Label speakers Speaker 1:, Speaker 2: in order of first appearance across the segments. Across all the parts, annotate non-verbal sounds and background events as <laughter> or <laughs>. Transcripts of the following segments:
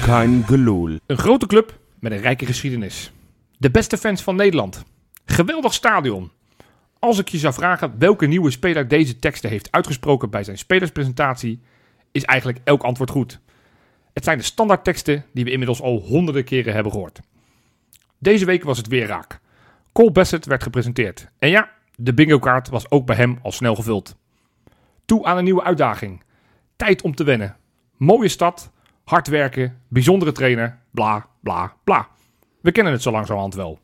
Speaker 1: kein gelul.
Speaker 2: Een grote club met een rijke geschiedenis. De beste fans van Nederland. Geweldig stadion. Als ik je zou vragen welke nieuwe speler deze teksten heeft uitgesproken bij zijn spelerspresentatie, is eigenlijk elk antwoord goed. Het zijn de standaardteksten die we inmiddels al honderden keren hebben gehoord. Deze week was het weer raak. Cole Bassett werd gepresenteerd. En ja, de bingo-kaart was ook bij hem al snel gevuld. Toe aan een nieuwe uitdaging. Tijd om te wennen. Mooie stad, hard werken, bijzondere trainer, bla bla bla. We kennen het zo langzamerhand wel.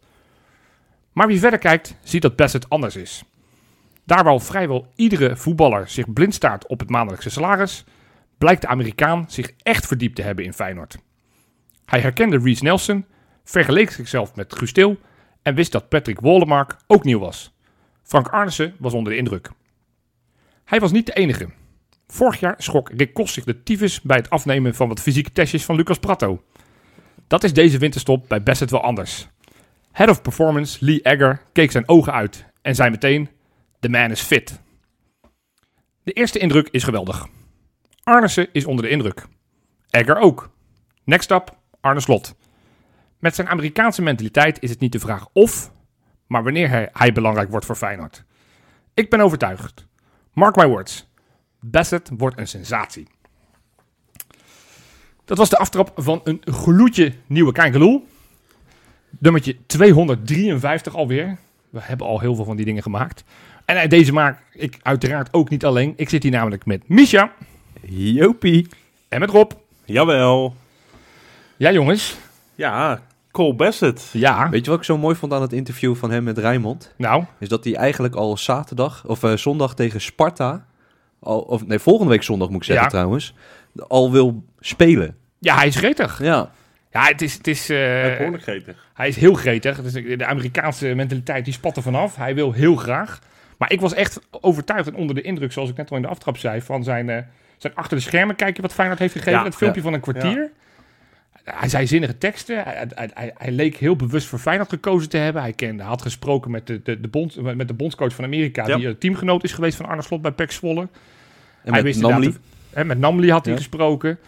Speaker 2: Maar wie verder kijkt, ziet dat Bassett anders is. Daar waar vrijwel iedere voetballer zich blind staart op het maandelijkse salaris, blijkt de Amerikaan zich echt verdiept te hebben in Feyenoord. Hij herkende Reece Nelson, vergeleek zichzelf met Gusteel en wist dat Patrick Wollemark ook nieuw was. Frank Arnissen was onder de indruk. Hij was niet de enige. Vorig jaar schrok Rick Kos zich de tyfus bij het afnemen van wat fysieke testjes van Lucas Pratto. Dat is deze winterstop bij Bassett wel anders. Head of Performance Lee Egger keek zijn ogen uit en zei meteen: The man is fit. De eerste indruk is geweldig. Arnesen is onder de indruk. Egger ook. Next up, Arne Slot. Met zijn Amerikaanse mentaliteit is het niet de vraag of, maar wanneer hij, hij belangrijk wordt voor Feyenoord. Ik ben overtuigd. Mark my words. Bassett wordt een sensatie. Dat was de aftrap van een gloedje nieuwe Kijkeloel. Nummertje 253 alweer. We hebben al heel veel van die dingen gemaakt. En eh, deze maak ik uiteraard ook niet alleen. Ik zit hier namelijk met Misha
Speaker 1: Jopie.
Speaker 2: en met Rob.
Speaker 3: Jawel.
Speaker 2: Ja, jongens.
Speaker 3: Ja, Cole Bassett.
Speaker 2: Ja.
Speaker 4: Weet je wat ik zo mooi vond aan het interview van hem met Rijmond?
Speaker 2: Nou,
Speaker 4: Is dat hij eigenlijk al zaterdag, of eh, zondag tegen Sparta, al, of nee, volgende week zondag moet ik zeggen
Speaker 2: Ja.
Speaker 4: trouwens, al wil spelen.
Speaker 2: ja, hij is gretig.
Speaker 4: Ja,
Speaker 2: Ja, het is, het is, eh,
Speaker 3: Behoorlijk gretig.
Speaker 2: hij is heel gretig. Dus de Amerikaanse mentaliteit die spat er vanaf. Hij wil heel graag. Maar ik was echt overtuigd en onder de indruk, zoals ik net al in de aftrap zei, van zijn, eh, zijn achter de schermen kijken wat Feyenoord heeft gegeven.
Speaker 3: Ja,
Speaker 2: het filmpje van een kwartier. Hij zei zinnige teksten. Hij, hij, hij, hij leek heel bewust voor Feyenoord gekozen te hebben. Hij kende, had gesproken met de, de, de, bond, met de bondscoach van Amerika,
Speaker 3: Ja.
Speaker 2: die eh, teamgenoot is geweest van Arne Slot bij PEC Zwolle.
Speaker 4: en
Speaker 2: Hij
Speaker 4: met
Speaker 2: wist
Speaker 4: Namli.
Speaker 2: inderdaad- Hè, met Namli had hij
Speaker 4: Ja.
Speaker 2: gesproken.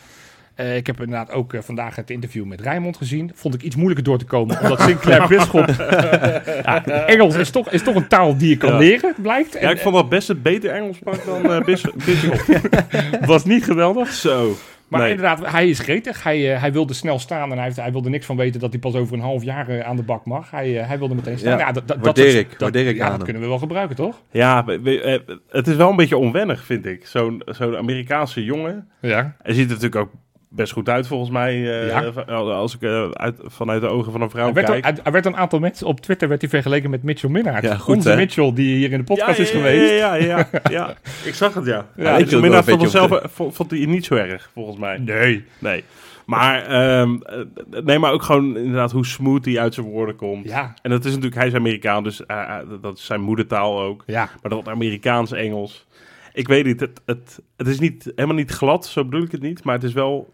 Speaker 2: Eh, ik heb inderdaad ook eh, vandaag het interview met Rijmond gezien. Vond ik iets moeilijker door te
Speaker 4: <laughs>
Speaker 2: komen, omdat Sinclair Bisschop... ja, Engels is toch, is toch een taal die je kan
Speaker 3: Ja.
Speaker 2: leren, blijkt. En
Speaker 3: Ja, ik vond dat Bassett beter Engels sprak dan eh
Speaker 2: <laughs>
Speaker 3: Bis- Bisschop.
Speaker 2: eh, was niet geweldig.
Speaker 3: Zo.
Speaker 2: Maar
Speaker 3: Nee.
Speaker 2: inderdaad, hij is gretig. Hij, eh, hij wilde snel staan en hij, heeft, hij wilde niks van weten dat hij pas over een half jaar eh, aan de bak mag. Hij, eh, hij wilde meteen staan.
Speaker 4: Ja.
Speaker 2: Nou, dat- dat- dat
Speaker 4: Waardeer
Speaker 2: is-
Speaker 4: ik.
Speaker 2: dat-
Speaker 4: Waardeer ik
Speaker 2: ja,
Speaker 4: aan
Speaker 2: dat
Speaker 4: hem.
Speaker 2: kunnen we wel gebruiken, toch?
Speaker 3: Ja, we- we- eh, het is wel een beetje onwennig, vind ik. Zo'n zo'n Amerikaanse jongen.
Speaker 2: Ja.
Speaker 3: Hij ziet er natuurlijk ook best goed uit, volgens mij. eh,
Speaker 2: Ja.
Speaker 3: van- Als ik eh, uit, vanuit de ogen van een vrouw
Speaker 2: Hij werd,
Speaker 3: kijk.
Speaker 2: al- hij- hij werd een aantal mensen op Twitter werd hij vergeleken met Mitchell Minnaert.
Speaker 4: Ja, goed,
Speaker 2: Onze
Speaker 4: hè?
Speaker 2: Mitchell, die hier in de podcast is
Speaker 3: ja,
Speaker 2: geweest.
Speaker 3: Ja, ja, ja, ja,
Speaker 2: <laughs>
Speaker 3: ja. Ik zag het, ja.
Speaker 4: ik
Speaker 3: ja,
Speaker 4: wil
Speaker 3: dus
Speaker 4: het
Speaker 3: Minnaert
Speaker 4: wel een
Speaker 3: vond,
Speaker 4: beetje
Speaker 3: vanzelf, vond, vond hij het niet zo erg, volgens mij.
Speaker 2: Nee.
Speaker 3: Nee. Maar, ehm, eh, nee, maar ook gewoon inderdaad hoe smooth hij uit zijn woorden komt.
Speaker 2: Ja,
Speaker 3: En dat is natuurlijk, hij is Amerikaan, dus eh, eh, dat is zijn moedertaal ook.
Speaker 2: ja.
Speaker 3: Maar dat Amerikaans-Engels. Ik weet niet, het, het, het is niet, helemaal niet glad, zo bedoel ik het niet. Maar het is wel,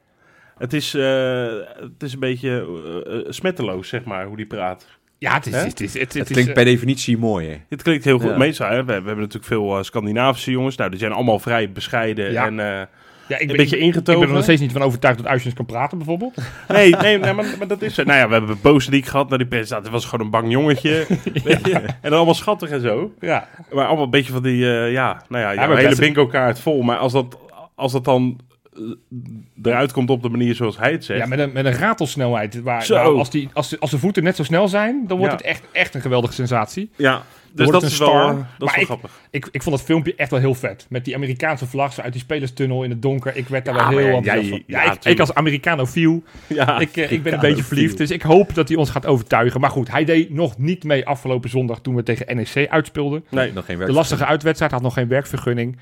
Speaker 3: het is, eh, het is een beetje eh, eh, smetteloos, zeg maar, hoe die praat.
Speaker 2: Ja, het is.
Speaker 3: Hè?
Speaker 2: Het, is, het,
Speaker 4: Het
Speaker 2: het
Speaker 4: klinkt
Speaker 2: is, eh,
Speaker 4: per definitie mooier.
Speaker 3: Dit klinkt heel goed.
Speaker 4: Ja.
Speaker 3: Meestal, hè, we, we hebben natuurlijk veel eh, Scandinavische jongens. Nou, die zijn allemaal vrij bescheiden
Speaker 2: Ja.
Speaker 3: en eh,
Speaker 2: ja, ik
Speaker 3: een
Speaker 2: ben,
Speaker 3: beetje
Speaker 2: ik, ik
Speaker 3: ingetogen.
Speaker 2: ben er nog steeds niet van overtuigd dat Uitjes kan praten, bijvoorbeeld.
Speaker 3: Nee, nee, nee, maar, maar dat is zo. Nou ja, we hebben Bozeniek gehad. Nou, die presentatie was gewoon een bang jongetje. Weet je? En dan allemaal schattig en zo.
Speaker 2: Ja,
Speaker 3: Maar allemaal een beetje van die, eh, ja, nou ja, jouw
Speaker 2: maar
Speaker 3: hele
Speaker 2: best-
Speaker 3: bingo-kaart vol. Maar als dat, als dat dan eh, eruit komt op de manier zoals hij het zegt.
Speaker 2: ja met, een, met een ratelsnelheid. Waar,
Speaker 3: Zo.
Speaker 2: nou, als, die, als, de- als de voeten net zo snel zijn, dan wordt
Speaker 3: Ja.
Speaker 2: het echt, echt een geweldige sensatie.
Speaker 3: Ja, dus
Speaker 2: wordt
Speaker 3: dat
Speaker 2: een
Speaker 3: is, wel,
Speaker 2: star.
Speaker 3: eh, dat is
Speaker 2: Maar
Speaker 3: wel
Speaker 2: ik-
Speaker 3: grappig.
Speaker 2: Ik, ik vond dat filmpje echt wel heel vet. Met die Amerikaanse vlag zo uit die spelerstunnel in het donker. Ik werd daar
Speaker 3: Ja,
Speaker 2: wel
Speaker 3: maar
Speaker 2: heel
Speaker 3: ja,
Speaker 2: enthousiast
Speaker 3: jij-
Speaker 2: van.
Speaker 3: ja,
Speaker 2: Ja, ik, ik
Speaker 3: tuurlijk.
Speaker 2: als Americanofiel,
Speaker 3: Ja,
Speaker 2: ik, eh, ik ben een beetje verliefd. Dus ik hoop dat hij ons gaat overtuigen. Maar goed, hij deed nog niet mee afgelopen zondag toen we tegen NEC uitspeelden.
Speaker 3: nee.
Speaker 4: Nog geen
Speaker 2: De
Speaker 4: werk.
Speaker 2: lastige uitwedstrijd had nog geen werkvergunning.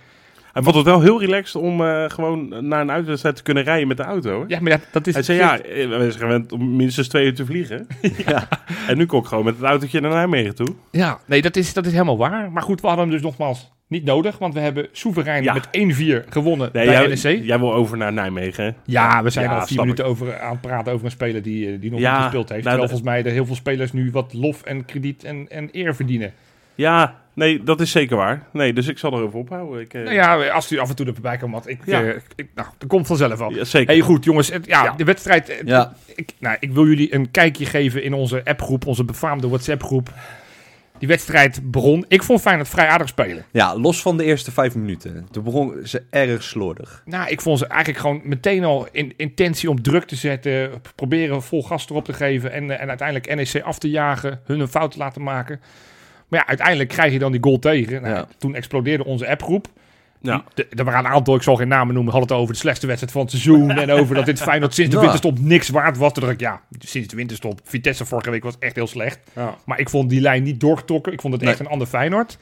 Speaker 3: Hij vond het wel heel relaxed om eh, gewoon naar een uitwedstrijd te kunnen rijden met de auto. Hè?
Speaker 2: Ja, maar ja, dat is...
Speaker 3: Hij zei, ja, eh, we zijn gewend om minstens twee uur te
Speaker 2: <laughs>
Speaker 3: vliegen. En nu kon ik gewoon met het autootje naar Nijmegen toe.
Speaker 2: Ja, nee, dat is, dat is helemaal waar. Maar goed, we hadden hem dus nogmaals niet nodig, want we hebben soeverein
Speaker 3: Ja.
Speaker 2: met 1-4 gewonnen
Speaker 3: Nee,
Speaker 2: bij
Speaker 3: jij,
Speaker 2: NEC.
Speaker 3: jij wil over naar Nijmegen. hè?
Speaker 2: Ja, we zijn al
Speaker 3: Ja,
Speaker 2: vier
Speaker 3: snap ik.
Speaker 2: minuten over, aan het praten over een speler die, eh, die nog
Speaker 3: Ja,
Speaker 2: niet gespeeld heeft.
Speaker 3: nou,
Speaker 2: terwijl
Speaker 3: dat-
Speaker 2: volgens mij er heel veel spelers nu wat lof en krediet en, en eer verdienen.
Speaker 3: Ja, nee, dat is zeker waar. Nee, dus ik zal erover ophouden. Ik, eh,
Speaker 2: Nou ja, als u af en toe erbij kan, want ik,
Speaker 3: Ja.
Speaker 2: eh, ik, nou, dat komt vanzelf wel.
Speaker 3: ja, zeker.
Speaker 2: Hey, goed, jongens. het- ja,
Speaker 3: Ja.
Speaker 2: de wedstrijd. eh,
Speaker 4: Ja.
Speaker 2: Ik, nou, ik wil jullie een kijkje geven in onze appgroep, onze befaamde WhatsApp-groep. Die wedstrijd begon. Ik vond Feyenoord vrij aardig spelen.
Speaker 4: ja, los van de eerste vijf minuten. Toen begon ze erg slordig.
Speaker 2: Nou, ik vond ze eigenlijk gewoon meteen al in intentie om druk te zetten. p- Proberen vol gas erop te geven. En, eh, en uiteindelijk NEC af te jagen. Hun een fout te laten maken. Maar ja, uiteindelijk krijg je dan die goal tegen. Nou,
Speaker 4: Ja.
Speaker 2: Toen explodeerde onze appgroep.
Speaker 3: ja.
Speaker 2: De- Er waren een aantal, ik zal geen namen noemen, hadden het over de slechtste wedstrijd van het
Speaker 4: <laughs>
Speaker 2: seizoen. en over dat dit Feyenoord sinds de
Speaker 4: Ja.
Speaker 2: winterstop niks waard was. Toen dacht ik, ja, sinds de winterstop. Vitesse vorige week was echt heel slecht.
Speaker 3: Ja.
Speaker 2: Maar ik vond die lijn niet doorgetrokken. Ik vond het
Speaker 4: Nee.
Speaker 2: echt een ander Feyenoord.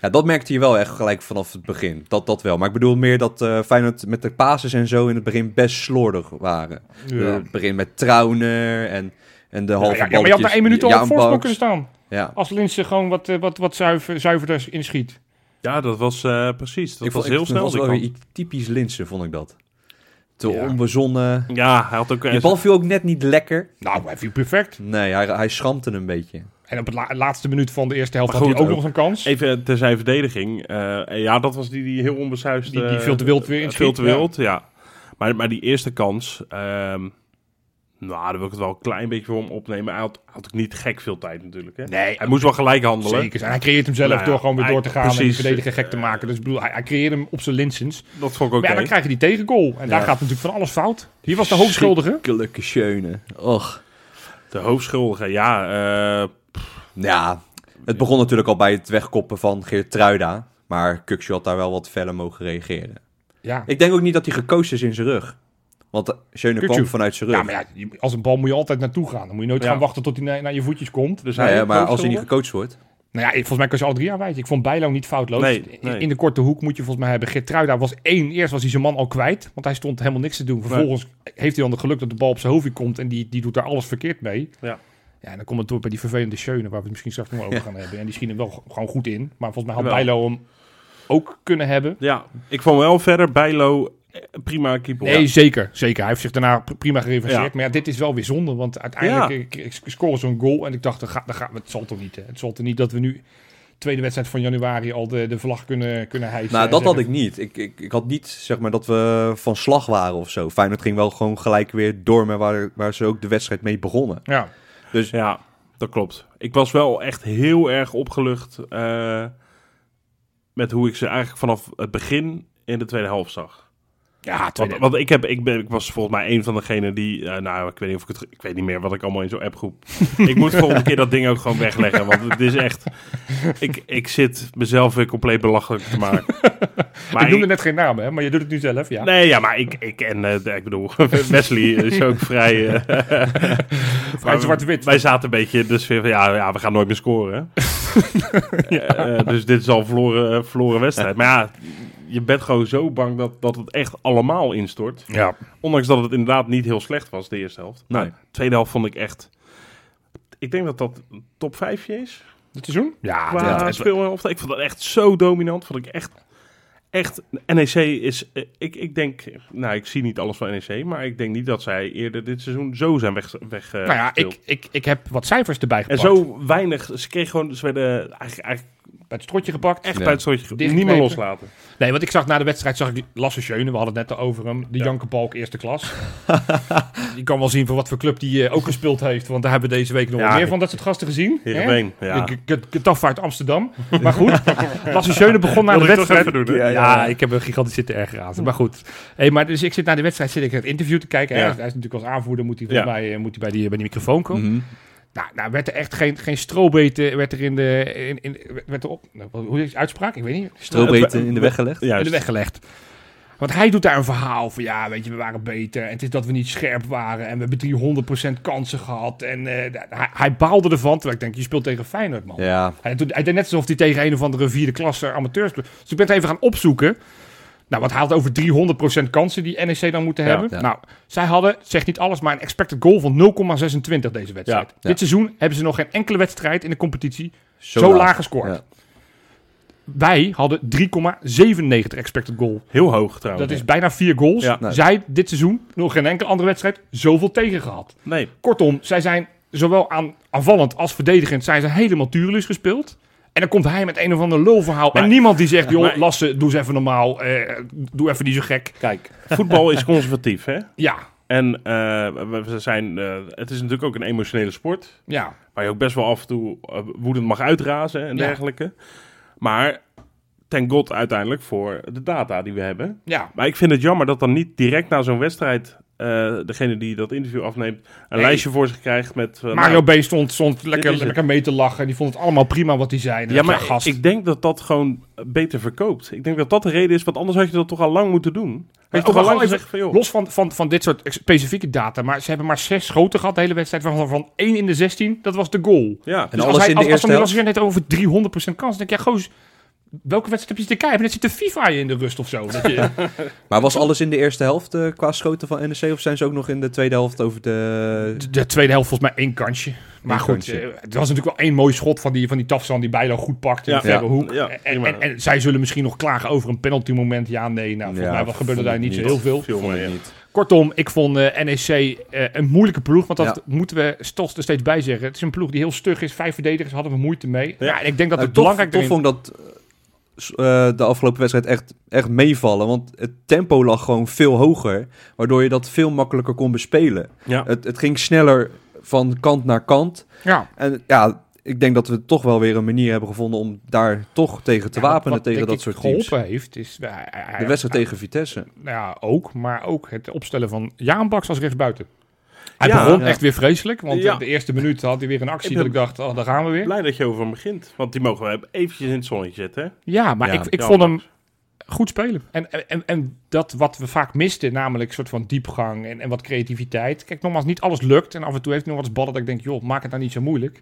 Speaker 4: Ja, dat merkte je wel echt gelijk vanaf het begin. Dat, dat wel. Maar ik bedoel meer dat eh Feyenoord met de pases en zo in het begin best slordig waren. Eh,
Speaker 2: Ja.
Speaker 4: het begin met Trauner en, en de halve
Speaker 2: Ja, ja, maar je had na één minuut al op voorsprong kunnen staan.
Speaker 4: Ja.
Speaker 2: Als Linssen gewoon wat, eh, wat, wat zuiver, zuiverder inschiet.
Speaker 3: Ja, dat was eh, precies. Dat
Speaker 4: ik
Speaker 3: was
Speaker 4: vond,
Speaker 3: heel
Speaker 4: ik, Dat
Speaker 3: snel.
Speaker 4: was
Speaker 3: die
Speaker 4: wel weer
Speaker 3: kant.
Speaker 4: iets typisch Linsen, vond ik dat. Te
Speaker 2: Ja.
Speaker 4: onbezonnen.
Speaker 3: Ja, hij had ook...
Speaker 4: Die bal viel ook net niet lekker.
Speaker 2: Nou, hij viel perfect.
Speaker 4: Nee, hij, hij schrampte een beetje.
Speaker 2: En op het la- laatste minuut van de eerste helft
Speaker 3: Maar
Speaker 2: had hij
Speaker 3: goed,
Speaker 2: ook
Speaker 3: ook-
Speaker 2: nog een kans.
Speaker 3: Even ter zijn verdediging. eh, ja, dat was die, die heel onbesuisd...
Speaker 2: Die- die
Speaker 3: eh,
Speaker 2: veel te wild weer
Speaker 3: eh,
Speaker 2: inschiet,
Speaker 3: Veel te
Speaker 2: ja.
Speaker 3: wild, ja. Maar, maar die eerste kans... ehm, nou, daar wil ik het wel een klein beetje voor hem opnemen. Hij had, had ook niet gek veel tijd natuurlijk. Hè?
Speaker 2: Nee,
Speaker 3: Hij moest wel gelijk handelen.
Speaker 2: zeker. En hij creëert hem zelf
Speaker 3: Nou ja,
Speaker 2: door gewoon weer
Speaker 3: hij-
Speaker 2: door te gaan en de
Speaker 3: precies.
Speaker 2: verdediger gek te maken. Dus ik bedoel, hij, hij creëert hem op zijn Linsens.
Speaker 3: Dat vond ik ook
Speaker 2: Maar ja, dan krijg je die tegengoal. En daar gaat natuurlijk van alles fout. Hier was de hoofdschuldige.
Speaker 4: Gelukkige scheunen. Och.
Speaker 3: De hoofdschuldige, ja. eh,
Speaker 4: Ja, het begon natuurlijk al bij het wegkoppen van Geert Truida. Maar Kuksje had daar wel wat feller mogen reageren.
Speaker 2: Ja.
Speaker 4: Ik denk ook niet dat hij gekozen is in zijn rug. Want Schöne
Speaker 2: Kukçu.
Speaker 4: kwam vanuit zijn rug.
Speaker 2: ja, maar ja, je- als een bal moet je altijd naartoe gaan. Dan moet je nooit
Speaker 3: Ja.
Speaker 2: gaan wachten tot hij naar, naar je voetjes komt.
Speaker 3: dus
Speaker 4: Nou
Speaker 3: hij
Speaker 4: ja, maar als hij niet
Speaker 3: hoofdschuldig.
Speaker 4: gecoacht wordt.
Speaker 2: Nou ja, ik- volgens mij kan je ze alle drie aanwijzen. Ik vond Bijlo niet foutloos.
Speaker 3: Nee,
Speaker 2: In-
Speaker 3: nee.
Speaker 2: In de korte hoek moet je volgens mij hebben. Gertruida was één. Eerst was hij zijn man al kwijt. Want hij stond helemaal niks te doen. Vervolgens heeft hij dan het geluk dat de bal op zijn hoofdje komt. En die, die doet daar alles verkeerd mee.
Speaker 3: Ja.
Speaker 2: Ja, en dan komt het door bij die vervelende Schöne. Waar we het misschien straks nog wel over gaan hebben. En die schiet hem wel g- gewoon goed in. Maar volgens mij had
Speaker 3: Wel.
Speaker 2: Bijlo hem ook kunnen hebben.
Speaker 3: Ja, ik vond wel verder Bijlo eh, prima keeper.
Speaker 2: Nee,
Speaker 3: Ja.
Speaker 2: zeker. Zeker. Hij heeft zich daarna pr- prima gerevanceerd.
Speaker 3: Ja.
Speaker 2: Maar ja, dit is wel weer zonde. Want uiteindelijk ik, ik scoorde zo'n goal. En ik dacht, dan ga, dan ga, het zal toch niet. Hè? Het zal toch niet dat we nu tweede wedstrijd van januari al de, de vlag kunnen, kunnen hijsen.
Speaker 4: Nou,
Speaker 2: en
Speaker 4: dat had
Speaker 2: zeggen-
Speaker 4: ik niet. Ik, ik, ik had niet, zeg maar, dat we van slag waren of zo. Feyenoord ging wel gewoon gelijk weer door met waar, waar ze ook de wedstrijd mee begonnen.
Speaker 2: Ja.
Speaker 4: Dus
Speaker 3: Ja, dat klopt. Ik was wel echt heel erg opgelucht eh, met hoe ik ze eigenlijk vanaf het begin in de tweede helft zag.
Speaker 2: Ja, tweede-
Speaker 3: Want, want ik, heb, ik, ben, ik was volgens mij een van degenen die... eh, nou, ik weet, niet of ik, het, ik weet niet meer wat ik allemaal in zo'n
Speaker 2: <laughs>
Speaker 3: appgroep... ik moet volgende keer dat ding ook gewoon wegleggen. Want het is echt... Ik, ik zit mezelf weer compleet belachelijk te
Speaker 2: <laughs>
Speaker 3: maken. Maar
Speaker 2: ik noemde net geen namen, hè, maar je doet het nu zelf. Ja.
Speaker 3: Nee, ja, maar ik, ik en eh, ik bedoel, <laughs> Wesley is ook vrij. eh, maar we-
Speaker 2: zwart-wit.
Speaker 3: Wij zaten een beetje in de sfeer van ja, ja we gaan nooit meer scoren. hè. Eh, eh, dus dit is al een verloren, verloren wedstrijd. Maar ja, je bent gewoon zo bang dat, dat het echt allemaal instort.
Speaker 2: Ja.
Speaker 3: Ondanks dat het inderdaad niet heel slecht was, de eerste helft. Maar
Speaker 4: Nee.
Speaker 3: de tweede helft vond ik echt. Ik denk dat dat een top 5 is.
Speaker 2: Dit seizoen? Ah, Ja,
Speaker 3: Qua
Speaker 2: ja, het-
Speaker 3: speelhelft. Ik vond dat echt zo dominant. Vond ik echt. Echt, NEC is. eh, Ik, ik denk. Nou, ik zie niet alles van NEC. Maar ik denk niet dat zij eerder dit seizoen zo zijn weg. weg eh,
Speaker 2: nou ja,
Speaker 3: gespeeld.
Speaker 2: ik, ik, ik heb wat cijfers erbij
Speaker 3: En
Speaker 2: gepakt.
Speaker 3: zo weinig. Ze kregen gewoon. Ze werden eigenlijk, eigenlijk
Speaker 2: Bij het strotje gepakt.
Speaker 3: echt
Speaker 4: Ja.
Speaker 3: bij het soortje. Niet meer
Speaker 2: Dichtgeknepen.
Speaker 3: loslaten.
Speaker 2: Nee, want ik zag na de wedstrijd, zag ik Lasse Schöne, we hadden het net al over hem, de
Speaker 3: Ja.
Speaker 2: Jankenbalk eerste
Speaker 3: <laughs>
Speaker 2: klas. je kan wel zien voor wat voor club die eh, ook gespeeld heeft, want daar hebben we deze week nog
Speaker 3: Ja,
Speaker 2: wat meer van dat soort gasten gezien. hè?
Speaker 3: Heerenveen. Ja.
Speaker 2: De G- G- Getafe uit
Speaker 3: <laughs>
Speaker 2: Amsterdam. Maar goed, Lasse Schöne begon na de
Speaker 3: Wilde ik toch
Speaker 2: wedstrijd.
Speaker 3: even doen, hè?
Speaker 2: ja,
Speaker 4: Ja, ja.
Speaker 2: ik heb een gigantisch zitten erg geraden. Maar goed. Hey, maar dus ik zit na de wedstrijd zit ik het interview te kijken. hè.
Speaker 3: Ja.
Speaker 2: Hij is hij is natuurlijk als aanvoerder, moet hij, volgens
Speaker 3: Ja.
Speaker 2: mij, eh, moet hij bij, die, bij die microfoon komen.
Speaker 4: mhm.
Speaker 2: Nou, nou werd er echt geen, geen strobeten, werd er in de... In, in, werd er op, nou, hoe heet die uitspraak? Ik weet niet.
Speaker 4: strobeten eh, in de weg gelegd.
Speaker 3: Juist.
Speaker 2: In de weg gelegd. Want hij doet daar een verhaal van, ja, weet je, we waren beter. En het is dat we niet scherp waren. En we hebben 300% kansen gehad. En eh, da- hij, hij baalde ervan. Terwijl ik denk, je speelt tegen Feyenoord, man.
Speaker 4: Ja,
Speaker 2: Hij, doet- hij deed net alsof hij tegen een of andere vierde klasse amateurs... Dus ik ben het even gaan opzoeken. Nou, want hij had over 300% kansen die NEC dan moeten
Speaker 3: Ja.
Speaker 2: hebben.
Speaker 4: Ja.
Speaker 2: Nou, zij hadden, zeg niet alles, maar een expected goal van 0,26 deze wedstrijd.
Speaker 3: Ja.
Speaker 4: Ja.
Speaker 2: Dit seizoen hebben ze nog geen enkele wedstrijd in de competitie
Speaker 4: zo,
Speaker 2: zo, laag
Speaker 4: laag.
Speaker 2: gescoord.
Speaker 4: Ja.
Speaker 2: Wij hadden 3,97 expected goal.
Speaker 3: Heel hoog trouwens.
Speaker 2: Dat is bijna vier goals.
Speaker 3: Oh, Ja.
Speaker 4: Nee.
Speaker 2: Zij dit seizoen nog geen enkele andere wedstrijd zoveel tegen gehad.
Speaker 3: Nee.
Speaker 2: Kortom, zij zijn zowel aan, aanvallend als verdedigend zijn ze helemaal tureluus gespeeld. En dan komt hij met een of ander lulverhaal.
Speaker 3: Maar-
Speaker 2: en niemand die zegt, joh,
Speaker 3: maar-
Speaker 2: Lasse, doe eens even normaal. eh, doe even niet zo gek.
Speaker 3: Kijk, voetbal is conservatief, hè?
Speaker 2: Ja,
Speaker 3: En eh, we we zijn, eh, het is natuurlijk ook een emotionele sport.
Speaker 2: ja.
Speaker 3: Waar je ook best wel af en toe eh, woedend mag uitrazen en
Speaker 2: Ja.
Speaker 3: dergelijke. Maar ten god uiteindelijk voor de data die we hebben.
Speaker 2: Ja,
Speaker 3: Maar ik vind het jammer dat dan niet direct na zo'n wedstrijd eh, degene die dat interview afneemt een
Speaker 2: Nee.
Speaker 3: lijstje voor zich krijgt met eh,
Speaker 2: Mario
Speaker 3: nou,
Speaker 2: B. stond, stond lekker,
Speaker 3: is het.
Speaker 2: lekker mee te lachen. Die vond het allemaal prima wat hij zei. En
Speaker 3: ja,
Speaker 2: ik,
Speaker 3: maar
Speaker 2: gast.
Speaker 3: ik denk dat dat gewoon beter verkoopt. Ik denk dat dat de reden is, want anders had je dat toch al lang moeten doen. Had je
Speaker 2: ook
Speaker 3: toch al
Speaker 2: wel
Speaker 3: lang
Speaker 2: oh, even-
Speaker 3: gezegd van joh.
Speaker 2: Los van, van, van dit soort specifieke data. Maar ze hebben maar zes schoten gehad de hele wedstrijd. Waarvan van 1 in de 16, dat was de goal.
Speaker 3: Ja,
Speaker 4: En
Speaker 2: Dus
Speaker 4: alles in
Speaker 2: als hij,
Speaker 4: de
Speaker 2: als, als
Speaker 4: eerste
Speaker 2: hij
Speaker 4: helft.
Speaker 2: als hij net over 300% kans, dan denk je, ja, goos, welke wedstrijd heb je te kijken? Net zit de FIFA je in de rust of zo. Dat je,
Speaker 4: Maar was alles in de eerste helft eh, qua schoten van NEC? Of zijn ze ook nog in de tweede helft over de...
Speaker 2: <laughs> de- de tweede helft volgens mij één kansje. Maar
Speaker 4: Eén
Speaker 2: goed,
Speaker 4: kansje.
Speaker 2: eh, het was natuurlijk wel één mooi schot van die, van die Tafsan die Bijlo goed pakt in
Speaker 3: Ja.
Speaker 2: de verre hoek.
Speaker 3: Ja,
Speaker 2: en,
Speaker 3: prima.
Speaker 2: en, en zij zullen misschien nog klagen over een penalty moment. Ja, nee, nou, volgens
Speaker 4: Ja,
Speaker 2: mij wat gebeurde
Speaker 4: vond
Speaker 2: daar
Speaker 4: ik
Speaker 2: niet zo
Speaker 4: niet.
Speaker 2: heel veel.
Speaker 3: veel
Speaker 4: Vond
Speaker 3: meer.
Speaker 4: ik
Speaker 3: ja.
Speaker 4: niet.
Speaker 2: Kortom, ik vond eh, NEC eh, een moeilijke ploeg. Want dat
Speaker 4: Ja.
Speaker 2: moeten we toch er steeds bij zeggen. Het is een ploeg die heel stug is. Vijf verdedigers hadden we moeite mee. Ja.
Speaker 3: Ja.
Speaker 2: en ik denk dat
Speaker 4: Nou,
Speaker 2: het
Speaker 4: toch,
Speaker 2: belangrijk
Speaker 4: toch
Speaker 2: erin-
Speaker 4: vond ik dat eh, s- eh, de afgelopen wedstrijd echt, echt meevallen. Want het tempo lag gewoon veel hoger. Waardoor je dat veel makkelijker kon bespelen.
Speaker 3: Ja.
Speaker 4: Het, het ging sneller van kant naar kant.
Speaker 2: Ja.
Speaker 4: En ja, ik denk dat we toch wel weer een manier hebben gevonden om daar toch tegen te
Speaker 2: Ja, wat-
Speaker 4: wapenen.
Speaker 2: wat
Speaker 4: tegen
Speaker 2: denk
Speaker 4: dat
Speaker 2: ik
Speaker 4: soort teams.
Speaker 2: geholpen heeft, is... eh, hij- hij-
Speaker 4: De wedstrijd tegen Vitesse.
Speaker 2: Nou ja, ook. Maar ook het opstellen van Jaan Baks als rechtsbuiten. Hij
Speaker 3: Ja.
Speaker 2: begon
Speaker 4: Ja.
Speaker 2: echt weer vreselijk. Want
Speaker 3: Ja.
Speaker 2: eh, de eerste minuut had hij weer een actie
Speaker 3: Ik
Speaker 2: dat
Speaker 3: ben
Speaker 2: ik dacht, oh, daar gaan we weer.
Speaker 3: Blij dat je over hem begint, want die mogen we eventjes in het zonnetje zetten. hè?
Speaker 2: Ja, maar
Speaker 4: Ja,
Speaker 2: ik, ik
Speaker 3: ja.
Speaker 2: vond hem goed spelen. En, en, en dat wat we vaak misten, namelijk een soort van diepgang en, en wat creativiteit. Kijk, nogmaals, niet alles lukt. En af en toe heeft hij nog wat ballen dat ik denk, joh, maak het nou niet zo moeilijk.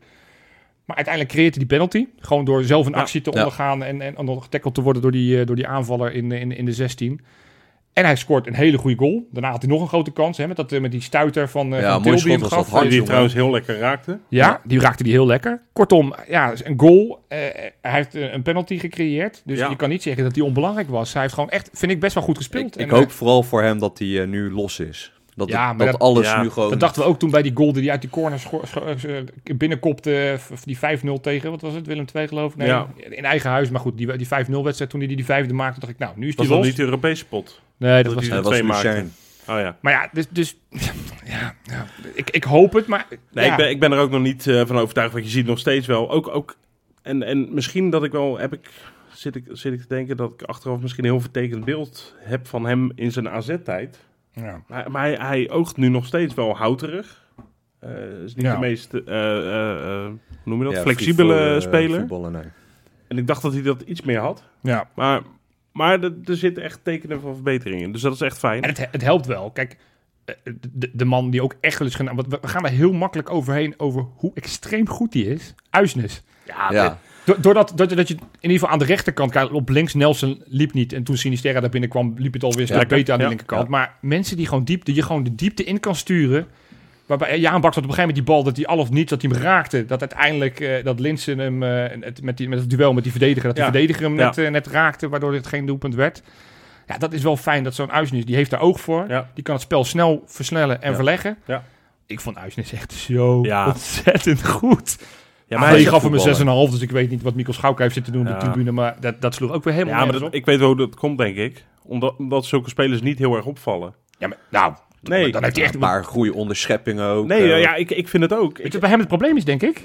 Speaker 2: Maar uiteindelijk creëert hij die penalty. Gewoon door zelf een
Speaker 3: Ja,
Speaker 2: actie te
Speaker 4: ja.
Speaker 2: ondergaan en, en, en nog getackled te worden door die, eh, door die aanvaller in, in, in de 16. En hij scoort een hele goede goal. Daarna had hij nog een grote kans. Hè, met, dat, eh, met die stuiter van, eh
Speaker 4: Ja,
Speaker 2: van
Speaker 4: mooi
Speaker 2: Til die hem
Speaker 4: schot was dat.
Speaker 2: gaf.
Speaker 4: Hard,
Speaker 3: die
Speaker 4: jongen.
Speaker 3: trouwens heel lekker raakte.
Speaker 2: Ja, die raakte die heel lekker. Kortom, ja, een goal. eh, hij heeft eh, een penalty gecreëerd. Dus
Speaker 3: Ja.
Speaker 2: je kan niet zeggen dat die onbelangrijk was. Hij heeft gewoon echt, vind ik, best wel goed gespeeld.
Speaker 4: Ik,
Speaker 2: En,
Speaker 4: ik
Speaker 2: eh,
Speaker 4: hoop vooral voor hem dat hij eh, nu los is. Dat,
Speaker 2: Ja,
Speaker 4: het-
Speaker 2: maar
Speaker 4: dat,
Speaker 2: dat-
Speaker 4: alles
Speaker 3: ja,
Speaker 4: nu gewoon...
Speaker 2: Dat dachten we ook toen bij die goal die hij uit die corner scho- scho- scho- binnenkopte. eh, v- Die 5-0 tegen, wat was het? Willem II geloof ik? Nee,
Speaker 3: Ja.
Speaker 2: in eigen huis. Maar goed, die, die 5-0 wedstrijd toen hij die, die vijfde maakte, dacht ik, nou, nu is
Speaker 3: Was
Speaker 2: die
Speaker 3: dat
Speaker 2: los.
Speaker 3: niet de Europese pot?
Speaker 2: Nee, dat
Speaker 3: dat
Speaker 2: was
Speaker 3: die-
Speaker 4: Eh,
Speaker 3: de
Speaker 4: was
Speaker 3: twee
Speaker 4: Lucerne.
Speaker 3: maakte. Oh ja.
Speaker 2: Maar ja, dus, dus <laughs> ja, ja, ik, ik hoop het, maar
Speaker 3: Nee,
Speaker 2: ja,
Speaker 3: ik, ben, ik ben er ook nog niet eh, van overtuigd. Want je ziet nog steeds wel. Ook, ook, en, en misschien dat ik wel. Heb ik, zit, ik, zit ik te denken dat ik achteraf misschien een heel vertekend beeld heb van hem in zijn AZ-tijd.
Speaker 2: ja.
Speaker 3: Maar, maar hij, hij oogt nu nog steeds wel houterig. Eh is niet
Speaker 2: Ja.
Speaker 3: de meest. eh, eh, eh, hoe noem je dat?
Speaker 4: Ja,
Speaker 3: Flexibele
Speaker 4: free- eh,
Speaker 3: speler.
Speaker 4: voetballen, nee.
Speaker 3: En ik dacht dat hij dat iets meer had.
Speaker 2: ja.
Speaker 3: Maar, maar er, er zitten echt tekenen van verbetering in. Dus dat is echt fijn.
Speaker 2: En het, het helpt wel. Kijk, eh, de, de man die ook echt wel is gedaan. Want we, we gaan er heel makkelijk overheen over hoe extreem goed die is. Uisnes.
Speaker 3: ja,
Speaker 4: Ja.
Speaker 2: Do- Doordat dat, je- dat je in ieder geval aan de rechterkant kijkt. Op links Nelson liep niet. En toen Sinisterra daar binnenkwam, liep het alweer een stuk
Speaker 3: Ja,
Speaker 2: beter aan de
Speaker 3: ja,
Speaker 2: linkerkant. Maar mensen die gewoon diepte, je gewoon de diepte in kan sturen. Waarbij eh, Jaan Baks had op een gegeven moment die bal, dat hij al of niet, dat hij hem raakte. Dat uiteindelijk, eh, dat Linsen hem, eh, het, met, die, met het duel met die verdediger, dat die
Speaker 3: Ja.
Speaker 2: verdediger hem
Speaker 3: Ja.
Speaker 2: net, eh, net raakte. Waardoor dit geen doelpunt werd. Ja, dat is wel fijn dat zo'n Uisnes, die heeft daar oog voor.
Speaker 3: Ja.
Speaker 2: Die kan het spel snel versnellen en
Speaker 3: Ja.
Speaker 2: verleggen.
Speaker 3: Ja.
Speaker 2: Ik vond Uisnes echt zo
Speaker 3: Ja.
Speaker 2: ontzettend goed.
Speaker 3: ja,
Speaker 2: Maar
Speaker 3: hij
Speaker 2: hij
Speaker 3: is
Speaker 2: Ah, gaf hem
Speaker 4: voetballer.
Speaker 2: een 6,5, dus ik weet niet wat Mikkel Schouwke heeft zitten doen op
Speaker 3: Ja.
Speaker 2: de tribune. Maar dat, dat sloeg ook weer helemaal
Speaker 3: Ja, maar
Speaker 2: nergens
Speaker 3: dat-
Speaker 2: op.
Speaker 3: ik weet wel hoe dat komt, denk ik. Omdat, omdat zulke spelers niet heel erg opvallen.
Speaker 2: Ja, maar nou,
Speaker 3: Nee,
Speaker 2: dan heeft hij echt...
Speaker 4: Een paar goede onderscheppingen ook.
Speaker 3: nee ja,
Speaker 4: eh,
Speaker 3: ja, ik, ik vind het ook.
Speaker 2: Weet
Speaker 3: Ik, Mm.
Speaker 2: je wat bij hem het probleem is, denk ik?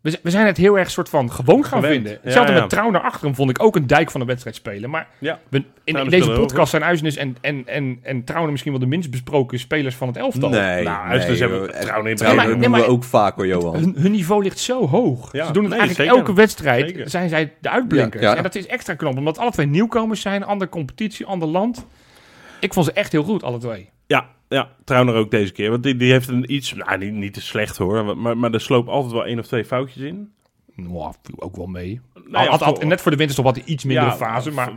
Speaker 2: We, z- we zijn het heel erg soort van gewoon gaan
Speaker 3: Gewend.
Speaker 2: vinden.
Speaker 3: Ja,
Speaker 2: Hetzelfde
Speaker 3: ja.
Speaker 2: met Trouw naar achteren vond ik ook een dijk van de wedstrijd spelen. Maar
Speaker 3: ja.
Speaker 2: we- in- in,
Speaker 3: Trouwner
Speaker 2: deze
Speaker 3: speelde heel
Speaker 2: podcast zijn Uisnes en, en, en, en Trouwner misschien wel de minst besproken spelers van het elftal.
Speaker 4: Nee,
Speaker 3: Nou,
Speaker 4: nee,
Speaker 3: Uisnes hebben we-
Speaker 4: joh, echt,
Speaker 3: Trouwen in
Speaker 4: Trouwen
Speaker 2: Breda.
Speaker 4: noemen
Speaker 2: Nee, maar-
Speaker 4: we ook vaak hoor,
Speaker 2: <laughs>
Speaker 4: Johan.
Speaker 2: Hun, hun niveau ligt zo hoog.
Speaker 3: Ja,
Speaker 2: Ze doen het
Speaker 3: nee,
Speaker 2: eigenlijk
Speaker 3: zeker.
Speaker 2: elke wedstrijd.
Speaker 3: Zeker.
Speaker 2: Zijn zij de uitblinkers.
Speaker 4: Ja, ja.
Speaker 2: En dat is extra knap. Omdat alle twee nieuwkomers zijn. Andere competitie, ander land. Ik vond ze echt heel goed, alle twee.
Speaker 3: ja, ja, Trouwner ook deze keer. Want die, die heeft een iets, nou, niet, niet te slecht hoor, maar, maar er sloopt altijd wel één of twee foutjes in.
Speaker 2: Nou, viel ook wel mee.
Speaker 3: ja,
Speaker 2: Al- had- had-
Speaker 3: voor-
Speaker 2: net voor de winterstop had hij iets minder
Speaker 3: Ja,
Speaker 2: fase.
Speaker 3: v-
Speaker 2: Maar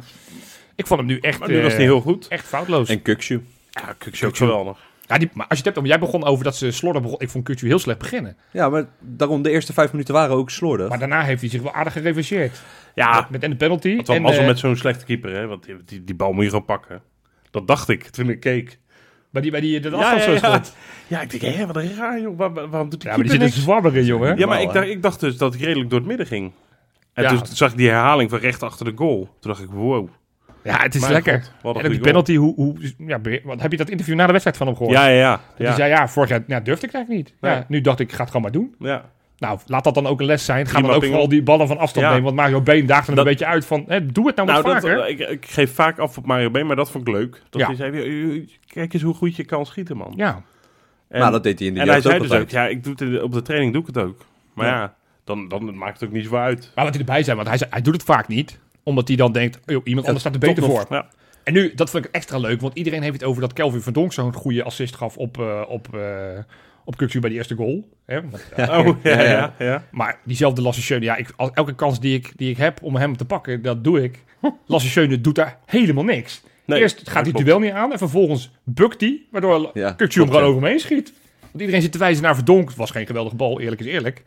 Speaker 2: ik vond hem nu echt,
Speaker 3: Maar nu was
Speaker 2: eh,
Speaker 3: hij heel goed.
Speaker 2: echt foutloos.
Speaker 4: En Kukshu.
Speaker 3: Ja, Kukshoe ook geweldig.
Speaker 2: Ja, die, maar als je het hebt, want jij begon over dat ze slordig begon. Ik vond Kutju heel slecht beginnen.
Speaker 4: Ja, maar daarom de eerste vijf minuten waren ook slordig.
Speaker 2: Maar daarna heeft hij zich wel aardig gerevancheerd.
Speaker 3: Ja,
Speaker 2: Met en de penalty.
Speaker 3: het was
Speaker 2: en,
Speaker 3: mazzel
Speaker 2: eh,
Speaker 3: met zo'n slechte keeper, hè, want die, die, die bal moet je gewoon pakken. Dat dacht ik toen ik keek.
Speaker 2: bij die, bij die, dat
Speaker 3: ja, ja, ja.
Speaker 2: afstandsschot.
Speaker 3: Ja, ik denk, hé, wat een raar joh, waar- waar- waarom doet die
Speaker 2: Ja, maar die
Speaker 3: keeper
Speaker 2: zit een
Speaker 3: niks?
Speaker 2: zwabberen, jongen.
Speaker 3: Ja, maar
Speaker 4: Normaal,
Speaker 3: ik dacht, ik dacht dus dat hij redelijk door het midden ging. En
Speaker 2: Ja.
Speaker 3: toen zag ik die herhaling van recht achter de goal. Toen dacht ik, wow.
Speaker 2: Ja, het is
Speaker 3: Mijn
Speaker 2: lekker.
Speaker 3: god, wat een
Speaker 2: en ook die
Speaker 3: goede goal.
Speaker 2: penalty, hoe, hoe, ja, be- wat, heb je dat interview na de wedstrijd van hem gehoord?
Speaker 3: Ja, ja, ja.
Speaker 2: Die
Speaker 3: ja.
Speaker 2: zei, ja, vorig jaar ja, durfde ik het eigenlijk niet. Ja,
Speaker 3: Nee.
Speaker 2: nu dacht ik, ik ga het gewoon maar doen.
Speaker 3: ja.
Speaker 2: Nou, laat dat dan ook een les zijn. Ga
Speaker 3: Prima
Speaker 2: dan ook
Speaker 3: pingel.
Speaker 2: vooral die ballen van afstand
Speaker 3: Ja.
Speaker 2: nemen. Want Mario Been daagt er
Speaker 3: Dat-
Speaker 2: een beetje uit van, hè, doe het nou, wat
Speaker 3: Nou,
Speaker 2: vaker.
Speaker 3: dat, ik, ik geef vaak af op Mario B, maar dat vond ik leuk. Dat
Speaker 2: Ja.
Speaker 3: hij zei, "Joh, joh, kijk eens hoe goed je kan schieten, man.
Speaker 2: ja,
Speaker 3: En,
Speaker 4: nou, dat deed hij in de
Speaker 3: en hij
Speaker 4: jeugd
Speaker 3: zei
Speaker 4: ook
Speaker 3: dus ook,
Speaker 4: altijd.
Speaker 3: ja, ik doe het in de- op de training doe ik het ook. Maar ja,
Speaker 4: Ja.
Speaker 3: dan, dan maakt het ook niet zo uit.
Speaker 2: maar wat hij erbij zei, want hij, zei, hij doet het vaak niet. Omdat hij dan denkt, oh joh, iemand anders staat er
Speaker 3: Toch
Speaker 2: beter
Speaker 3: nog-
Speaker 2: voor.
Speaker 3: Ja.
Speaker 2: En nu, dat vond ik extra leuk, want iedereen heeft het over dat Kelvin van Donk zo'n goede assist gaf op, eh op, eh, op Kukzu bij die eerste goal. Hè? Want, ja,
Speaker 3: Oh, ja,
Speaker 4: Ja, ja.
Speaker 3: ja, ja.
Speaker 2: Maar diezelfde Lasse ja, ik, al- elke kans die ik, die ik heb om hem te pakken, dat doe
Speaker 3: <laughs>
Speaker 2: ik. Lasse doet daar helemaal niks.
Speaker 3: Nee,
Speaker 2: Eerst gaat
Speaker 3: dat
Speaker 2: hij het
Speaker 3: klopt.
Speaker 2: duel niet aan en vervolgens bukt hij, waardoor
Speaker 4: Ja,
Speaker 2: ja, hem
Speaker 4: klopt,
Speaker 2: gewoon
Speaker 4: ja.
Speaker 2: over hem heen schiet. Want iedereen zit te wijzen naar Verdonk. Het was geen geweldige bal, eerlijk is eerlijk.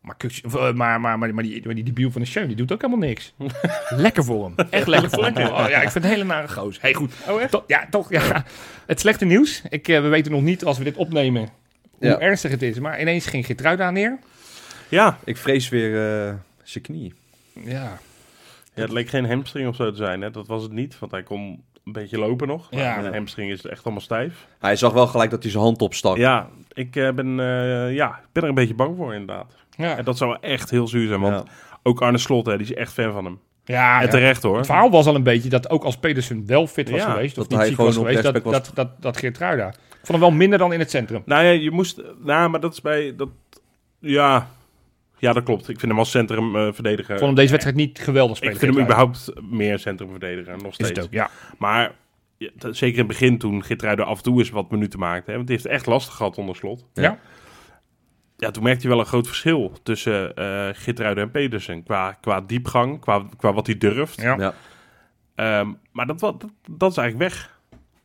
Speaker 2: Maar, Kukçu- of, eh, maar, maar, maar, maar die, maar die debiel van de Schöne, die doet ook helemaal niks. lekker voor hem. Echt lekker voor hem. Oh, ja, ik vind het een hele nare goos. Hey, goed.
Speaker 3: Oh, echt?
Speaker 2: To- ja, toch. Ja. Het slechte nieuws. Ik, eh, we weten nog niet, als we dit opnemen, hoe
Speaker 4: Ja.
Speaker 2: ernstig het is. Maar ineens ging Gertruida neer.
Speaker 3: Ja.
Speaker 4: Ik vrees weer eh, zijn knie.
Speaker 2: Ja.
Speaker 3: Ja, het leek geen hamstring of zo te zijn, hè. Dat was het niet, want hij kon een beetje lopen nog.
Speaker 2: Ja.
Speaker 3: Maar Een hamstring is echt allemaal stijf.
Speaker 4: Hij zag wel gelijk dat hij zijn hand opstak.
Speaker 3: Ja, ik eh, ben, eh, ja, ik ben er een beetje bang voor inderdaad.
Speaker 2: Ja.
Speaker 3: En dat zou echt heel zuur zijn, want
Speaker 4: Ja.
Speaker 3: ook Arne Slot, hè, die is echt fan van hem.
Speaker 2: Ja,
Speaker 3: en
Speaker 2: Ah, ja.
Speaker 3: terecht hoor.
Speaker 2: het verhaal was al een beetje dat ook als Pedersen wel fit was
Speaker 3: Ja,
Speaker 2: geweest, of
Speaker 4: dat
Speaker 2: niet
Speaker 4: hij
Speaker 2: ziek
Speaker 4: gewoon
Speaker 2: was
Speaker 4: op
Speaker 2: geweest, dat,
Speaker 4: rechtsback was.
Speaker 2: dat, dat, dat Geertruida. Ik vond hem wel minder dan in het centrum.
Speaker 3: Nou ja, je moest... Nou, maar dat is bij... Dat, ja. ja, dat klopt. Ik vind hem als centrum eh, verdediger...
Speaker 2: Ik vond hem deze wedstrijd niet geweldig
Speaker 3: ik
Speaker 2: spelen.
Speaker 3: vind hem
Speaker 2: Geertruida.
Speaker 3: überhaupt meer centrum verdediger, nog
Speaker 2: Is
Speaker 3: steeds.
Speaker 2: het ook, ja.
Speaker 3: Maar ja, t- zeker in het begin toen Gitruiden af en toe eens wat minuten maakte. Hè, want die heeft het echt lastig gehad onder slot.
Speaker 2: Ja.
Speaker 4: Ja.
Speaker 3: Ja, toen merkte je wel een groot verschil tussen eh Gitruiden en Pedersen. Qua, qua diepgang, qua, qua wat hij durft.
Speaker 2: Ja.
Speaker 4: Ja.
Speaker 3: Ehm, maar dat, wa- dat, dat is eigenlijk weg.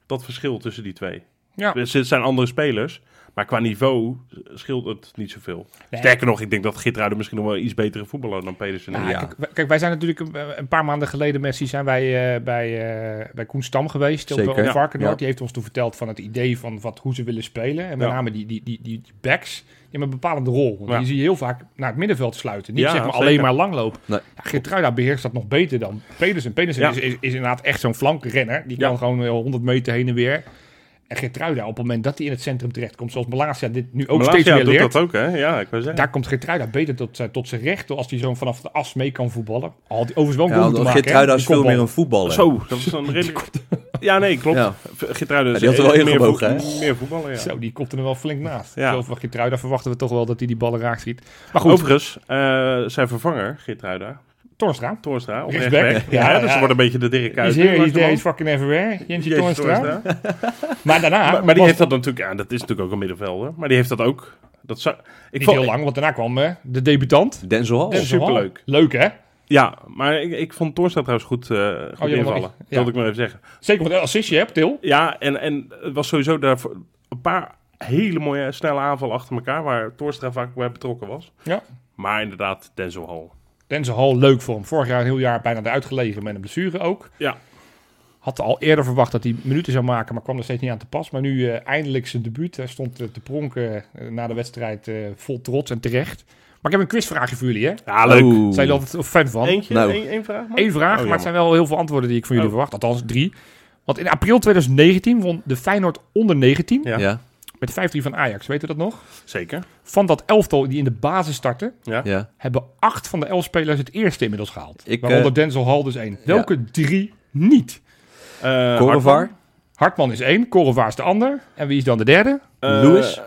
Speaker 3: Dat verschil tussen die twee.
Speaker 2: Ja.
Speaker 3: Dus het zijn andere spelers. Maar qua niveau scheelt het niet zoveel.
Speaker 2: Nee.
Speaker 3: Sterker nog, ik denk dat Gitruiden misschien nog wel iets betere voetballer dan Pedersen is.
Speaker 2: Nou,
Speaker 4: Ja.
Speaker 2: Kijk, wij- kijk, wij zijn natuurlijk een, een paar maanden geleden, Messi, zijn wij eh, bij, eh, bij Koen Stam geweest. Op,
Speaker 4: Zeker.
Speaker 2: op
Speaker 4: Ja.
Speaker 2: Varkenoord.
Speaker 4: Ja.
Speaker 2: Die heeft ons toen verteld van het idee van wat, hoe ze willen spelen. En met
Speaker 3: Ja.
Speaker 2: name die, die, die, die, die backs, die hebben een bepalende rol. Want
Speaker 3: Ja.
Speaker 2: die zie je heel vaak naar het middenveld sluiten. Niet
Speaker 3: Ja,
Speaker 2: zeg maar
Speaker 3: zeker.
Speaker 2: alleen maar langlopen.
Speaker 4: Nee.
Speaker 2: Ja, Geertruida beheerst dat nog beter dan Pedersen. Pedersen
Speaker 3: Ja.
Speaker 2: is, is, is inderdaad echt zo'n flankrenner. Die
Speaker 3: Ja.
Speaker 2: kan gewoon eh, 100 meter heen en weer. En Geertruida, op het moment dat hij in het centrum terechtkomt, zoals Malasia dit nu ook
Speaker 3: Maar
Speaker 2: steeds
Speaker 3: Lazio
Speaker 2: meer
Speaker 3: doet
Speaker 2: leert.
Speaker 3: dat ook, hè? Ja, ik wou zeggen.
Speaker 2: Daar komt Gertruida beter tot, zijn- tot zijn recht door als hij zo vanaf de as mee kan voetballen. Al die overigens wel een
Speaker 4: Ja,
Speaker 2: goal
Speaker 4: want
Speaker 2: moeten maken.
Speaker 4: Geertruida
Speaker 2: hè,
Speaker 4: is
Speaker 2: die
Speaker 4: veel meer
Speaker 2: kopbal.
Speaker 4: een voetballer.
Speaker 3: Zo, dat
Speaker 4: <laughs>
Speaker 3: was dan redelijk... Ja, nee, klopt.
Speaker 4: Ja.
Speaker 3: Gitruiden
Speaker 4: Ja, die had er wel
Speaker 3: meer
Speaker 4: ingebogen,
Speaker 3: voet- Meer voetballer, ja.
Speaker 2: Zo, die kopte er wel flink naast.
Speaker 3: Ja.
Speaker 2: Zo van Gertruida verwachten we toch wel dat hij die ballen raakt ziet. Maar goed,
Speaker 3: Overigens, eh, zijn vervanger, Gitruida,
Speaker 2: Tornstra.
Speaker 3: Toornstra, op
Speaker 2: Rechtsback.
Speaker 3: rechtsback.
Speaker 2: Ja,
Speaker 3: Ja,
Speaker 2: ja.
Speaker 3: dus dat wordt een beetje de
Speaker 2: He's
Speaker 3: Dirk Kuyt.
Speaker 2: here, he's
Speaker 3: langs de
Speaker 2: there,
Speaker 3: bal.
Speaker 2: he's fucking everywhere. Jentje
Speaker 3: Jezus,
Speaker 2: Tornstra.
Speaker 3: Toornstra.
Speaker 2: Maar daarna
Speaker 3: Maar, maar die
Speaker 2: was
Speaker 3: heeft dat natuurlijk... Ja, dat is natuurlijk ook een middenvelder. Maar die heeft dat ook. Dat zou, ik
Speaker 2: niet
Speaker 3: vond-
Speaker 2: heel lang, want daarna kwam eh, de debutant.
Speaker 4: Denzel Hall.
Speaker 2: Denzel Hall.
Speaker 3: superleuk.
Speaker 2: Leuk, hè?
Speaker 3: Ja, maar ik, ik vond Toornstra trouwens goed, eh goed
Speaker 2: Oh, ja,
Speaker 3: invallen.
Speaker 2: maar-
Speaker 3: Dat
Speaker 2: ja.
Speaker 3: wilde ik maar even zeggen.
Speaker 2: Zeker met een assistje, hè, Til?
Speaker 3: Ja, en, en het was sowieso daarvoor een paar hele mooie snelle aanvallen achter elkaar... waar Toornstra vaak bij betrokken was.
Speaker 2: Ja.
Speaker 3: Maar inderdaad, Denzel Hall.
Speaker 2: Denzel Hall, leuk voor hem. Vorig jaar een heel jaar bijna eruit gelegen met een blessure ook.
Speaker 3: Ja.
Speaker 2: Had al eerder verwacht dat hij minuten zou maken, maar kwam er steeds niet aan te pas. Maar nu eh, eindelijk zijn debuut. Hij stond eh, te pronken eh, na de wedstrijd eh, vol trots en terecht. Maar ik heb een quizvraagje voor jullie, hè?
Speaker 3: Ja, leuk.
Speaker 4: Oeh.
Speaker 2: Zijn jullie altijd fan van?
Speaker 3: Eentje,
Speaker 4: Nou.
Speaker 3: één, één vraag? maar?
Speaker 2: Eén vraag, maar
Speaker 3: jammer.
Speaker 2: het zijn wel heel veel antwoorden die ik van jullie
Speaker 3: Oh.
Speaker 2: verwacht. Althans, drie. Want in april 2019 won de Feyenoord onder 19
Speaker 3: Ja.
Speaker 4: Ja,
Speaker 2: met 5-3 van Ajax. Weet u dat nog?
Speaker 3: Zeker.
Speaker 2: Van dat elftal die in de basis startte,
Speaker 4: ja.
Speaker 2: hebben acht van de elf spelers het eerste inmiddels gehaald.
Speaker 4: Ik,
Speaker 2: waaronder
Speaker 4: eh,
Speaker 2: Denzel Hall dus één. Welke drie niet?
Speaker 3: Eh,
Speaker 4: Korevar,
Speaker 2: Hartman is één, Korevaar is de ander. En wie is dan de derde?
Speaker 3: Hartman. Eh,
Speaker 4: Lewis.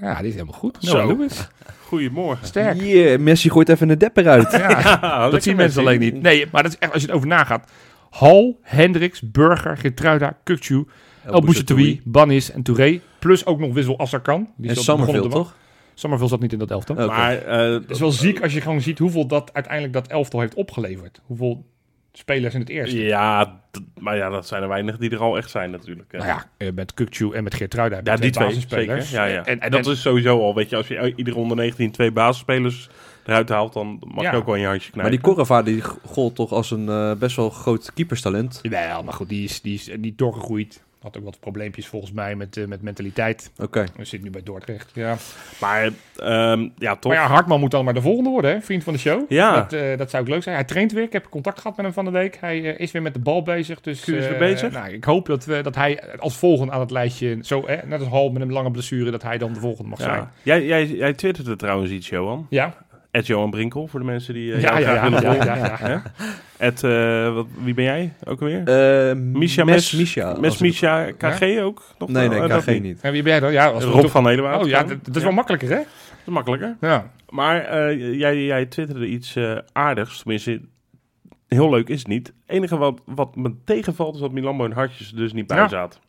Speaker 2: Ja, dit is helemaal goed.
Speaker 3: Zo.
Speaker 2: Noah Lewis.
Speaker 3: <laughs> Goedemorgen.
Speaker 2: Sterk.
Speaker 4: Yeah, Messi gooit even een depper
Speaker 2: <laughs>
Speaker 4: uit.
Speaker 2: Ja,
Speaker 3: Lekker
Speaker 2: dat zien mensen
Speaker 3: Messi.
Speaker 2: alleen niet. Nee, maar dat is echt, als je erover nagaat. Hal, Hendricks, Burger, Gertruida, Kukçu, El Bouchatoui, Bannis en Touré. Plus ook nog Wissel als er kan. Die
Speaker 4: En
Speaker 2: zat- begon op de
Speaker 4: Summerfield,
Speaker 2: bank.
Speaker 4: toch? Oh.
Speaker 2: Summerville zat niet in dat elftal.
Speaker 4: Oké.
Speaker 3: Maar eh,
Speaker 2: Het is wel ziek als je gewoon ziet hoeveel dat uiteindelijk dat elftal heeft opgeleverd. Hoeveel spelers in het eerste.
Speaker 3: ja, d- maar ja, dat zijn er weinig die er al echt zijn natuurlijk. hè.
Speaker 2: Nou ja, eh, met Kukçu en met Gertruida. hebben
Speaker 3: Ja, die twee
Speaker 2: basisspelers.
Speaker 3: zeker. Ja, ja.
Speaker 2: En, en
Speaker 3: dat is sowieso al, weet je, als je ieder onder 19 twee basisspelers eruit haalt, dan mag
Speaker 2: Ja.
Speaker 3: je ook wel in je handje
Speaker 4: Maar die
Speaker 3: knijpen.
Speaker 4: Korevaar die gold toch als een eh, best wel groot keeperstalent.
Speaker 2: Jawel, maar goed, die is, die is eh, niet doorgegroeid. Had ook wat probleempjes volgens mij met, eh, met mentaliteit.
Speaker 4: Oké.
Speaker 2: Hij zit nu bij Dordrecht. Ja.
Speaker 3: Maar ehm, ja, toch.
Speaker 2: Maar ja, Hartman moet dan maar de volgende worden, hè? vriend van de show.
Speaker 3: Ja.
Speaker 2: Dat, eh, dat zou ik leuk zijn. Hij traint weer. Ik heb contact gehad met hem van de week. Hij eh, is weer met de bal bezig. Dus,
Speaker 3: Q is weer
Speaker 2: eh,
Speaker 3: bezig.
Speaker 2: Nou, ik hoop dat, we, dat hij als volgende aan het lijstje, zo, hè, net als Hal met een lange blessure, dat hij dan de volgende mag zijn.
Speaker 3: Ja. Jij, jij, jij twitterde trouwens iets, Johan.
Speaker 2: Ja,
Speaker 3: Ed Johan Brinkel, voor de mensen die eh,
Speaker 2: ja,
Speaker 3: jou
Speaker 2: ja.
Speaker 3: graag
Speaker 2: ja,
Speaker 3: willen
Speaker 2: ja,
Speaker 3: volgen.
Speaker 2: ja, ja.
Speaker 3: Hè? Ed, eh, wat, wie ben jij ook alweer?
Speaker 4: Eh,
Speaker 3: Misha
Speaker 4: Mes
Speaker 3: Mes,
Speaker 4: Misha.
Speaker 3: Mes
Speaker 4: als ik-
Speaker 3: Misha KG ook? Nog
Speaker 4: Nee,
Speaker 3: wel?
Speaker 2: Oh,
Speaker 4: nee,
Speaker 3: Eh, dat
Speaker 4: KG niet.
Speaker 2: En wie ben jij dan? Ja, als we
Speaker 3: Rob
Speaker 2: toch-
Speaker 3: van Helenwaard.
Speaker 2: Oh ja, dat, dat is wel makkelijker, hè?
Speaker 3: Dat is makkelijker.
Speaker 2: Ja.
Speaker 3: Maar eh, jij, jij twitterde iets eh, aardigs, tenminste... Heel leuk is het niet. Het enige wat, wat me tegenvalt is dat Milambo en Hartjes er dus niet bij
Speaker 2: Ja.
Speaker 3: zaten.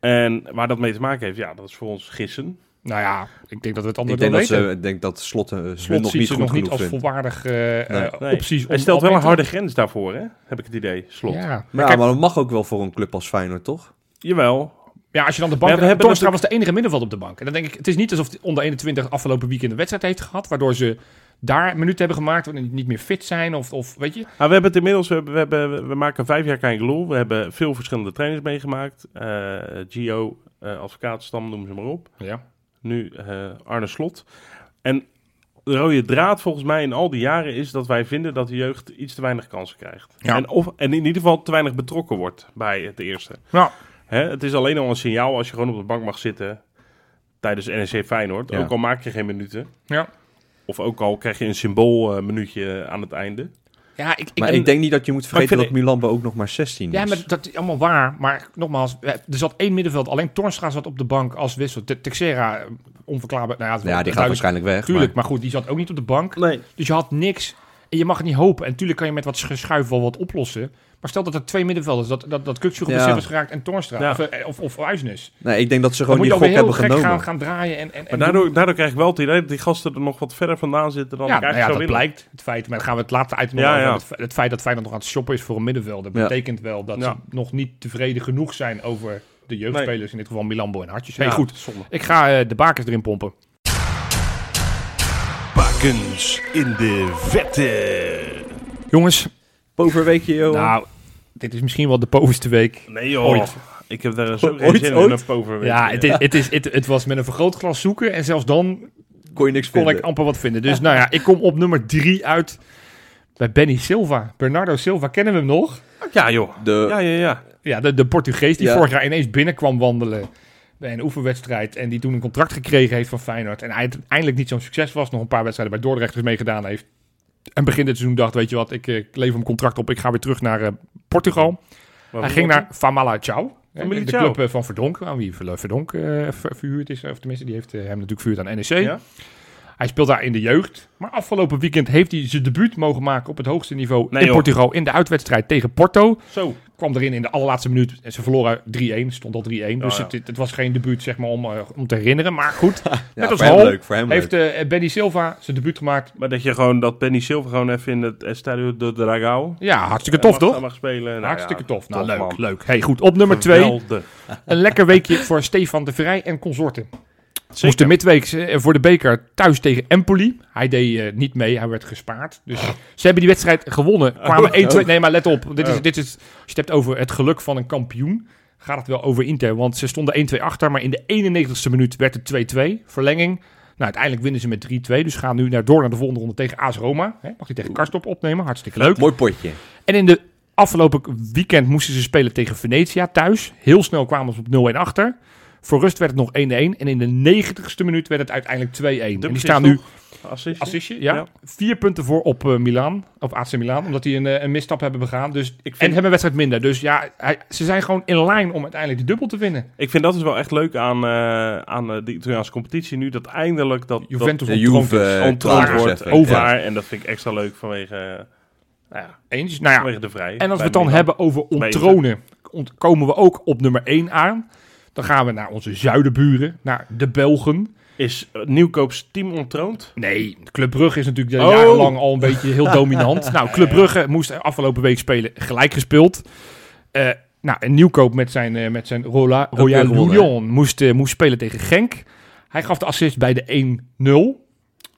Speaker 3: En waar dat mee te maken heeft, ja, dat is voor ons gissen.
Speaker 2: Nou ja, ik denk dat we
Speaker 4: Ik
Speaker 2: het antwoord wel
Speaker 4: denk dat,
Speaker 2: weten.
Speaker 4: ze, ik denk dat Slot, eh, hun
Speaker 2: Slot
Speaker 4: nog
Speaker 2: ziet
Speaker 4: niet
Speaker 2: ze
Speaker 4: goed
Speaker 2: nog niet
Speaker 4: genoeg
Speaker 2: als
Speaker 4: vindt.
Speaker 2: volwaardig eh eh,
Speaker 3: Nee.
Speaker 2: opties.
Speaker 3: Hij
Speaker 2: om dat
Speaker 3: stelt wel een
Speaker 2: mee
Speaker 3: harde grens daarvoor, hè? heb ik het idee.
Speaker 2: te-
Speaker 3: Slot.
Speaker 2: Ja, maar
Speaker 4: Maar, ja,
Speaker 2: kijk,
Speaker 4: maar dat mag ook wel voor een club als Feyenoord, toch?
Speaker 3: Jawel,
Speaker 2: Ja, als je dan de
Speaker 3: we
Speaker 2: bank... Ja,
Speaker 3: hebben
Speaker 2: Torstra was de enige middenveld op de bank. En dan denk ik, het is niet alsof die onder 21 afgelopen weekend een wedstrijd heeft gehad... waardoor ze daar minuten hebben gemaakt waarin die niet meer fit zijn of, of weet je.
Speaker 3: Maar Nou, we hebben het inmiddels, we, hebben- we, hebben, we maken vijf jaar Kein Geloel. We hebben veel verschillende trainers meegemaakt. Eh Gio, eh advocaatstam, noem ze maar op.
Speaker 2: Ja.
Speaker 3: Nu eh, Arne Slot. En de rode draad volgens mij in al die jaren is dat wij vinden dat de jeugd iets te weinig kansen krijgt.
Speaker 2: Ja.
Speaker 3: En, of, en in ieder geval te weinig betrokken wordt bij het eerste.
Speaker 2: Nou,
Speaker 3: Hè, het is alleen al een signaal als je gewoon op de bank mag zitten tijdens NEC Feyenoord.
Speaker 4: Ja.
Speaker 3: Ook al maak je geen minuten.
Speaker 2: ja.
Speaker 3: Of ook al krijg je een symbool eh, minuutje aan het einde.
Speaker 2: Ja, ik, ik,
Speaker 4: Maar
Speaker 2: en-
Speaker 4: ik denk niet dat je moet
Speaker 3: ik
Speaker 4: vergeten dat
Speaker 3: vind-
Speaker 4: Milambo ook nog maar 16 is.
Speaker 2: Ja, maar dat is allemaal waar. Maar nogmaals, eh, er zat één middenveld. Alleen Torstra zat op de bank als wissel. Te- Texera, eh, onverklaarbaar. Nou ja, het-
Speaker 4: Nou ja, die gaat
Speaker 2: duidelijk-
Speaker 4: waarschijnlijk weg.
Speaker 2: Tuurlijk, maar goed, die zat ook niet op de bank.
Speaker 3: Nee.
Speaker 2: Dus je had niks. En je mag het niet hopen. En tuurlijk kan je met wat geschuif wel wat oplossen. Maar stel dat er twee middenvelders, dat, dat, dat Kuksu geblesseerd
Speaker 4: Ja.
Speaker 2: is geraakt en Torstra.
Speaker 3: Ja.
Speaker 2: Of, eh, of, of Uisnes.
Speaker 4: maar- Nee, ik denk dat ze
Speaker 2: Dan
Speaker 4: gewoon
Speaker 2: moet
Speaker 4: die
Speaker 2: je
Speaker 4: gok
Speaker 2: alweer heel
Speaker 4: hebben
Speaker 2: gek
Speaker 4: genomen.
Speaker 2: gaan, gaan draaien. En, en, en
Speaker 3: Maar daardoor, daardoor krijg ik wel het idee dat die gasten er nog wat verder vandaan zitten dan
Speaker 2: ja,
Speaker 3: ik
Speaker 2: nou ja,
Speaker 3: eigenlijk
Speaker 2: dat
Speaker 3: zou willen.
Speaker 2: blijkt. Het feit, maar dan gaan we het later uit.
Speaker 3: Ja,
Speaker 2: Ja,
Speaker 3: ja.
Speaker 2: Het, fe- het feit dat Feyenoord nog aan het shoppen is voor een middenvelder...
Speaker 4: Ja.
Speaker 2: betekent wel dat
Speaker 3: Ja.
Speaker 2: ze nog niet tevreden genoeg zijn over de jeugdspelers. In dit geval Milambo en Hartjes.
Speaker 3: Ja,
Speaker 2: hey, goed,
Speaker 3: zonde.
Speaker 2: ik ga eh, de bakers erin pompen.
Speaker 5: Bakens in de vette.
Speaker 2: Jongens,
Speaker 4: Poverweekje, joh.
Speaker 2: nou, dit is misschien wel de bovenste week
Speaker 3: Nee joh,
Speaker 2: Ooit.
Speaker 3: ik heb daar zo geen
Speaker 4: Ooit,
Speaker 3: zin in
Speaker 4: ooit?
Speaker 3: een pover.
Speaker 2: Ja, het, is, het, is, het, het was met een vergrootglas zoeken. En zelfs dan
Speaker 4: kon je niks
Speaker 2: kon
Speaker 4: vinden.
Speaker 2: ik amper wat vinden. Dus nou ja, ik kom op nummer drie uit bij Benny Silva. Bernardo Silva, kennen we hem nog?
Speaker 3: ja joh.
Speaker 4: De...
Speaker 3: Ja, ja, ja.
Speaker 2: Ja, de, de Portugees die
Speaker 4: Ja.
Speaker 2: vorig jaar ineens binnenkwam wandelen bij een oefenwedstrijd. En die toen een contract gekregen heeft van Feyenoord. En hij uiteindelijk niet zo'n succes was. Nog een paar wedstrijden bij Dordrecht dus meegedaan heeft. En begin dit seizoen dacht, weet je wat, ik, eh, ik lever mijn contract op. Ik ga weer terug naar eh, Portugal.
Speaker 3: Maar
Speaker 2: Hij ging
Speaker 3: wat-
Speaker 2: naar Famalicão. hè, De
Speaker 3: Famalicão.
Speaker 2: club eh, van Verdonk, aan wie Ver- Verdonk eh, ver- verhuurd is. Of tenminste, die heeft eh, hem natuurlijk verhuurd aan NEC.
Speaker 3: Ja?
Speaker 2: Hij speelt daar in de jeugd. Maar afgelopen weekend heeft hij zijn debuut mogen maken op het hoogste niveau
Speaker 3: Nee,
Speaker 2: in
Speaker 3: joh.
Speaker 2: Portugal. In de uitwedstrijd tegen Porto.
Speaker 3: Zo.
Speaker 2: Kwam erin in de allerlaatste minuut. En ze verloren 3-1. Stond al 3-1. dus
Speaker 3: Oh, ja.
Speaker 2: het, het was geen debuut zeg maar, om, eh, om te herinneren. Maar
Speaker 3: <laughs>
Speaker 2: goed, net als
Speaker 4: voor hem
Speaker 2: Hal
Speaker 4: leuk, voor hem
Speaker 2: heeft eh, Benny Silva zijn debuut gemaakt.
Speaker 3: Maar dat je gewoon dat Benny Silver gewoon even in het Estadio de Dragao
Speaker 2: Ja, hartstikke tof
Speaker 3: mag,
Speaker 2: toch?
Speaker 3: mag spelen. Nou,
Speaker 2: Hartstikke
Speaker 3: ja,
Speaker 2: tof. Nou, leuk,
Speaker 3: man.
Speaker 2: leuk. Hey, goed, op nummer 2.
Speaker 3: Geweldig.
Speaker 2: Een lekker weekje voor <laughs> Stefan de Vrij en consorten.
Speaker 3: Zeker.
Speaker 2: Moesten midweeks eh, voor de beker thuis tegen Empoli. Hij deed eh, niet mee, hij werd gespaard. Dus ze hebben die wedstrijd gewonnen. Kwamen 1-2. Nee, maar let op. Dit is, dit is, als je het hebt over het geluk van een kampioen, gaat het wel over Inter. Want ze stonden 1-2 achter, maar in de 91ste minuut werd het 2-2. Verlenging. Nou, uiteindelijk winnen ze met 3-2. Dus gaan nu naar, door naar de volgende ronde tegen AS Roma. Hè, mag hij tegen Karstop opnemen. Hartstikke leuk.
Speaker 4: Mooi potje.
Speaker 2: En in de afgelopen weekend moesten ze spelen tegen Venetia thuis. Heel snel kwamen ze op 0-1 achter. Voor rust werd het nog 1-1. En in de 90ste minuut werd het uiteindelijk 2-1. En die
Speaker 3: Dubbeltje
Speaker 2: staan
Speaker 3: is
Speaker 2: nu
Speaker 3: Assistje.
Speaker 2: assistje, ja,
Speaker 3: Ja.
Speaker 2: vier punten voor op eh Milaan, op AC Milaan, omdat die een, eh, een misstap hebben begaan. Dus,
Speaker 3: vind-
Speaker 2: En hebben een wedstrijd minder. Dus ja, hij- ze zijn gewoon in lijn om uiteindelijk de dubbel te winnen.
Speaker 3: Ik vind dat is wel echt leuk aan, eh, aan eh, de Italiaanse competitie nu. Dat eindelijk dat, dat
Speaker 2: Juventus
Speaker 4: De
Speaker 2: ontdronk
Speaker 4: Juve
Speaker 2: is.
Speaker 4: eh,
Speaker 3: ontroond
Speaker 4: klaar
Speaker 3: wordt
Speaker 4: zetten.
Speaker 3: over.
Speaker 4: Ja.
Speaker 3: En dat vind ik extra leuk vanwege, eh, nou ja,
Speaker 2: Eens. Nou ja,
Speaker 3: vanwege de vrij.
Speaker 2: En als we
Speaker 3: Bij
Speaker 2: het dan
Speaker 3: Milan.
Speaker 2: hebben over onttronen, ont- komen we ook op nummer 1 aan. Dan gaan we naar onze zuidenburen, naar de Belgen.
Speaker 3: Is eh, Nieuwkoops team ontroond?
Speaker 2: Nee, Club Brugge is natuurlijk
Speaker 3: Oh.
Speaker 2: al jarenlang al een beetje heel
Speaker 3: <laughs>
Speaker 2: dominant. nou, Club Brugge moest afgelopen week spelen gelijk gespeeld. Eh, nou, en Nieuwkoop met zijn, eh, met zijn Rola,
Speaker 4: weer
Speaker 2: Royal
Speaker 4: gewonnen,
Speaker 2: Union moest, eh, moest spelen tegen Genk. Hij gaf de assist bij de 1-0.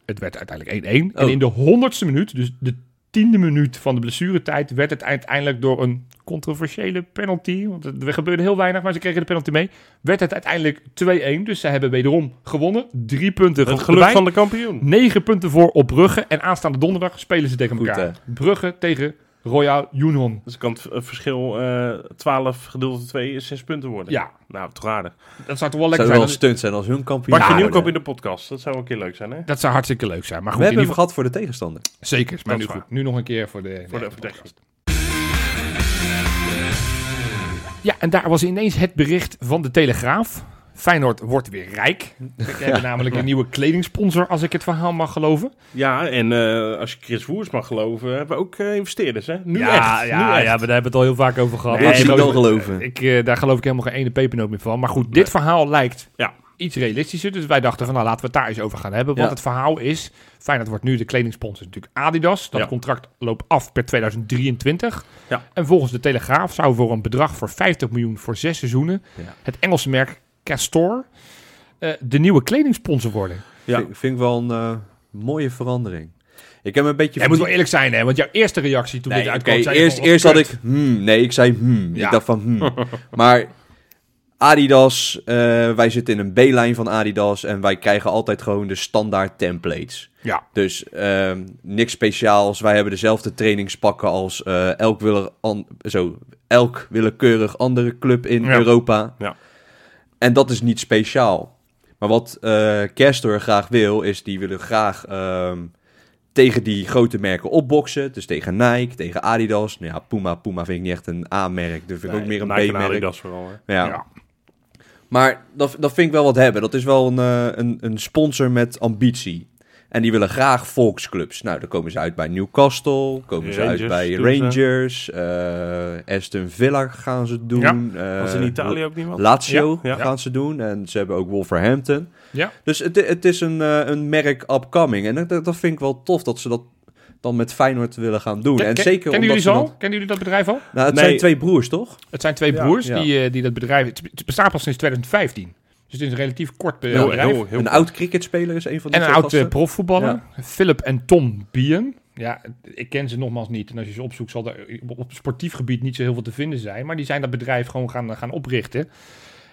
Speaker 2: Het werd uiteindelijk 1-1. En
Speaker 4: Oh.
Speaker 2: in de honderdste minuut, dus de tiende minuut van de blessuretijd werd het uiteindelijk door een controversiële penalty, want er gebeurde heel weinig, maar ze kregen de penalty mee, werd het uiteindelijk 2-1. Dus ze hebben wederom gewonnen. Drie punten
Speaker 3: Het
Speaker 2: erbij.
Speaker 3: geluk van de kampioen.
Speaker 2: Negen punten voor op Brugge. En aanstaande donderdag spelen ze tegen
Speaker 4: Goed,
Speaker 2: elkaar. Brugge tegen Royal Union.
Speaker 3: Dus kan het v- het verschil eh 12 gedeeld door 2 is 6 punten worden.
Speaker 2: Ja,
Speaker 3: Nou, toch aardig.
Speaker 2: dat zou toch wel lekker
Speaker 4: Zou wel een
Speaker 2: zijn.
Speaker 4: stunt zijn als hun kampioen
Speaker 3: Pak je
Speaker 4: worden.
Speaker 3: nieuwkoop in de podcast. Dat zou wel een keer leuk zijn, hè?
Speaker 2: Dat zou hartstikke leuk zijn. Maar
Speaker 4: We
Speaker 2: goed, in
Speaker 4: hebben
Speaker 2: ieder
Speaker 4: hem
Speaker 2: geval,
Speaker 4: gehad voor de tegenstander.
Speaker 2: zeker. Maar
Speaker 3: Dat
Speaker 2: nu,
Speaker 3: is
Speaker 2: goed,
Speaker 3: waar.
Speaker 2: nu nog een keer voor de...
Speaker 3: Voor de podcast.
Speaker 2: Ja, en daar was ineens het bericht van de Telegraaf. Feyenoord wordt weer rijk. Ze hebben namelijk een nieuwe kledingsponsor, als ik het verhaal mag geloven.
Speaker 3: Ja, en eh, als je Chris Woers mag geloven, hebben we ook eh, investeerders, hè? Nu
Speaker 2: ja,
Speaker 3: echt.
Speaker 2: ja,
Speaker 3: nu echt.
Speaker 2: ja, maar daar hebben we het al heel vaak over gehad.
Speaker 3: Nee,
Speaker 4: Laat je
Speaker 2: ik
Speaker 4: me
Speaker 2: geloof-
Speaker 4: dan geloven.
Speaker 2: ik, eh, daar geloof ik helemaal geen ene pepernoot meer van. Maar goed, dit verhaal lijkt
Speaker 3: Ja.
Speaker 2: iets realistischer. Dus wij dachten van, nou laten we het daar eens over gaan hebben. Want
Speaker 4: Ja.
Speaker 2: het verhaal is, Feyenoord wordt nu de kledingsponsor natuurlijk Adidas. Dat
Speaker 3: Ja.
Speaker 2: contract loopt af per 2023.
Speaker 3: Ja.
Speaker 2: En volgens de Telegraaf zou voor een bedrag voor 50 miljoen voor zes seizoenen...
Speaker 4: Ja.
Speaker 2: het Engelse merk Castor eh, de nieuwe kledingsponsor worden.
Speaker 3: Ja.
Speaker 4: Vind, vind ik wel een eh, mooie verandering. Ik heb een beetje...
Speaker 2: Jij moet wel eerlijk zijn, hè? Want jouw eerste reactie toen dit
Speaker 4: Nee,
Speaker 2: uitkwam...
Speaker 4: oké,
Speaker 2: zei je
Speaker 4: eerst,
Speaker 2: van, wat
Speaker 4: eerst had
Speaker 2: kut.
Speaker 4: ik... hmm, nee, ik zei hmm.
Speaker 2: Ja.
Speaker 4: Ik dacht van
Speaker 2: <laughs>
Speaker 4: hmm. maar Adidas, eh, wij zitten in een B-lijn van Adidas... en wij krijgen altijd gewoon de standaard templates.
Speaker 2: Ja,
Speaker 4: Dus ehm, niks speciaals. Wij hebben dezelfde trainingspakken als eh, elk, wille an- zo, elk willekeurig andere club in
Speaker 2: Ja.
Speaker 4: Europa.
Speaker 3: Ja.
Speaker 4: En dat is niet speciaal. Maar wat eh Castor graag wil, is die willen graag ehm, tegen die grote merken opboksen. Dus tegen Nike, tegen Adidas. Nou ja, Puma, Puma vind ik niet echt een A-merk. Dat vind ik ook meer
Speaker 3: Nike en
Speaker 4: een B-merk.
Speaker 3: Adidas vooral, hè?
Speaker 4: Ja.
Speaker 2: Ja.
Speaker 4: Maar dat, dat vind ik wel wat hebben. Dat is wel een, eh, een, een sponsor met ambitie. En die willen graag volksclubs. Nou, dan komen ze uit bij Newcastle, komen ze uit
Speaker 3: Rangers
Speaker 4: bij
Speaker 3: doen ze.
Speaker 4: Rangers, eh, Aston Villa gaan ze doen. eh,
Speaker 3: Was in Italië ook niet wat?
Speaker 4: Lazio
Speaker 3: Ja, ja.
Speaker 4: gaan ze doen en ze hebben ook Wolverhampton.
Speaker 2: Ja.
Speaker 4: Dus het, het is een, eh, een merk upcoming. En dat, dat vind ik wel tof dat ze dat dan met Feyenoord willen gaan doen.
Speaker 2: Ken-
Speaker 4: en
Speaker 2: ken-
Speaker 4: zeker
Speaker 2: kennen
Speaker 4: omdat
Speaker 2: jullie ze al?
Speaker 4: ze dan-
Speaker 2: Kennen jullie dat bedrijf al?
Speaker 4: Nou, het
Speaker 3: Nee.
Speaker 4: zijn twee broers, toch?
Speaker 2: Het zijn twee
Speaker 3: Ja,
Speaker 2: broers
Speaker 4: ja.
Speaker 2: Die, eh, die dat bedrijf... Het het bestaat pas sinds 2015. Dus het is een relatief kort be-
Speaker 3: Heel,
Speaker 2: bedrijf.
Speaker 3: heel, heel
Speaker 4: Een oud cricketspeler is een van die
Speaker 2: en een
Speaker 4: twee
Speaker 2: oud
Speaker 4: gasten.
Speaker 2: eh, profvoetballer. Philip en Tom Bien. Ja, ik ken ze nogmaals niet. En als je ze opzoekt, zal er op- op sportief gebied niet zo heel veel te vinden zijn. Maar die zijn dat bedrijf gewoon gaan, gaan oprichten.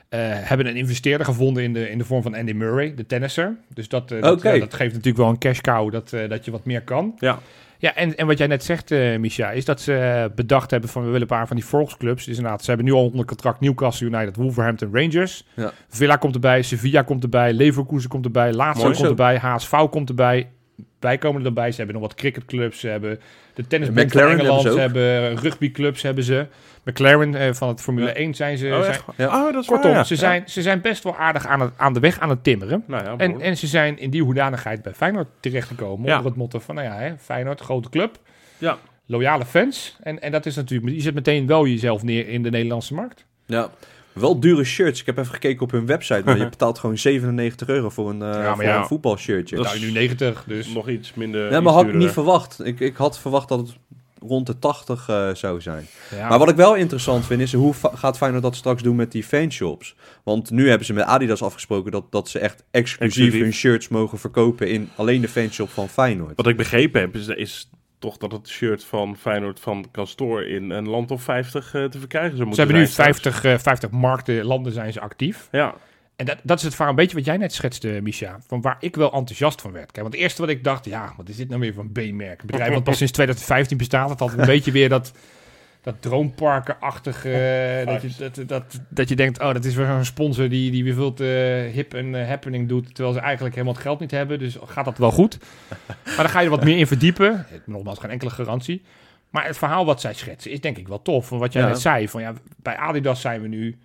Speaker 2: Eh, hebben een investeerder gevonden in de, in de vorm van Andy Murray, de tennisser. Dus dat, eh, dat,
Speaker 4: Oké.
Speaker 2: ja, dat geeft natuurlijk wel een cash cow dat, eh, dat je wat meer kan.
Speaker 3: Ja.
Speaker 2: Ja, en, en wat jij net zegt, eh Micha, is dat ze eh, bedacht hebben van we willen een paar van die volksclubs. Dus inderdaad, ze hebben nu al onder contract Newcastle United, Wolverhampton Rangers.
Speaker 4: Ja.
Speaker 2: Villa komt erbij, Sevilla komt erbij, Leverkusen komt erbij, Lazio
Speaker 3: Mooi
Speaker 2: komt
Speaker 4: zo.
Speaker 2: erbij, HSV komt erbij. Wij komen erbij. Ze hebben nog wat cricketclubs, ze hebben de tennisbond van
Speaker 4: McLaren
Speaker 2: Engeland, ze
Speaker 4: hebben
Speaker 2: hebben rugbyclubs, hebben ze. McLaren eh, van het Formule
Speaker 3: Ja.
Speaker 2: 1 zijn ze.
Speaker 3: Oh,
Speaker 2: zijn,
Speaker 3: echt? Oh, dat is
Speaker 2: kortom,
Speaker 3: waar, ja.
Speaker 2: ze, zijn, ze zijn best wel aardig aan, het, aan de weg aan het timmeren.
Speaker 3: Nou ja,
Speaker 2: En, en ze zijn in die hoedanigheid bij Feyenoord terechtgekomen.
Speaker 3: Ja.
Speaker 2: Onder het motto van, nou ja, hè, Feyenoord, grote club.
Speaker 3: Ja.
Speaker 2: Loyale fans. En, en dat is natuurlijk... Je zet meteen wel jezelf neer in de Nederlandse markt.
Speaker 4: Ja. Wel dure shirts. Ik heb even gekeken op hun website. Maar je betaalt gewoon 97 euro voor een, eh,
Speaker 2: maar
Speaker 4: voor
Speaker 2: ja.
Speaker 4: een voetbalshirtje.
Speaker 3: Dat
Speaker 2: Nou, nu 90, dus...
Speaker 3: nog iets minder.
Speaker 4: nee,
Speaker 3: iets
Speaker 4: maar had ik
Speaker 3: duurder.
Speaker 4: niet verwacht. Ik, ik had verwacht dat het rond de 80 eh, zou zijn.
Speaker 2: Ja.
Speaker 4: Maar wat ik wel interessant vind is hoe fa- gaat Feyenoord dat straks doen met die fanshops? Want nu hebben ze met Adidas afgesproken dat, dat ze echt exclusief,
Speaker 3: Exclusief.
Speaker 4: hun shirts mogen verkopen in alleen de fanshop van Feyenoord.
Speaker 3: Wat ik begrepen heb, is, is toch dat het shirt van Feyenoord van Castor in een land of 50 eh, te verkrijgen zou
Speaker 2: Ze
Speaker 3: moeten
Speaker 2: hebben nu
Speaker 3: zijn straks.
Speaker 2: 50, eh, 50 markten, landen zijn ze actief.
Speaker 3: Ja,
Speaker 2: En dat, dat is het verhaal een beetje wat jij net schetste, Micha. Van waar ik wel enthousiast van werd. Kijk, want het eerste wat ik dacht, ja, wat is dit nou weer voor een B-merk? Een bedrijf wat pas sinds 2015 bestaat. Dat had een beetje weer dat, dat droomparkenachtige... eh, dat, je, dat, dat, dat je denkt, oh, dat is weer zo'n sponsor die, die weer veel te hip en eh, happening doet. Terwijl ze eigenlijk helemaal het geld niet hebben. Dus gaat dat wel goed? Maar dan ga je er wat meer in verdiepen. Nogmaals, geen enkele garantie. Maar het verhaal wat zij schetsen is denk ik wel tof. Van wat jij
Speaker 4: Ja.
Speaker 2: net zei, van ja, bij Adidas zijn we nu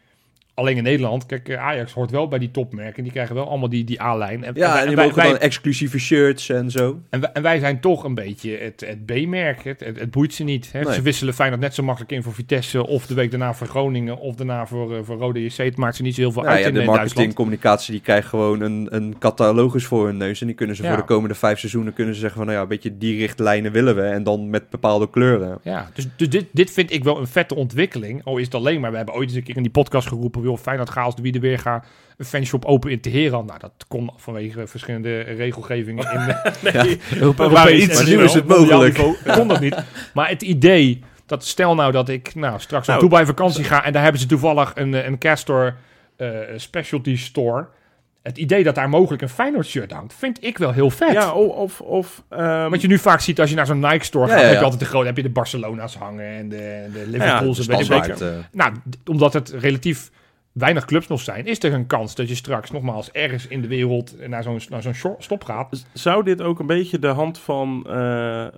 Speaker 2: alleen in Nederland. Kijk, eh, Ajax hoort wel bij die topmerken. Die krijgen wel allemaal die, die A-lijn. En, en
Speaker 4: ja,
Speaker 2: wij-
Speaker 4: en die
Speaker 2: wij-
Speaker 4: mogen
Speaker 2: wij-
Speaker 4: dan exclusieve shirts en zo.
Speaker 2: en, wij, en wij zijn toch een beetje het, het B-merk. Het, het, het boeit ze niet. Hè?
Speaker 4: Nee.
Speaker 2: Ze wisselen Feyenoord net zo makkelijk in voor Vitesse... of de week daarna voor Groningen of daarna voor, eh, voor Rode JC. Het maakt ze niet zo heel veel
Speaker 4: Nou
Speaker 2: uit
Speaker 4: ja,
Speaker 2: in
Speaker 4: de
Speaker 2: eh, Duitsland.
Speaker 4: marketingcommunicatie die krijgt gewoon een, een catalogus voor hun neus. En die kunnen ze
Speaker 2: Ja.
Speaker 4: voor de komende vijf seizoenen kunnen ze zeggen van nou ja, een beetje die richtlijnen willen we. En dan met bepaalde kleuren.
Speaker 2: Ja, dus, dus dit, dit vind ik wel een vette ontwikkeling. Al is het alleen maar, we hebben ooit eens een keer in die podcast geroepen... joh, Feyenoord Gaals, de Wiedeweerga, een fanshop open in Teheran. Nou, dat kon vanwege verschillende
Speaker 4: <laughs>
Speaker 2: regelgevingen in
Speaker 4: Maar
Speaker 2: Europees.
Speaker 4: iets
Speaker 2: en
Speaker 4: nieuws is het
Speaker 2: mondiaal
Speaker 4: mogelijk.
Speaker 2: niveau Kon dat niet. Maar het idee dat stel nou dat ik nou, straks
Speaker 3: Nou,
Speaker 2: naar Dubai vakantie ga en daar hebben ze toevallig een, eh, een Castor eh, specialty store. Het idee dat daar mogelijk een Feyenoord shirt hangt, vind ik wel heel vet.
Speaker 3: Ja, o- of... of ehm,
Speaker 2: Wat je nu vaak ziet als je naar zo'n Nike-store
Speaker 4: Ja,
Speaker 2: gaat,
Speaker 4: ja,
Speaker 2: heb
Speaker 4: ja.
Speaker 2: je altijd de grote, heb je de Barcelona's hangen en de, de
Speaker 3: Ja,
Speaker 2: Liverpool's. en weet ik
Speaker 3: standaard.
Speaker 2: wat.
Speaker 4: Standaard. eh,
Speaker 2: nou, d- omdat het relatief weinig clubs nog zijn, is er een kans dat je straks nogmaals ergens in de wereld naar zo'n naar zo'n shor- stop gaat.
Speaker 3: z- zou dit ook een beetje de hand van eh, eh,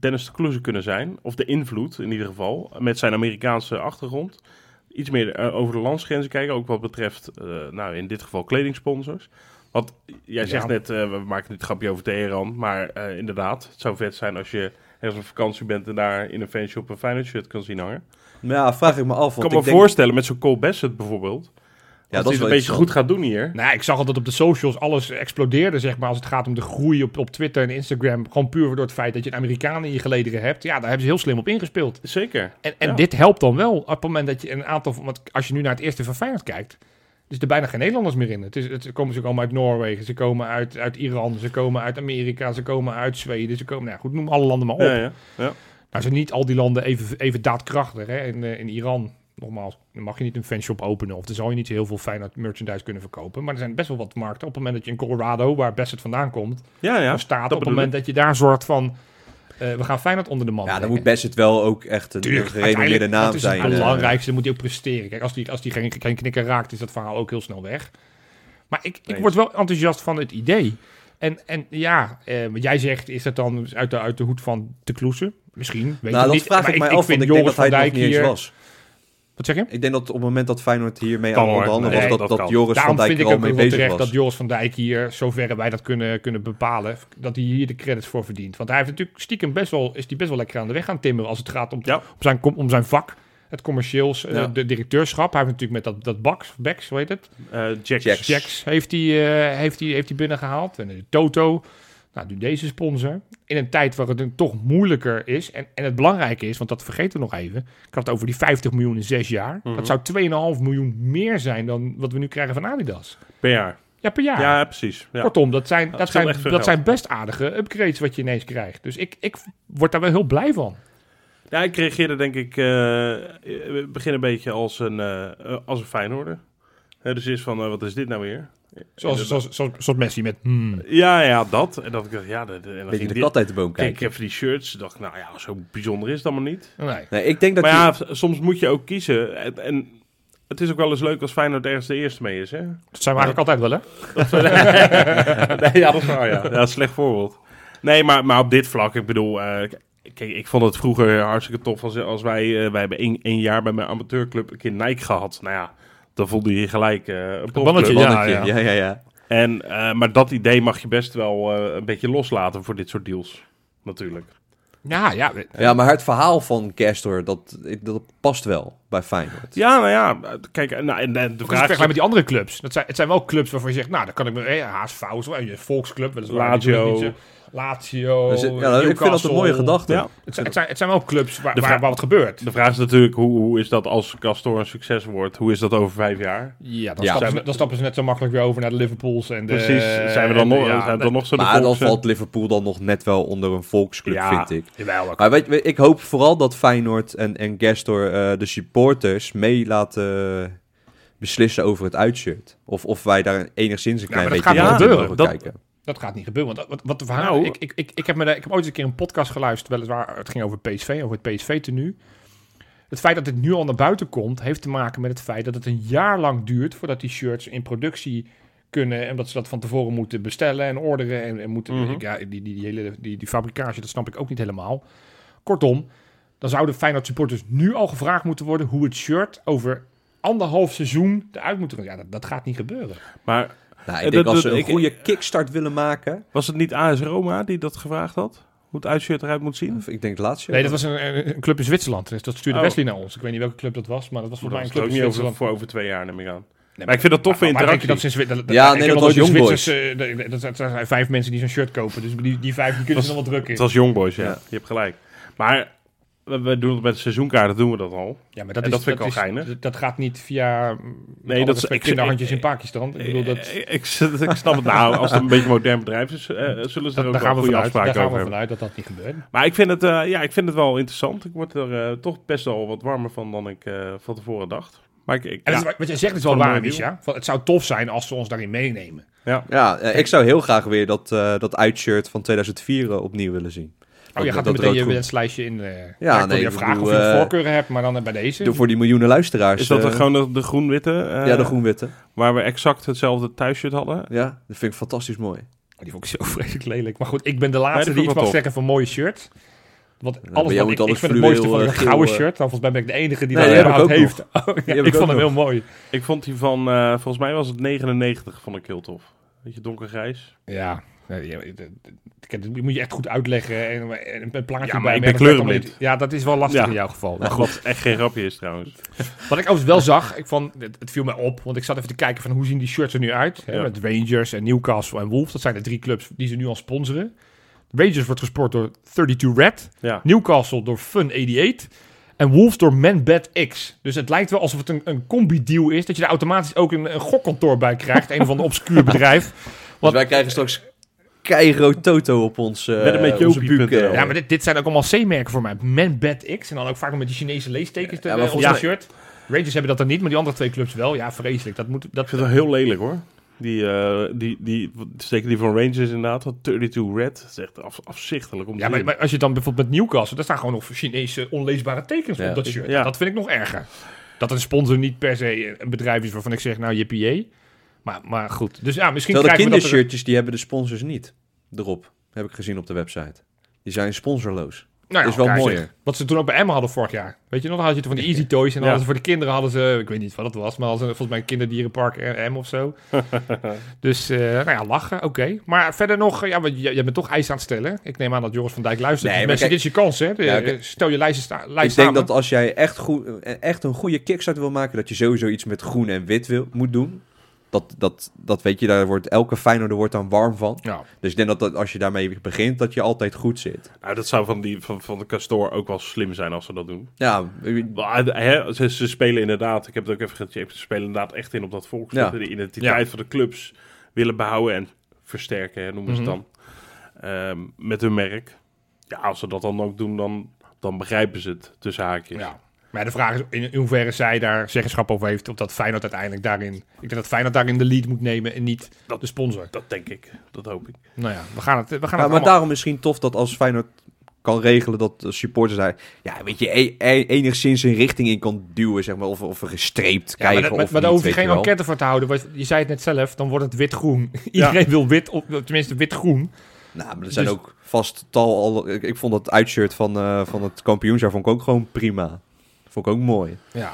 Speaker 3: Dennis de Kloeze kunnen zijn? Of de invloed in ieder geval, met zijn Amerikaanse achtergrond. Iets meer eh, over de landsgrenzen kijken, ook wat betreft, eh, nou in dit geval kledingsponsors. Want jij zegt
Speaker 2: Ja.
Speaker 3: net, eh, we maken dit grapje over Teheran, maar eh, inderdaad, het zou vet zijn als je ergens op vakantie bent en daar in een fanshop een Feyenoord shirt kan zien hangen.
Speaker 4: maar ja, vraag ik me af.
Speaker 3: Ik
Speaker 4: Want
Speaker 3: kan me
Speaker 4: ik denk,
Speaker 3: voorstellen met zo'n Cole Bassett bijvoorbeeld.
Speaker 4: is
Speaker 3: dat hij het
Speaker 4: wel
Speaker 3: een beetje
Speaker 4: interessant.
Speaker 3: goed gaat doen hier.
Speaker 2: Nou, ja, ik zag al dat op de socials alles explodeerde, zeg maar, als het gaat om de groei op, op Twitter en Instagram. Gewoon puur door het feit dat je een Amerikaan in je gelederen hebt. Ja, daar hebben ze heel slim op ingespeeld.
Speaker 3: Zeker.
Speaker 2: En, en
Speaker 3: Ja.
Speaker 2: dit helpt dan wel op het moment dat je een aantal... van- Want als je nu naar het eerste van Feyenoord kijkt... Dus er bijna geen Nederlanders meer in. Het is, het, ze komen, ze komen uit Noorwegen, ze komen uit, uit Iran, ze komen uit Amerika, ze komen uit Zweden. Ze komen, nou ja, goed, noem alle landen maar op.
Speaker 3: Ja, ja. ja.
Speaker 2: Nou zijn niet al die landen even, even daadkrachtig. Hè? In, eh, in Iran, nogmaals, dan mag je niet een fanshop openen. Of dan zal je niet heel veel Feyenoord merchandise kunnen verkopen. Maar er zijn best wel wat markten. Op het moment dat je in Colorado, waar best het vandaan komt,
Speaker 3: ja, ja.
Speaker 2: of staat.
Speaker 3: dat
Speaker 2: Op het
Speaker 3: bedoel
Speaker 2: moment dat je daar zorgt van, eh, we gaan Feyenoord onder de man
Speaker 4: Ja, dan
Speaker 2: brengen.
Speaker 4: moet best het wel ook echt een
Speaker 2: Tuurlijk,
Speaker 4: gerenommeerde
Speaker 2: uiteindelijk,
Speaker 4: naam
Speaker 2: dat
Speaker 4: zijn.
Speaker 2: is het
Speaker 4: eh.
Speaker 2: belangrijkste, dan moet hij ook presteren. Kijk, als die, als die geen, geen knikker raakt, is dat verhaal ook heel snel weg. Maar ik, ik
Speaker 3: Nee.
Speaker 2: word wel enthousiast van het idee. En, en ja, eh, wat jij zegt, is dat dan uit de, uit de hoed van de kloesen? Misschien, weet
Speaker 4: nou,
Speaker 2: ik
Speaker 4: dat
Speaker 2: niet.
Speaker 4: vraag
Speaker 2: Maar
Speaker 4: ik mij af, want ik denk
Speaker 2: Joris
Speaker 4: dat hij
Speaker 2: van
Speaker 4: het nog
Speaker 2: Dijk
Speaker 4: niet eens
Speaker 2: hier-
Speaker 4: was.
Speaker 2: Wat zeg je?
Speaker 4: Ik denk dat op het moment dat Feyenoord hiermee
Speaker 3: Kan
Speaker 4: aan het
Speaker 3: hoor.
Speaker 4: onderhandelen was,
Speaker 2: Nee,
Speaker 4: dat,
Speaker 3: dat
Speaker 4: dat
Speaker 3: kan.
Speaker 4: Joris
Speaker 2: Daarom
Speaker 4: van Dijk
Speaker 2: vind ik
Speaker 4: er al
Speaker 2: ook
Speaker 4: mee
Speaker 2: wel wel
Speaker 4: bezig
Speaker 2: terecht
Speaker 4: was.
Speaker 2: dat Joris van Dijk hier, zoverre wij dat kunnen, kunnen bepalen, dat hij hier de credits voor verdient. Want hij heeft natuurlijk stiekem best wel, is die best wel lekker aan de weg gaan timmeren als het gaat om,
Speaker 3: Ja.
Speaker 2: om, zijn, com- om zijn vak. Het commercieels, eh,
Speaker 3: Ja.
Speaker 2: de directeurschap. Hij heeft natuurlijk met dat, dat Bax, Bax, hoe heet het?
Speaker 3: Eh, Jack.
Speaker 4: Jack.
Speaker 2: Jacks heeft hij, eh, heeft hij, heeft hij binnengehaald. En de Toto. Nou, nu deze sponsor. In een tijd waar het dan toch moeilijker is. En, en het belangrijke is, want dat vergeten we nog even. Ik had het over die 50 miljoen in zes jaar.
Speaker 3: Mhm.
Speaker 2: Dat zou 2,5 miljoen meer zijn dan wat we nu krijgen van Adidas.
Speaker 3: Per jaar.
Speaker 2: Ja, per jaar.
Speaker 3: Ja, precies. Ja.
Speaker 2: Kortom, dat zijn, dat,
Speaker 3: scheelt
Speaker 2: zijn,
Speaker 3: echt veel
Speaker 2: dat
Speaker 3: geld.
Speaker 2: zijn best aardige upgrades wat je ineens krijgt. Dus ik, ik word daar wel heel blij van.
Speaker 3: ja, ik reageerde denk ik... eh, we beginnen een beetje als een, eh eh, als een Feyenoorder. Eh, dus eerst van, eh, wat is dit nou weer?
Speaker 2: Zoals, zoals, zoals, zoals Messi met... hmm.
Speaker 3: Ja, ja, dat. En dat ik dacht, ja... Dat, en dan
Speaker 4: Beetje
Speaker 3: ging
Speaker 4: de
Speaker 3: dit-
Speaker 4: kat uit de boom
Speaker 3: Kijk, ik
Speaker 4: kijken.
Speaker 3: heb die shirts. dacht ik, nou ja, zo bijzonder is het allemaal niet.
Speaker 2: Nee.
Speaker 4: Nee, ik denk dat
Speaker 3: maar
Speaker 4: die-
Speaker 3: ja, s- soms moet je ook kiezen. En, en het is ook wel eens leuk als Feyenoord ergens de eerste mee is, hè?
Speaker 2: Dat zijn we eigenlijk altijd wel, hè?
Speaker 3: nee, <laughs> ja, dat is waar, ja. Ja, slecht voorbeeld. Nee, maar, maar op dit vlak, ik bedoel... eh, k- kijk, ik vond het vroeger hartstikke tof als, als wij... eh, wij hebben één, één jaar bij mijn amateurclub een keer Nike gehad. Nou ja, dan voelde je je gelijk eh, een profclub.
Speaker 2: bannetje, ja.
Speaker 4: Mannetje, ja, ja, ja.
Speaker 3: En, eh, maar dat idee mag je best wel eh, een beetje loslaten voor dit soort deals. Natuurlijk.
Speaker 2: Ja, ja.
Speaker 4: Ja, maar het verhaal van Castor, dat, dat past wel bij Feyenoord.
Speaker 3: Ja, nou ja, kijk, eh, nou, en, en de
Speaker 2: Ook als je
Speaker 3: vraag
Speaker 2: het
Speaker 3: is...
Speaker 2: vergelijkt met die andere clubs. Dat zijn, het zijn wel clubs waarvan je zegt, nou, dan kan ik me... Eh, HSV, is wel een volksclub, weliswaar. Die
Speaker 3: Lazio. eh,
Speaker 2: doen het niet zo- Lazio,
Speaker 4: Dus, ja, ik vind dat een
Speaker 2: Newcastle.
Speaker 4: mooie gedachte.
Speaker 3: oh, Ja.
Speaker 2: Het zijn, het, zijn, het zijn wel clubs waar,
Speaker 3: De
Speaker 2: waar,
Speaker 3: vraag-
Speaker 2: waar wat gebeurt.
Speaker 3: De vraag is natuurlijk, hoe, hoe is dat als Castor een succes wordt? Hoe is dat over vijf jaar?
Speaker 2: Ja, dan,
Speaker 4: Ja.
Speaker 2: Stappen ze, dan stappen ze net zo makkelijk weer over naar de Liverpools en de...
Speaker 3: Precies, Eh, zijn we dan
Speaker 2: en
Speaker 3: nog,
Speaker 2: de- ja,
Speaker 3: zijn we dan nog zo de
Speaker 4: Maar dan
Speaker 3: volks-
Speaker 4: valt Liverpool dan nog net wel onder een volksclub,
Speaker 3: Ja.
Speaker 4: vind ik.
Speaker 2: Jawel, ook.
Speaker 4: Maar weet, je, ik hoop vooral dat Feyenoord en, en Gastor eh, de supporters mee laten beslissen over het uitshirt. Of, of wij daar enigszins een klein
Speaker 2: maar dat
Speaker 4: beetje
Speaker 2: gaat
Speaker 4: naar
Speaker 2: wel
Speaker 4: mogen
Speaker 2: gebeuren.
Speaker 3: Dat-
Speaker 4: kijken.
Speaker 2: Dat gaat niet gebeuren. Want wat, wat de verhaal.
Speaker 3: Nou.
Speaker 2: ik, ik, ik, ik, heb me, daar- ik heb ooit eens een keer een podcast geluisterd. Weliswaar, het ging over PSV, over het PSV-tenue. Het feit dat dit nu al naar buiten komt, heeft te maken met het feit dat het een jaar lang duurt voordat die shirts in productie kunnen. En dat ze dat van tevoren moeten bestellen en orderen. En, en moeten,
Speaker 3: Mhm.
Speaker 2: ik- ja, die, die, die hele die, die fabrikage, dat snap ik ook niet helemaal. Kortom, dan zouden Feyenoord supporters nu al gevraagd moeten worden hoe het shirt over anderhalf seizoen eruit moet er- Ja, dat, dat gaat niet gebeuren.
Speaker 3: Maar
Speaker 4: Nou,
Speaker 3: Eh,
Speaker 4: ik denk
Speaker 3: dat-
Speaker 4: als ze
Speaker 3: dat-
Speaker 4: een
Speaker 3: ik-
Speaker 4: goede kickstart willen maken...
Speaker 3: was het niet AS Roma die dat gevraagd had? Hoe het uitshirt eruit moet zien?
Speaker 4: Of ik denk het laatste.
Speaker 2: Nee, dat was een, een- een club in Zwitserland. Dus dat stuurde
Speaker 3: Oh.
Speaker 2: Wesley naar ons. Ik weet niet welke club dat was, maar dat was
Speaker 3: Dat
Speaker 2: volgens
Speaker 3: was
Speaker 2: mij een
Speaker 3: het
Speaker 2: club
Speaker 3: ook
Speaker 2: in
Speaker 3: niet
Speaker 2: Zwitserland.
Speaker 3: over, voor over twee jaar, neem ik aan.
Speaker 2: Nee,
Speaker 3: maar ik vind dat tof voor
Speaker 2: Ah, maar denk je
Speaker 3: interactie.
Speaker 2: dat ze in Zwitserland...
Speaker 4: Ja,
Speaker 2: ik
Speaker 4: nee,
Speaker 2: heb
Speaker 4: dat
Speaker 2: nog nooit
Speaker 4: was
Speaker 2: de
Speaker 4: Young
Speaker 2: Zwitsers, eh, de- de- dat zijn- dat zijn vijf mensen die zo'n shirt kopen. Dus die, die vijf die kunnen ze nog wel druk in.
Speaker 3: Het was Young Boys, ja.
Speaker 4: Ja.
Speaker 3: Je hebt gelijk. Maar we, we doen het met seizoenkaarten doen we dat al.
Speaker 2: Ja, maar dat,
Speaker 3: En
Speaker 2: is,
Speaker 3: dat vind ik
Speaker 2: is,
Speaker 3: al geinig.
Speaker 2: Dat gaat niet via
Speaker 3: dat
Speaker 2: nee, dat
Speaker 3: is-
Speaker 2: is,
Speaker 3: ik-
Speaker 2: kinderhandjes
Speaker 3: ik-
Speaker 2: in Pakistan. Ik bedoel, dat,
Speaker 3: Eh, ik, ik, <laughs> ik snap het nou. Als het een beetje een modern bedrijf is, eh, zullen ze er
Speaker 2: dat,
Speaker 3: ook
Speaker 2: daar gaan
Speaker 3: wel
Speaker 2: we
Speaker 3: goede
Speaker 2: vanuit, daar
Speaker 3: afspraken
Speaker 2: gaan
Speaker 3: over
Speaker 2: we
Speaker 3: hebben.
Speaker 2: vanuit dat dat niet gebeurt.
Speaker 3: Maar ik vind, het, eh, ja, ik vind het wel interessant. Ik word er eh, toch best wel wat warmer van dan ik eh, van tevoren dacht. Maar ik, ik-
Speaker 2: En
Speaker 3: ja,
Speaker 2: dat is- wat jij zegt is wel
Speaker 3: Voor een
Speaker 2: waar,
Speaker 3: mooie deal.
Speaker 2: Misha. Van, Het zou tof zijn als ze ons daarin meenemen. Oh,
Speaker 3: ja.
Speaker 4: Ja, eh, ik zou heel graag weer dat, eh dat uitshirt van 2004 opnieuw willen zien.
Speaker 2: Oh,
Speaker 4: Dat-
Speaker 2: je gaat er
Speaker 4: dat
Speaker 2: meteen je
Speaker 4: roodgroen.
Speaker 2: wenslijstje in. eh ja,
Speaker 4: Ja,
Speaker 2: ik wil
Speaker 4: nee,
Speaker 2: je
Speaker 4: ik
Speaker 2: vragen of
Speaker 4: bedoel,
Speaker 2: je een
Speaker 4: eh,
Speaker 2: voorkeur hebt, maar dan bij deze.
Speaker 4: Door voor die miljoenen luisteraars.
Speaker 3: Is dat dan
Speaker 4: eh,
Speaker 3: gewoon de, de groen-witte? eh,
Speaker 4: Ja, de groenwitte.
Speaker 3: Waar we exact hetzelfde thuisshirt hadden.
Speaker 4: Ja, dat vind ik fantastisch mooi. Dus
Speaker 2: Oh, die vond ik zo <laughs> vreselijk lelijk. Maar goed, ik ben de
Speaker 3: Nee,
Speaker 2: laatste
Speaker 3: die
Speaker 2: die
Speaker 3: vond
Speaker 2: iets
Speaker 3: ik
Speaker 2: mag
Speaker 3: wel
Speaker 2: zeggen van mooie shirt. Want alles
Speaker 4: maar jij
Speaker 2: wat
Speaker 4: moet
Speaker 2: ik,
Speaker 4: alles
Speaker 2: ik vind het mooiste
Speaker 4: fluweel,
Speaker 2: van een
Speaker 4: eh, geel,
Speaker 2: gouden
Speaker 4: eh.
Speaker 2: shirt. Dan volgens mij ben ik de enige die
Speaker 4: Nee,
Speaker 2: dat
Speaker 4: die heb ik
Speaker 2: überhaupt
Speaker 4: ook
Speaker 2: heeft. <laughs> Oh, ja,
Speaker 4: heb
Speaker 2: ik
Speaker 4: ik
Speaker 2: vond
Speaker 4: ook
Speaker 2: hem heel mooi.
Speaker 3: Ik vond die van, eh, volgens mij was het 99, vond ik heel tof. Beetje donkergrijs.
Speaker 2: Ja, nee, ja, d- d- kijk, dat moet je echt goed uitleggen. En, en een plaatje
Speaker 3: Ja, maar
Speaker 2: bij
Speaker 3: ik
Speaker 2: me,
Speaker 3: ben
Speaker 2: dat werkt allemaal
Speaker 3: kleurenblind.
Speaker 2: niet. Ja, dat is wel lastig
Speaker 3: Ja.
Speaker 2: in jouw geval.
Speaker 3: Wat echt geen grapje is trouwens.
Speaker 2: Wat ik overigens wel zag, ik van, het, het viel mij op, want ik zat even te kijken van hoe zien die shirts er nu uit. Hè,
Speaker 3: Ja.
Speaker 2: Met Rangers en Newcastle en Wolves, dat zijn de drie clubs die ze nu al sponsoren. Rangers wordt gesport door 32 Red,
Speaker 3: Ja.
Speaker 2: Newcastle door Fun88 en Wolves door Manbat X. Dus het lijkt wel alsof het een, een combi-deal is, dat je er automatisch ook een, een gokkantoor bij krijgt. een of ander
Speaker 4: <laughs>
Speaker 2: obscuur bedrijf.
Speaker 4: Dus wij krijgen straks Cairo Toto op ons, eh
Speaker 3: Met een beetje
Speaker 4: onze
Speaker 3: Jopie.nl.
Speaker 4: buik, eh.
Speaker 2: Ja, maar dit, dit zijn ook allemaal C-merken voor mij. Manbat X en dan ook vaak nog met die Chinese leestekens
Speaker 4: Ja,
Speaker 2: ja,
Speaker 4: maar
Speaker 2: op
Speaker 4: volgens
Speaker 2: zijn shirt. Rangers hebben dat dan niet, maar die andere twee clubs wel. Ja, vreselijk. Dat moet, dat,
Speaker 3: Ik vind het wel heel lelijk hoor. Die, eh, die, die, zeker die van Rangers inderdaad, van 32 Red. Dat is echt af, afzichtelijk om te
Speaker 2: Ja, maar,
Speaker 3: zien.
Speaker 2: maar als je dan bijvoorbeeld met Newcastle, daar staan gewoon nog Chinese onleesbare tekens
Speaker 4: Ja.
Speaker 2: op dat shirt.
Speaker 3: Ja.
Speaker 2: Dat vind ik nog erger. Dat een sponsor niet per se een bedrijf is waarvan ik zeg, nou jippie jee. maar, maar goed, dus ja, misschien
Speaker 4: Terwijl de
Speaker 2: krijgen we dat... er-
Speaker 4: kindershirtjes, die hebben de sponsors niet erop. Heb ik gezien op de website. Die zijn sponsorloos.
Speaker 2: nou
Speaker 4: is wel
Speaker 2: kijk,
Speaker 4: mooier.
Speaker 2: zeg, Wat ze toen ook bij Emma hadden vorig jaar. Weet je nog, dan had je van die Easy Toys. En dan
Speaker 3: Ja.
Speaker 2: hadden ze voor de kinderen hadden ze, ik weet niet wat het was, maar hadden ze volgens mij een kinderdierenpark M of
Speaker 4: <laughs>
Speaker 2: zo. dus eh, nou ja, lachen, oké. Maar verder nog, eh, ja, want jij jij bent toch eisen aan het stellen. Ik neem aan dat Joris van Dijk luistert.
Speaker 4: Nee,
Speaker 2: Dus
Speaker 4: maar
Speaker 2: mensen,
Speaker 4: kijk-
Speaker 2: dit is je kans, hè. De-
Speaker 4: Ja, kijk-
Speaker 2: Stel je lijst sta- lijst
Speaker 4: ik denk
Speaker 2: samen.
Speaker 4: dat als jij echt, goed, echt een goede kickstart wil maken, dat je sowieso iets met groen en wit wil, moet doen. Dat, dat, dat weet je, daar wordt elke Feyenoorder wordt dan warm van.
Speaker 2: Ja.
Speaker 4: Dus ik denk dat, dat als je daarmee begint, dat je altijd goed zit.
Speaker 3: Nou, dat zou van, die, van, van de Castor ook wel slim zijn als ze dat doen.
Speaker 4: Ja,
Speaker 3: Maar, eh, hè, ze, ze spelen inderdaad, ik heb het ook even gecheckt, ze spelen inderdaad echt in op dat volkslied.
Speaker 4: Ja.
Speaker 3: De identiteit van de clubs willen behouden en versterken, hè, noemen
Speaker 2: Mhm.
Speaker 3: ze het dan. Ehm, met hun merk. Ja, als ze dat dan ook doen, dan, dan begrijpen ze het, tussen haakjes.
Speaker 2: Ja. Maar de vraag is in in hoeverre zij daar zeggenschap over heeft. Of dat Feyenoord uiteindelijk daarin... Ik denk dat Feyenoord daarin de lead moet nemen en niet
Speaker 3: Dat-
Speaker 2: de sponsor.
Speaker 3: Dat denk ik, dat hoop ik.
Speaker 2: Nou ja, we gaan het, we gaan
Speaker 4: Ja,
Speaker 2: het
Speaker 4: maar
Speaker 2: allemaal...
Speaker 4: daarom misschien tof dat als Feyenoord kan regelen dat de supporters daar, ja, weet je, e- e- enigszins een richting in kan duwen, zeg maar, of, of gestreept
Speaker 2: Ja, maar,
Speaker 4: krijgen.
Speaker 2: dat- maar,
Speaker 4: of
Speaker 2: maar daar
Speaker 4: niet,
Speaker 2: hoef je
Speaker 4: weet
Speaker 2: geen
Speaker 4: wel.
Speaker 2: enquête voor te houden. Want je zei het net zelf, dan wordt het wit-groen. <laughs> Iedereen wil wit, of tenminste wit-groen.
Speaker 4: Nou, maar er zijn
Speaker 2: Dus-
Speaker 4: ook vast tal al. Ik, ik vond dat uitshirt van, eh, van het kampioensjaar vond ik ook gewoon prima. Vond ik ook mooi.
Speaker 2: Ja.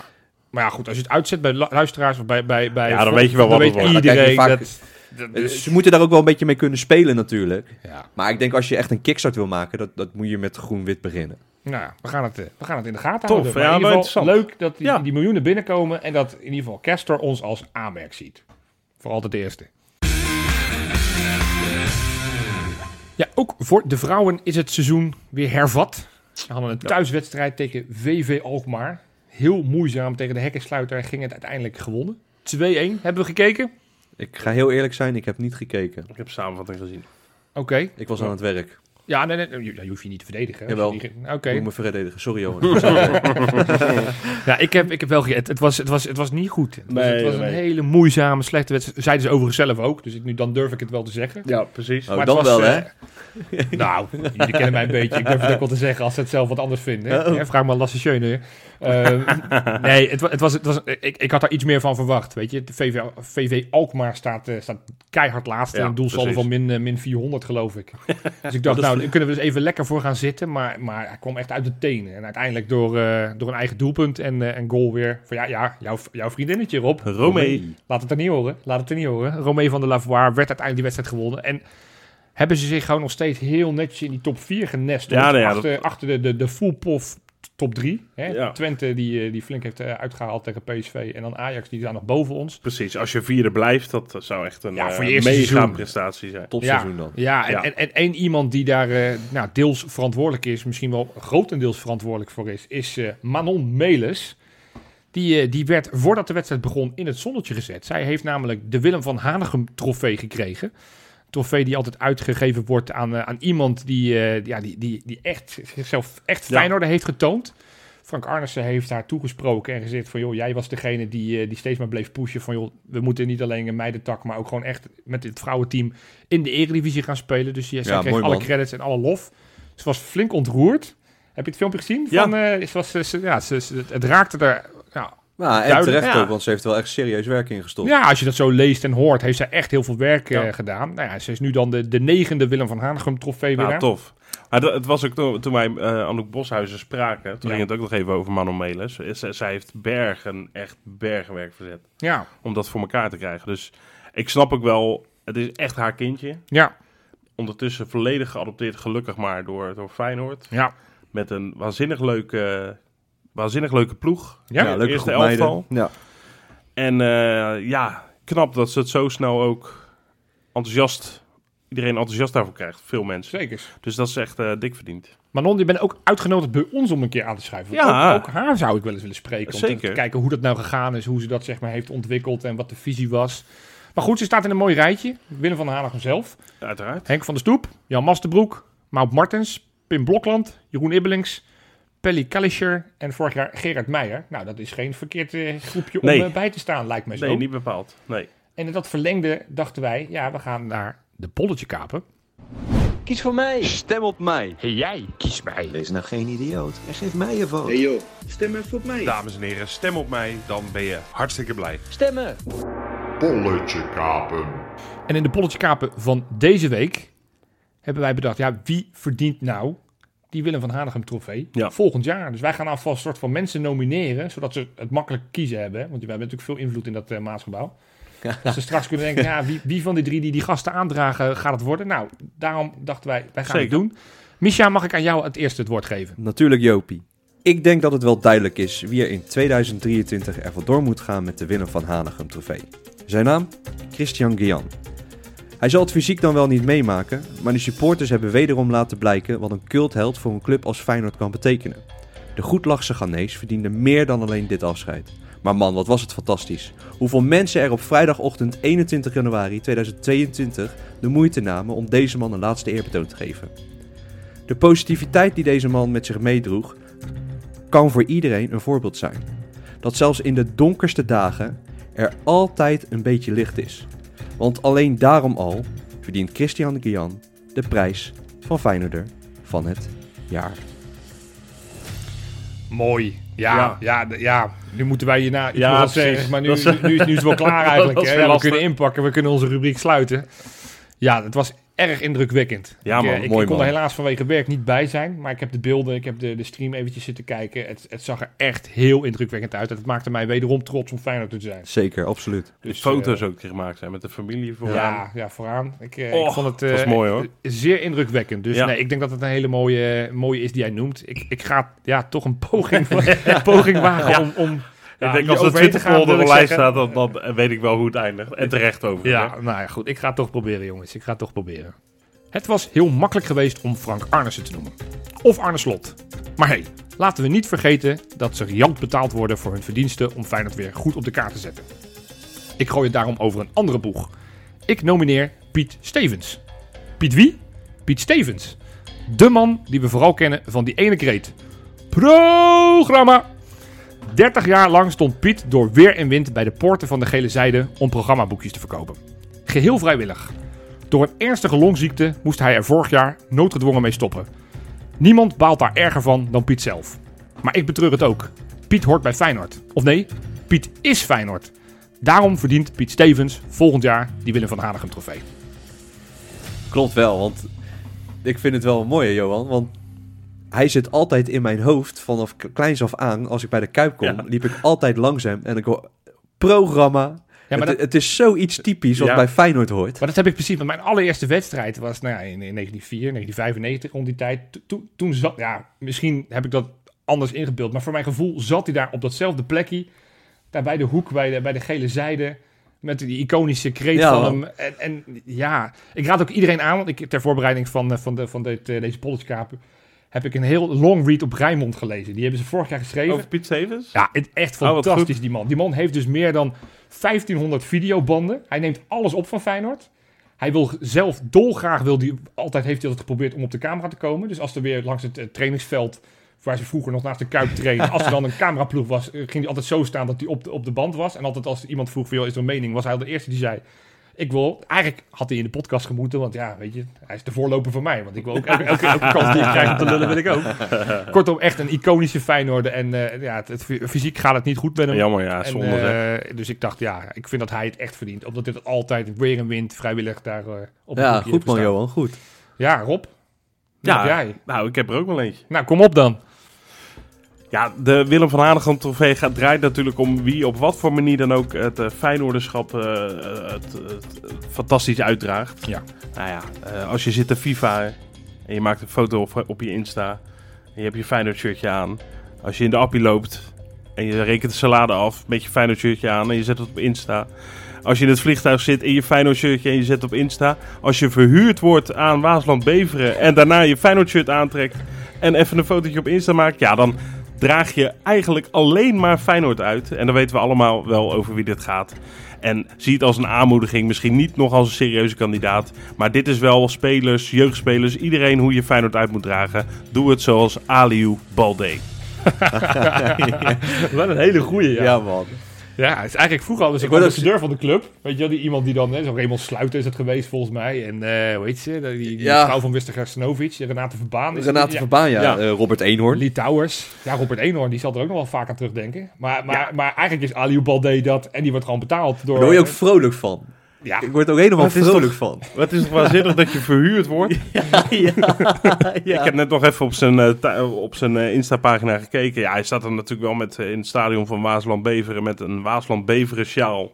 Speaker 2: Maar ja, goed, als je het uitzet bij lu- luisteraars of bij... bij, bij
Speaker 3: Ja, dan weet je wel wat
Speaker 2: dan
Speaker 3: het
Speaker 2: weet
Speaker 3: wordt.
Speaker 4: Dan kijk
Speaker 2: iedereen
Speaker 4: je vaak-
Speaker 2: dat... dat
Speaker 4: Eh,
Speaker 2: dus-
Speaker 4: Ze moeten daar ook wel een beetje mee kunnen spelen natuurlijk.
Speaker 3: Eh,
Speaker 2: ja.
Speaker 4: Maar ik denk als je echt een kickstart wil maken, dat, dat moet je met groen-wit beginnen.
Speaker 2: Nou ja, we gaan het, eh, we gaan het in de gaten
Speaker 3: Tof,
Speaker 2: houden. Maar
Speaker 3: ja,
Speaker 2: in ieder
Speaker 3: wel
Speaker 2: geval
Speaker 3: interessant.
Speaker 2: leuk dat die,
Speaker 3: Ja.
Speaker 2: die miljoenen binnenkomen... en dat in ieder geval Castor ons als aanmerk ziet. Voor altijd de eerste. Ja, ook voor de vrouwen is het seizoen weer hervat. Ze hadden een thuiswedstrijd tegen VV Alkmaar. Heel moeizaam tegen de hekkensluiter ging het uiteindelijk gewonnen. 2-1 hebben we gekeken.
Speaker 4: Ik ga heel eerlijk zijn, ik heb niet gekeken.
Speaker 3: Ik heb samenvatting gezien.
Speaker 2: Oké.
Speaker 4: Ik was aan het werk.
Speaker 2: Ja, nee, nee, je, je hoeft je niet te verdedigen. hè.
Speaker 4: Jawel.
Speaker 2: Als je die- Oké.
Speaker 4: Ik moet me verdedigen. Sorry,
Speaker 2: <laughs>
Speaker 4: Johan. Nou,
Speaker 2: Ja, ik heb, ik heb wel ge- het, het, was, het, was, het was niet goed. Het was,
Speaker 3: Nee,
Speaker 2: het was
Speaker 3: nee.
Speaker 2: een hele moeizame, slechte wedstrijd. Zeiden ze overigens zelf ook, dus ik, nu, dan durf ik het wel te zeggen.
Speaker 3: Ja, precies.
Speaker 4: Oh,
Speaker 2: het
Speaker 4: dan
Speaker 2: was,
Speaker 4: wel,
Speaker 2: eh,
Speaker 4: hè?
Speaker 2: <laughs> nou, jullie kennen mij een beetje. Ik durf het ook wel te zeggen als ze het zelf wat anders vinden.
Speaker 3: Oh,
Speaker 2: hè. Ja, vraag maar Lasse Schöne.
Speaker 3: <laughs>
Speaker 2: Eh, nee, het, wa- het was, het was, ik, ik had daar iets meer van verwacht. Weet je, de VV, VV Alkmaar staat, eh, staat keihard laatste.
Speaker 3: Ja,
Speaker 2: en een doelsaldo
Speaker 3: precies.
Speaker 2: van min, eh, min 400, geloof
Speaker 3: <laughs>
Speaker 2: ik. Dus ik dacht, nou, daar kunnen we dus even lekker voor gaan zitten. Maar, maar hij kwam echt uit de tenen. En uiteindelijk door, eh, door een eigen doelpunt en, eh, en goal weer. Van, ja, ja jouw, jouw vriendinnetje, Rob.
Speaker 3: Romee.
Speaker 2: Laat het er niet horen. Laat het er niet horen. Romee van der Lavoie werd uiteindelijk die wedstrijd gewonnen. En hebben ze zich gewoon nog steeds heel netjes in die top 4 genesteld.
Speaker 3: Ja, nou ja,
Speaker 2: achter achter de, de, de full pof top drie. Hè?
Speaker 3: Ja.
Speaker 2: Twente die, eh, die flink heeft eh, uitgehaald tegen PSV. En dan Ajax, die staan nog boven ons.
Speaker 3: Precies, als je vierde blijft, dat eh, zou echt een
Speaker 2: Ja, voor je
Speaker 3: eh,
Speaker 2: eerste
Speaker 3: mega
Speaker 2: seizoen.
Speaker 3: prestatie zijn.
Speaker 4: Topseizoen dan.
Speaker 2: Ja, en,
Speaker 3: Ja.
Speaker 2: En, en één iemand die daar eh, nou, deels verantwoordelijk is, misschien wel grotendeels verantwoordelijk voor is, is eh, Manon Melis. Die, eh, die werd voordat de wedstrijd begon in het zonnetje gezet. Zij heeft namelijk de Willem van Hanegem trofee gekregen. Een Trofee die altijd uitgegeven wordt aan, eh, aan iemand die, eh, ja, die, die, die echt, zichzelf echt
Speaker 3: Ja.
Speaker 2: fijn heeft getoond. Frank Arnissen heeft haar toegesproken en gezegd van... joh, jij was degene die, eh, die steeds maar bleef pushen van... joh, we moeten niet alleen een meidentak... maar ook gewoon echt met dit vrouwenteam in de eredivisie gaan spelen. Dus jij zij
Speaker 4: Ja,
Speaker 2: kreeg
Speaker 4: mooi
Speaker 2: alle
Speaker 4: man.
Speaker 2: credits en alle lof. Ze was flink ontroerd. Heb je het filmpje gezien?
Speaker 3: Ja.
Speaker 2: Van, eh, ze was, ze- ze- ja, ze, ze- het raakte er... Ja,
Speaker 4: Maar Nou, en
Speaker 2: Duidelijk,
Speaker 4: terecht
Speaker 3: ja.
Speaker 4: ook, want ze heeft er wel echt serieus werk in gestopt.
Speaker 2: ja, als je dat zo leest en hoort, heeft zij echt heel veel werk eh,
Speaker 3: Ja.
Speaker 2: gedaan. Nou ja, ze is nu dan de, de negende Willem van Hanegem trofee
Speaker 3: Nou,
Speaker 2: winnaar.
Speaker 3: tof. Maar dat- het was ook toen, toen wij eh Anouk Boshuizen spraken, toen
Speaker 2: Ja.
Speaker 3: ging het ook nog even over Manon Melis. Z- zij heeft bergen, echt bergenwerk verzet
Speaker 2: ja,
Speaker 3: om dat voor elkaar te krijgen. Dus ik snap ook wel, het is echt haar kindje.
Speaker 2: ja,
Speaker 3: Ondertussen volledig geadopteerd, gelukkig maar, door, door Feyenoord.
Speaker 2: ja.
Speaker 3: Met een waanzinnig leuke, waanzinnig leuke ploeg.
Speaker 2: Ja,
Speaker 3: De
Speaker 4: leuke
Speaker 3: eerste
Speaker 4: groep meiden.
Speaker 3: elftal.
Speaker 4: Ja.
Speaker 3: En eh, ja, knap dat ze het zo snel ook enthousiast, iedereen enthousiast daarvoor krijgt. Veel mensen.
Speaker 2: zeker.
Speaker 3: Dus dat is echt eh, dik verdiend.
Speaker 2: Manon, je bent ook uitgenodigd bij ons om een keer aan te schrijven. Want
Speaker 3: Ja.
Speaker 2: Ook, ook haar zou ik wel eens willen spreken. Om te-
Speaker 3: Zeker.
Speaker 2: te kijken hoe dat nou gegaan is, hoe ze dat zeg maar heeft ontwikkeld en wat de visie was. Maar goed, ze staat in een mooi rijtje. Willem van Hanegem zelf,
Speaker 3: Uiteraard.
Speaker 2: Henk van der Stoep, Jan Masterbroek, Maud Martens, Pim Blokland, Jeroen Ibbelings, Pelly Kalischer en vorig jaar Gerard Meijer. Nou, dat is geen verkeerd eh, groepje
Speaker 3: Nee.
Speaker 2: om eh, bij te staan, lijkt mij zo.
Speaker 3: Nee, niet bepaald. Nee.
Speaker 2: En in dat verlengde dachten wij, ja, we gaan naar de polletje kapen.
Speaker 6: Kies voor mij.
Speaker 4: Stem op mij.
Speaker 2: Hey, jij, kies mij.
Speaker 7: Wees nou geen idioot en geef mij je vote.
Speaker 5: Dames en heren, stem op mij, dan ben je hartstikke blij.
Speaker 3: Dus,
Speaker 6: Stemmen.
Speaker 8: Polletje kapen.
Speaker 2: En in de polletje kapen van deze week hebben wij bedacht, ja, wie verdient nou die Willem van Hanegem trofee
Speaker 3: Ja.
Speaker 2: volgend jaar? Dus wij gaan alvast een soort van mensen nomineren, zodat ze het makkelijk kiezen hebben. hè? Want we hebben natuurlijk veel invloed in dat eh, Maasgebouw. Dat ze straks kunnen denken, ja, wie, wie van die drie die die gasten aandragen gaat het worden? Nou, daarom dachten wij, wij gaan het
Speaker 3: Zeker.
Speaker 2: doen. Misha, mag ik aan jou het eerste het woord geven?
Speaker 4: Natuurlijk Jopie. Ik denk dat het wel duidelijk is wie er in 2023 er vandoor moet gaan met de winnen van Hanegem trofee. Zijn naam? Christian Guian. Hij zal het fysiek dan wel niet meemaken, maar de supporters hebben wederom laten blijken wat een cultheld voor een club als Feyenoord kan betekenen. De goedlachse Ghanese verdiende meer dan alleen dit afscheid. Maar man, wat was het fantastisch. Hoeveel mensen er op vrijdagochtend 21 januari 2022 de moeite namen om deze man een laatste eerbetoon te geven. De positiviteit die deze man met zich meedroeg, kan voor iedereen een voorbeeld zijn. Dat zelfs in de donkerste dagen er altijd een beetje licht is. Want alleen daarom al verdient Christian Guian de prijs van Feyenoorder van het jaar.
Speaker 2: Mooi. Ja, ja.
Speaker 3: Ja.
Speaker 2: d- ja, nu moeten wij hierna iets
Speaker 3: Ja,
Speaker 2: ja,
Speaker 3: precies.
Speaker 2: zeggen. Maar nu,
Speaker 3: Dat is-
Speaker 2: nu, nu is, nu is het dus wel klaar eigenlijk.
Speaker 3: <laughs> Dat is
Speaker 2: hè?
Speaker 3: weer
Speaker 2: Ja, we
Speaker 3: lastig.
Speaker 2: kunnen inpakken, we kunnen onze rubriek sluiten. Ja, dat was erg indrukwekkend.
Speaker 3: Ja,
Speaker 2: ik, eh,
Speaker 3: man,
Speaker 2: ik, ik
Speaker 4: mooi,
Speaker 2: kon er
Speaker 4: man.
Speaker 2: helaas vanwege werk niet bij zijn. Maar ik heb de beelden, ik heb de, de stream eventjes zitten kijken. Het, het zag er echt heel indrukwekkend uit. Het maakte mij wederom trots om Feyenoord te zijn.
Speaker 4: Zeker, absoluut.
Speaker 3: De
Speaker 2: Dus,
Speaker 3: foto's
Speaker 5: eh,
Speaker 3: ook die gemaakt zijn met de familie vooraan.
Speaker 2: Ja, ja, vooraan. Ik, eh,
Speaker 3: Och,
Speaker 2: ik vond het eh,
Speaker 3: dat is mooi, hoor.
Speaker 2: zeer indrukwekkend. Dus
Speaker 3: Ja.
Speaker 2: nee, ik denk dat het een hele mooie, mooie is die jij noemt. Ik, ik ga ja, toch een <laughs> poging, een poging wagen om, om ja,
Speaker 3: ik denk
Speaker 2: hier
Speaker 3: als de
Speaker 2: overheen te
Speaker 3: 20
Speaker 2: gaan,
Speaker 3: onder
Speaker 2: wil
Speaker 3: de
Speaker 2: ik
Speaker 3: lijst
Speaker 2: zeggen.
Speaker 3: staat, dan, dan eh, weet ik wel hoe het eindigt. En terecht over.
Speaker 2: Ja, nou ja, goed. Ik ga het toch proberen, jongens. Ik ga het toch proberen. Het was heel makkelijk geweest om Frank Arnissen te noemen. Of Arne Slot. Maar hey, laten we niet vergeten dat ze riant betaald worden voor hun verdiensten om Feyenoord weer goed op de kaart te zetten. Ik gooi het daarom over een andere boeg. Ik nomineer Piet Stevens. Piet wie? Piet Stevens. De man die we vooral kennen van die ene kreet. Programma! 30 jaar lang stond Piet door weer en wind bij de poorten van de gele zijde om programmaboekjes te verkopen. Geheel vrijwillig. Door een ernstige longziekte moest hij er vorig jaar noodgedwongen mee stoppen. Niemand baalt daar erger van dan Piet zelf. Maar ik betreur het ook. Piet hoort bij Feyenoord. Of nee, Piet is Feyenoord. Daarom verdient Piet Stevens volgend jaar die Willem van Hanegem trofee.
Speaker 4: Klopt wel, want ik vind het wel mooi, hè, Johan. Want hij zit altijd in mijn hoofd vanaf k- kleins af aan. Als ik bij de Kuip kom,
Speaker 3: Ja.
Speaker 4: liep ik altijd langzaam en ik hoor programma.
Speaker 2: maar
Speaker 4: het,
Speaker 2: dat-
Speaker 4: het is zoiets typisch wat
Speaker 3: Ja.
Speaker 4: bij Feyenoord hoort.
Speaker 2: Maar dat heb ik precies. Want mijn allereerste wedstrijd was nou ja, in, in 1994, 1995, rond die tijd. To- toen- toen zat, ja, misschien heb ik dat anders ingebeeld. Maar voor mijn gevoel zat hij daar op datzelfde plekje. Daar bij de hoek, bij de, bij de gele zijde. Met die iconische kreet
Speaker 4: Ja,
Speaker 2: van
Speaker 4: man.
Speaker 2: hem. En, en ja, ik raad ook iedereen aan. Want ik, ter voorbereiding van, eh, van, de, van dit, eh, deze bolletje heb ik een heel long read op Rijnmond gelezen. Die hebben ze vorig jaar geschreven.
Speaker 3: Over Piet Stevens?
Speaker 2: Ja, het, echt
Speaker 3: Oh, wat
Speaker 2: fantastisch,
Speaker 3: goed.
Speaker 2: die man. Die man heeft dus meer dan 1500 videobanden. Hij neemt alles op van Feyenoord. Hij wil g- zelf dolgraag, wil die, altijd heeft hij dat geprobeerd om op de camera te komen. Dus als er weer langs het eh, trainingsveld, waar ze vroeger nog naast de kuip trainen, als er dan
Speaker 3: <laughs>
Speaker 2: een cameraploeg was, eh, ging hij altijd zo staan dat hij op de, op de band was. En altijd als iemand vroeg, veel is er een mening, was hij al de eerste die zei, ik wil, eigenlijk had hij in de podcast gemoeten, want ja, weet je, hij is de voorloper van mij. Want ik wil ook elke, elke, elke kans die ik krijg om te lullen, wil ik ook. Kortom, echt een iconische Feyenoorder. En eh, ja, het, het fy- fysiek gaat het niet goed met hem.
Speaker 3: Jammer, ja,
Speaker 2: En,
Speaker 3: zonde zeg.
Speaker 2: eh, dus ik dacht, ja, ik vind dat hij het echt verdient. Omdat dit altijd weer en wind vrijwillig daar eh, op het
Speaker 4: Ja,
Speaker 2: hoekje
Speaker 4: goed man,
Speaker 2: heeft
Speaker 4: Johan, goed.
Speaker 2: gestaan. Ja, Rob. Ja.
Speaker 3: Ja,
Speaker 2: Jij.
Speaker 3: nou, ik heb er ook wel eentje.
Speaker 2: Nou, kom op dan.
Speaker 3: Ja, de Willem van Hanegem trofee gaat, draait natuurlijk om wie op wat voor manier dan ook het eh Feyenoorderschap eh, het, het- het fantastisch
Speaker 2: <laughs>
Speaker 3: uitdraagt.
Speaker 2: Ja.
Speaker 3: Nou ja, eh, als je zit te FIFA en je maakt een foto op, op je Insta en je hebt je Feyenoord shirtje aan. Als je in de appie loopt en je rekent de salade af met je Feyenoord shirtje aan en je zet het op Insta. Als je in het vliegtuig zit in je Feyenoord shirtje en je zet het op Insta. Als je verhuurd wordt aan Waasland Beveren en daarna je Feyenoord shirt aantrekt en even een fotootje op Insta maakt. Ja, dan draag je eigenlijk alleen maar Feyenoord uit. En dan weten we allemaal wel over wie dit gaat. En zie het als een aanmoediging. Misschien niet nog als een serieuze kandidaat. Maar dit is wel spelers, jeugdspelers, iedereen hoe je Feyenoord uit moet dragen. Doe het zoals Aliou Balde.
Speaker 2: Wel een hele goeie,
Speaker 4: Ja,
Speaker 2: ja. Ja,
Speaker 4: man.
Speaker 2: het is eigenlijk vroeger al dus ik
Speaker 4: word
Speaker 2: was
Speaker 4: ook-
Speaker 2: de deur van de club. Weet je wel, die iemand die dan, hè, zo Raymond Sluiter is het geweest volgens mij. En eh hoe heet ze? Die, die
Speaker 4: Ja.
Speaker 2: vrouw van Wister Snovic, Renate Verbaan. Is het
Speaker 4: Renate
Speaker 2: niet? Ja.
Speaker 4: Verbaan, ja.
Speaker 3: Ja.
Speaker 4: Eh, Robert Eenhoorn.
Speaker 2: Lee Towers. Ja, Robert Eenhoorn, die zal er ook nog wel vaak aan terugdenken. Maar, maar, maar eigenlijk is Aliou Balde dat. En die wordt gewoon betaald door... eh,
Speaker 4: Daar word je ook vrolijk van.
Speaker 2: Ja.
Speaker 4: Ik word er ook helemaal
Speaker 3: Maar het is
Speaker 4: vrolijk van.
Speaker 3: Wat is het waanzinnig dat je verhuurd wordt? <laughs> Ik heb net nog even op zijn, eh, ta- op zijn eh, Insta-pagina gekeken. Ja, hij staat er natuurlijk wel met, eh, in het stadion van Waasland-Beveren met een Waasland-Beveren sjaal.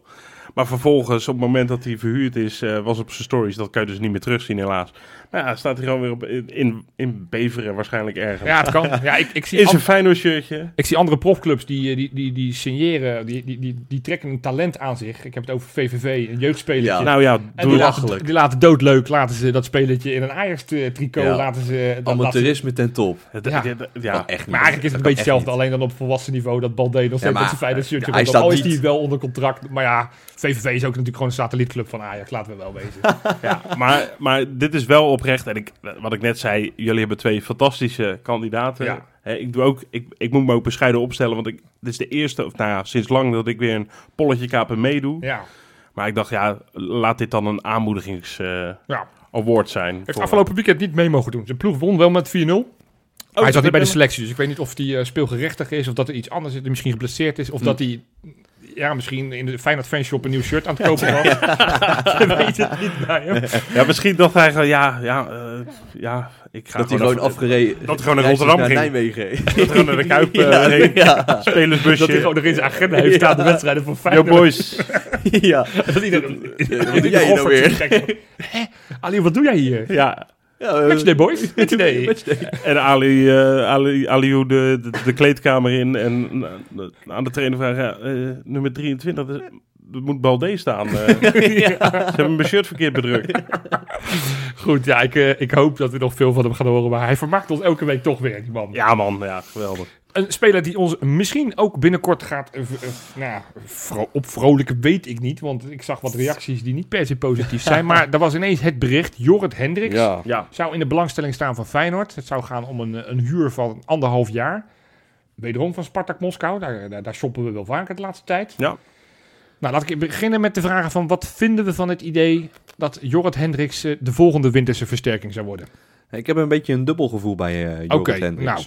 Speaker 3: Maar vervolgens, op het moment dat hij verhuurd is, eh, was op zijn stories. Dat kan je dus niet meer terugzien, helaas. Nou ja, staat hij gewoon weer op, in, in Beveren waarschijnlijk ergens.
Speaker 2: Ja, het kan. Ja, ik, ik, zie
Speaker 3: Is
Speaker 2: an-
Speaker 3: een Feyenoord shirtje.
Speaker 2: ik zie andere profclubs die, eh, die, die, die signeren, die, die, die, die trekken een talent aan zich. Ik heb het over VVV, een jeugdspelertje.
Speaker 4: Ja.
Speaker 3: Nou ja,
Speaker 2: en
Speaker 3: doe
Speaker 2: die
Speaker 3: dat.
Speaker 2: laten,
Speaker 4: belachelijk.
Speaker 2: die laten doodleuk, laten ze dat spelertje in een Ajax-tricot,
Speaker 4: Ja.
Speaker 2: laten ze... dat- laten ze-
Speaker 4: Amateurisme ten top.
Speaker 3: Het-
Speaker 2: Ja. Oh,
Speaker 3: het- het-
Speaker 4: Kan
Speaker 3: ja.
Speaker 4: echt niet.
Speaker 2: maar eigenlijk is het een
Speaker 4: Dat
Speaker 2: beetje
Speaker 4: kan
Speaker 2: hetzelfde, alleen dan op volwassen niveau. Dat Balde nog steeds
Speaker 4: maar
Speaker 2: met zijn fijne shirtje.
Speaker 4: hij
Speaker 2: rondloopt.
Speaker 4: staat
Speaker 2: al is
Speaker 4: niet-
Speaker 2: die wel onder contract. Maar ja, VVV is ook natuurlijk gewoon een satellietclub van Ajax. Laten we wel
Speaker 4: <laughs>
Speaker 2: wezen.
Speaker 3: maar, maar dit is wel oprecht. En ik, wat ik net zei, jullie hebben twee fantastische kandidaten.
Speaker 2: Ja.
Speaker 3: Hè, ik, doe ook, ik, ik moet me ook bescheiden opstellen. Want ik, dit is de eerste, of nou ja, sinds lang dat ik weer een polletje kapen meedoe.
Speaker 2: Ja,
Speaker 3: Maar ik dacht, ja, laat dit dan een aanmoedigings eh,
Speaker 2: ja.
Speaker 3: award zijn.
Speaker 2: Heeft
Speaker 3: Voor-
Speaker 2: afgelopen weekend niet mee mogen doen. Zijn ploeg won wel met 4-0.
Speaker 3: dat
Speaker 2: hij zat
Speaker 3: heb
Speaker 2: niet bij de
Speaker 3: ik-
Speaker 2: selectie, dus ik weet niet of hij eh, speelgerechtig is, of dat er iets anders is, die misschien geblesseerd is, of dat hij ja, misschien in de Feyenoord fanshop een nieuw shirt aan het kopen <laughs> was. Je weet het niet nou, bij hem.
Speaker 3: Ja, misschien dacht hij gewoon, ja, ja, eh, ja ik ga
Speaker 4: Dat hij gewoon
Speaker 3: even-
Speaker 4: afgereden...
Speaker 3: dat hij gewoon naar
Speaker 4: reis is
Speaker 3: Rotterdam
Speaker 4: naar
Speaker 3: ging.
Speaker 4: Nijmegen.
Speaker 3: dat hij gewoon naar de
Speaker 4: <laughs>
Speaker 3: Kuip eh, reed. Spelersbusje.
Speaker 2: Dat hij gewoon nog in zijn agenda heeft staan de wedstrijden van
Speaker 3: Yo,
Speaker 2: Feyenoord.
Speaker 4: <laughs>
Speaker 3: boys.
Speaker 4: ja.
Speaker 2: <laughs> Dat iedereen- <laughs>
Speaker 4: Wat doe jij nou
Speaker 2: Hoffert
Speaker 4: weer?
Speaker 2: is gek van, <laughs> Hè? Ali, wat doe jij hier?
Speaker 3: Ja,
Speaker 4: Ja, eh,
Speaker 2: Matchday, boys? <laughs> Matchday.
Speaker 3: En Ali, eh Ali, Aliou de, de, de kleedkamer in en eh, aan de trainer vragen, ja, eh, nummer 23, dat, is- dat moet Balde staan. <laughs> eh. Ze hebben mijn shirt verkeerd bedrukt.
Speaker 2: Goed, ja, ik, eh, ik hoop dat we nog veel van hem gaan horen, maar hij vermaakt ons elke week toch weer, die man.
Speaker 3: Ja man, ja, geweldig.
Speaker 2: Een speler die ons misschien ook binnenkort gaat eh, v- eh, nou, ja, vro- opvrolijken, weet ik niet. Want ik zag wat reacties die niet per se
Speaker 4: <laughs>
Speaker 2: positief zijn. Maar er was ineens het bericht, Jorrit Hendricks
Speaker 4: ja.
Speaker 3: Ja,
Speaker 2: zou in de belangstelling staan van Feyenoord. Het zou gaan om een, eh, een huur van anderhalf jaar. Wederom van Spartak Moskou, daar, daar, daar shoppen we wel vaker de laatste tijd.
Speaker 3: Ja.
Speaker 2: Nou, laat ik beginnen met de vragen van wat vinden we van het idee dat Jorrit Hendricks eh, de volgende winterse versterking zou worden?
Speaker 4: Ik heb een beetje een dubbel gevoel bij eh Jorrit
Speaker 2: Oké,
Speaker 4: Hendricks.
Speaker 2: nou.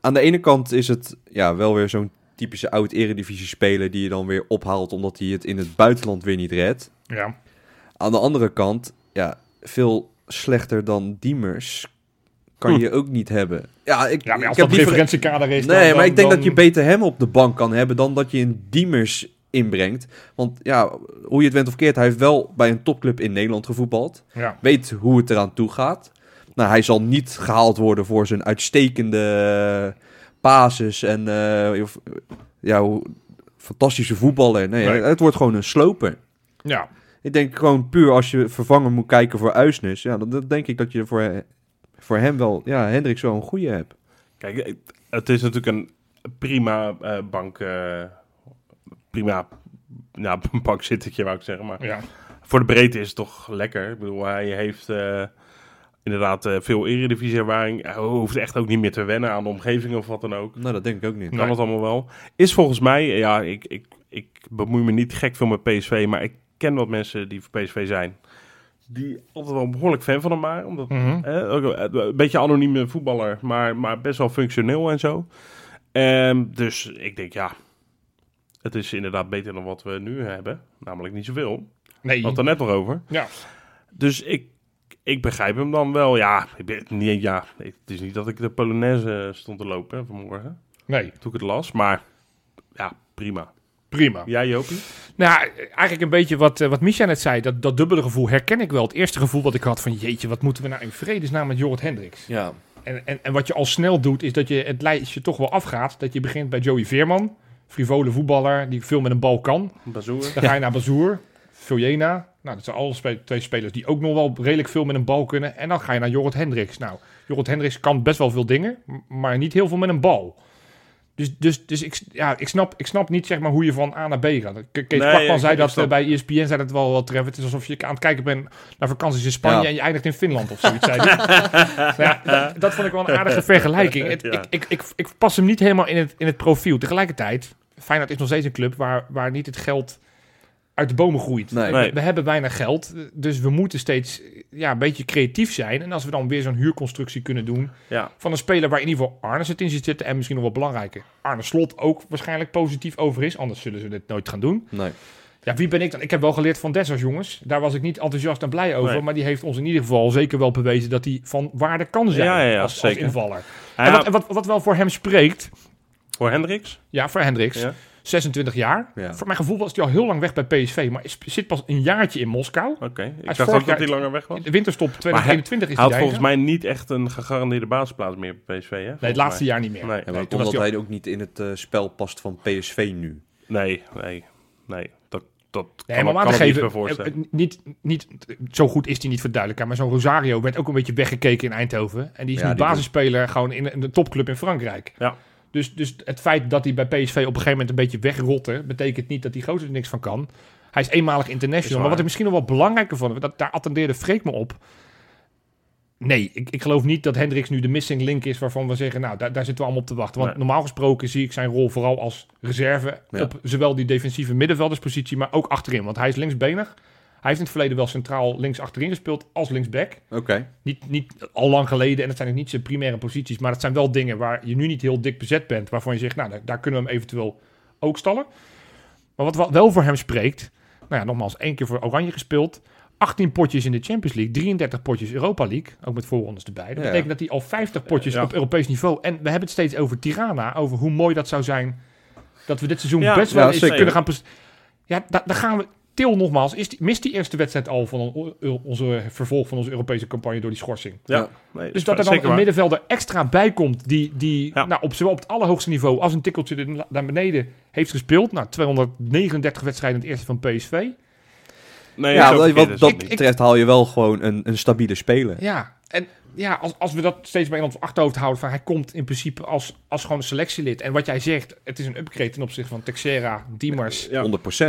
Speaker 4: Aan de ene kant is het ja, wel weer zo'n typische oud-eredivisie-speler... die je dan weer ophaalt omdat hij het in het buitenland weer niet redt.
Speaker 2: Ja,
Speaker 4: Aan de andere kant, ja, veel slechter dan Diemers kan je ook niet hebben. Ja, ik,
Speaker 2: Hm. ja maar
Speaker 4: ik
Speaker 2: als
Speaker 4: heb
Speaker 2: dat
Speaker 4: liever...
Speaker 2: referentiekader is...
Speaker 4: Nee,
Speaker 2: dan-
Speaker 4: maar ik denk
Speaker 2: dan-
Speaker 4: dat je beter hem op de bank kan hebben dan dat je een Diemers inbrengt. Want ja, hoe je het went of keert, hij heeft wel bij een topclub in Nederland gevoetbald.
Speaker 2: Ja.
Speaker 4: Weet hoe het eraan toe gaat. Nou, hij zal niet gehaald worden voor zijn uitstekende eh, pases en eh, of- ja, hoe- fantastische voetballer. Nee,
Speaker 2: Nee.
Speaker 4: het wordt gewoon een sloper.
Speaker 2: Ja,
Speaker 4: Ik denk gewoon puur als je vervanger moet kijken voor Uisnes. Ja, dan, dan denk ik dat je voor, voor hem wel, ja, Hendricks wel een goede hebt.
Speaker 3: Kijk, het is natuurlijk een prima eh, bank. eh, prima. Nou, <laughs> bankzittetje wou ik zeggen. Maar
Speaker 2: ja.
Speaker 3: voor de breedte is het toch lekker. Ik bedoel, hij heeft eh, inderdaad eh, veel eredivisie-ervaring. Hij hoeft echt ook niet meer te wennen aan de omgeving of wat dan ook.
Speaker 4: Nou, dat denk ik ook niet.
Speaker 3: Kan het allemaal wel. Is volgens mij, ja, ik, ik, ik bemoei me niet gek veel met PSV, maar ik ken wat mensen die voor PSV zijn. Die altijd wel behoorlijk fan van hem waren. Omdat,
Speaker 2: Mhm.
Speaker 3: hè, ook een- een beetje anonieme voetballer, maar, maar best wel functioneel en zo. Ehm, dus ik denk, ja, het is inderdaad beter dan wat we nu hebben. Namelijk niet zoveel.
Speaker 2: Nee,
Speaker 3: We hadden het er net nog over.
Speaker 2: Ja.
Speaker 3: Dus ik, ik begrijp hem dan wel. Ja, ik ben, niet, ja, het is niet dat ik de Polonaise eh, stond te lopen hè, vanmorgen
Speaker 2: nee,
Speaker 3: toen ik het las. Maar ja, prima.
Speaker 2: prima.
Speaker 3: Jij, Jopie?
Speaker 2: Nou, eigenlijk een beetje wat, eh, wat Micha net zei. Dat, dat dubbele gevoel herken ik wel. Het eerste gevoel wat ik had van... Jeetje, wat moeten we nou in vredesnaam met Jorrit Hendricks?
Speaker 4: Ja.
Speaker 2: En, en, en wat je al snel doet, is dat je het lijstje toch wel afgaat. Dat je begint bij Joey Veerman. Frivole voetballer, die veel met een bal kan.
Speaker 3: <laughs> Bazoer.
Speaker 2: Dan ga je naar Bazoer, Viljena. Nou, dat zijn alle spe- twee spelers die ook nog wel redelijk veel met een bal kunnen. En dan ga je naar Jorrit Hendricks. Nou, Jorrit Hendricks kan best wel veel dingen, m- maar niet heel veel met een bal. Dus, dus, dus ik, s- ja, ik, snap, ik snap niet zeg maar, hoe je van A naar B gaat. Ke- Kees
Speaker 3: Nee,
Speaker 2: Kwakman
Speaker 3: ja, ik-
Speaker 2: zei
Speaker 3: ik
Speaker 2: dat
Speaker 3: snap.
Speaker 2: eh, bij ESPN zei dat wel wel treffend. Het is alsof je aan het kijken bent naar vakanties in Spanje
Speaker 4: Ja.
Speaker 2: en je eindigt in Finland of zoiets. zei hij. Nou ja, dat, dat vond ik wel een
Speaker 3: <laughs>
Speaker 2: aardige vergelijking. Het-
Speaker 3: Eh. Ja.
Speaker 2: ik, ik, ik, ik pas hem niet helemaal in het, in het profiel. Tegelijkertijd, Feyenoord is nog steeds een club waar, waar niet het geld uit de bomen groeit.
Speaker 4: Nee.
Speaker 3: Nee.
Speaker 2: We hebben weinig geld, dus we moeten steeds ja, een beetje creatief zijn. En als we dan weer zo'n huurconstructie kunnen doen
Speaker 3: Ja.
Speaker 2: van een speler waar in ieder geval Arnes het in zit zitten en misschien nog wel belangrijker, Arne Slot ook waarschijnlijk positief over is, anders zullen ze dit nooit gaan doen.
Speaker 4: Nee.
Speaker 2: Ja, wie ben ik dan? Ik heb wel geleerd van Dessers, jongens. Daar was ik niet enthousiast en blij over,
Speaker 3: Nee.
Speaker 2: maar die heeft ons in ieder geval zeker wel bewezen dat hij van waarde kan zijn
Speaker 3: Ja, ja, ja,
Speaker 2: als, als
Speaker 3: zeker.
Speaker 2: invaller.
Speaker 3: Ja,
Speaker 2: En, wat, en wat, wat wel voor hem spreekt,
Speaker 3: Voor Hendricks?
Speaker 2: ja, voor Hendricks,
Speaker 3: Ja.
Speaker 2: 26 jaar.
Speaker 4: Ja.
Speaker 2: Voor mijn gevoel was hij al heel lang weg bij PSV, maar is, zit pas een jaartje in Moskou.
Speaker 3: Oké. Ik
Speaker 2: is
Speaker 3: dacht
Speaker 2: vorig
Speaker 3: ook dat
Speaker 2: jaar-
Speaker 3: hij langer weg was.
Speaker 2: De winterstop 2021 is
Speaker 3: Hij
Speaker 2: hij
Speaker 3: had
Speaker 2: daar,
Speaker 3: volgens
Speaker 2: hè?
Speaker 3: mij niet echt een gegarandeerde basisplaats meer bij PSV, hè?
Speaker 2: Nee, het
Speaker 3: Volgens
Speaker 2: laatste
Speaker 3: mij.
Speaker 2: jaar niet meer.
Speaker 3: Nee, nee,
Speaker 4: maar
Speaker 2: toen was
Speaker 4: omdat
Speaker 2: hij
Speaker 4: hij ook niet in het eh, spel past van PSV nu.
Speaker 3: nee, nee. nee. Dat, dat
Speaker 2: Nee,
Speaker 3: kan,
Speaker 2: maar
Speaker 3: ik-
Speaker 2: om aan te
Speaker 3: kan ik me niet meer
Speaker 2: geven,
Speaker 3: voorstellen.
Speaker 2: eh, eh, niet, niet, zo goed is hij niet voor duidelijkheid, maar zo'n Rosario werd ook een beetje weggekeken in Eindhoven. En die is
Speaker 4: Ja,
Speaker 2: nu
Speaker 4: die
Speaker 2: basisspeler gewoon in een- een topclub in Frankrijk.
Speaker 3: Ja.
Speaker 2: Dus, dus het feit dat hij bij PSV op een gegeven moment een beetje wegrotte, betekent niet dat die gozer er niks van kan. Hij is eenmalig
Speaker 3: Is
Speaker 2: international.
Speaker 3: waar.
Speaker 2: maar wat ik misschien nog wel belangrijker vond, dat, daar attendeerde Freek me op. Nee, ik, ik geloof niet dat Hendricks nu de missing link is waarvan we zeggen, nou, daar, daar zitten we allemaal op te wachten. Want
Speaker 3: Nee.
Speaker 2: normaal gesproken zie ik zijn rol vooral als reserve
Speaker 4: Ja.
Speaker 2: op zowel die defensieve middenvelderspositie, maar ook achterin. Want hij is linksbenig. Hij heeft in het verleden wel centraal links achterin gespeeld als linksback.
Speaker 4: Oké.
Speaker 2: Niet, niet al lang geleden, en dat zijn ook niet zijn primaire posities, maar dat zijn wel dingen waar je nu niet heel dik bezet bent, waarvan je zegt, nou, daar, daar kunnen we hem eventueel ook stallen. Maar wat wel- wel voor hem spreekt, nou ja, nogmaals, één keer voor Oranje gespeeld, 18 potjes in de Champions League, 33 potjes Europa League, ook met voorrondes erbij. Dat
Speaker 4: Ja.
Speaker 2: betekent dat hij al 50 potjes
Speaker 3: Ja.
Speaker 2: op Europees niveau, en we hebben het steeds over Tirana, over hoe mooi dat zou zijn, dat we dit seizoen
Speaker 3: Ja,
Speaker 2: best wel
Speaker 4: ja,
Speaker 2: eens eh,
Speaker 4: zeker.
Speaker 2: kunnen gaan... pres- Ja, da- daar gaan we... Til nogmaals, is die, mist die eerste wedstrijd al van on- onze vervolg van onze Europese campagne door die schorsing.
Speaker 3: Ja. Nee,
Speaker 2: Dus dat er dan
Speaker 3: zeker
Speaker 2: een
Speaker 3: waar.
Speaker 2: middenvelder extra bij komt die, die
Speaker 3: Ja.
Speaker 2: nou, op zowel op het allerhoogste niveau als een tikkeltje er- naar beneden heeft gespeeld. Nou, 239 wedstrijden in het eerste van PSV.
Speaker 3: Nee,
Speaker 4: Ja,
Speaker 3: zo
Speaker 4: wat,
Speaker 3: verkeerd
Speaker 2: dus
Speaker 3: is
Speaker 4: dat
Speaker 3: het niet.
Speaker 4: betreft haal je wel gewoon een, een stabiele speler.
Speaker 2: Ja, en ja, als, als we dat steeds bij in ons achterhoofd houden, van hij komt in principe als, als gewoon een selectielid. En wat jij zegt, het is een upgrade ten opzichte van Texera, Diemers,
Speaker 3: Ja.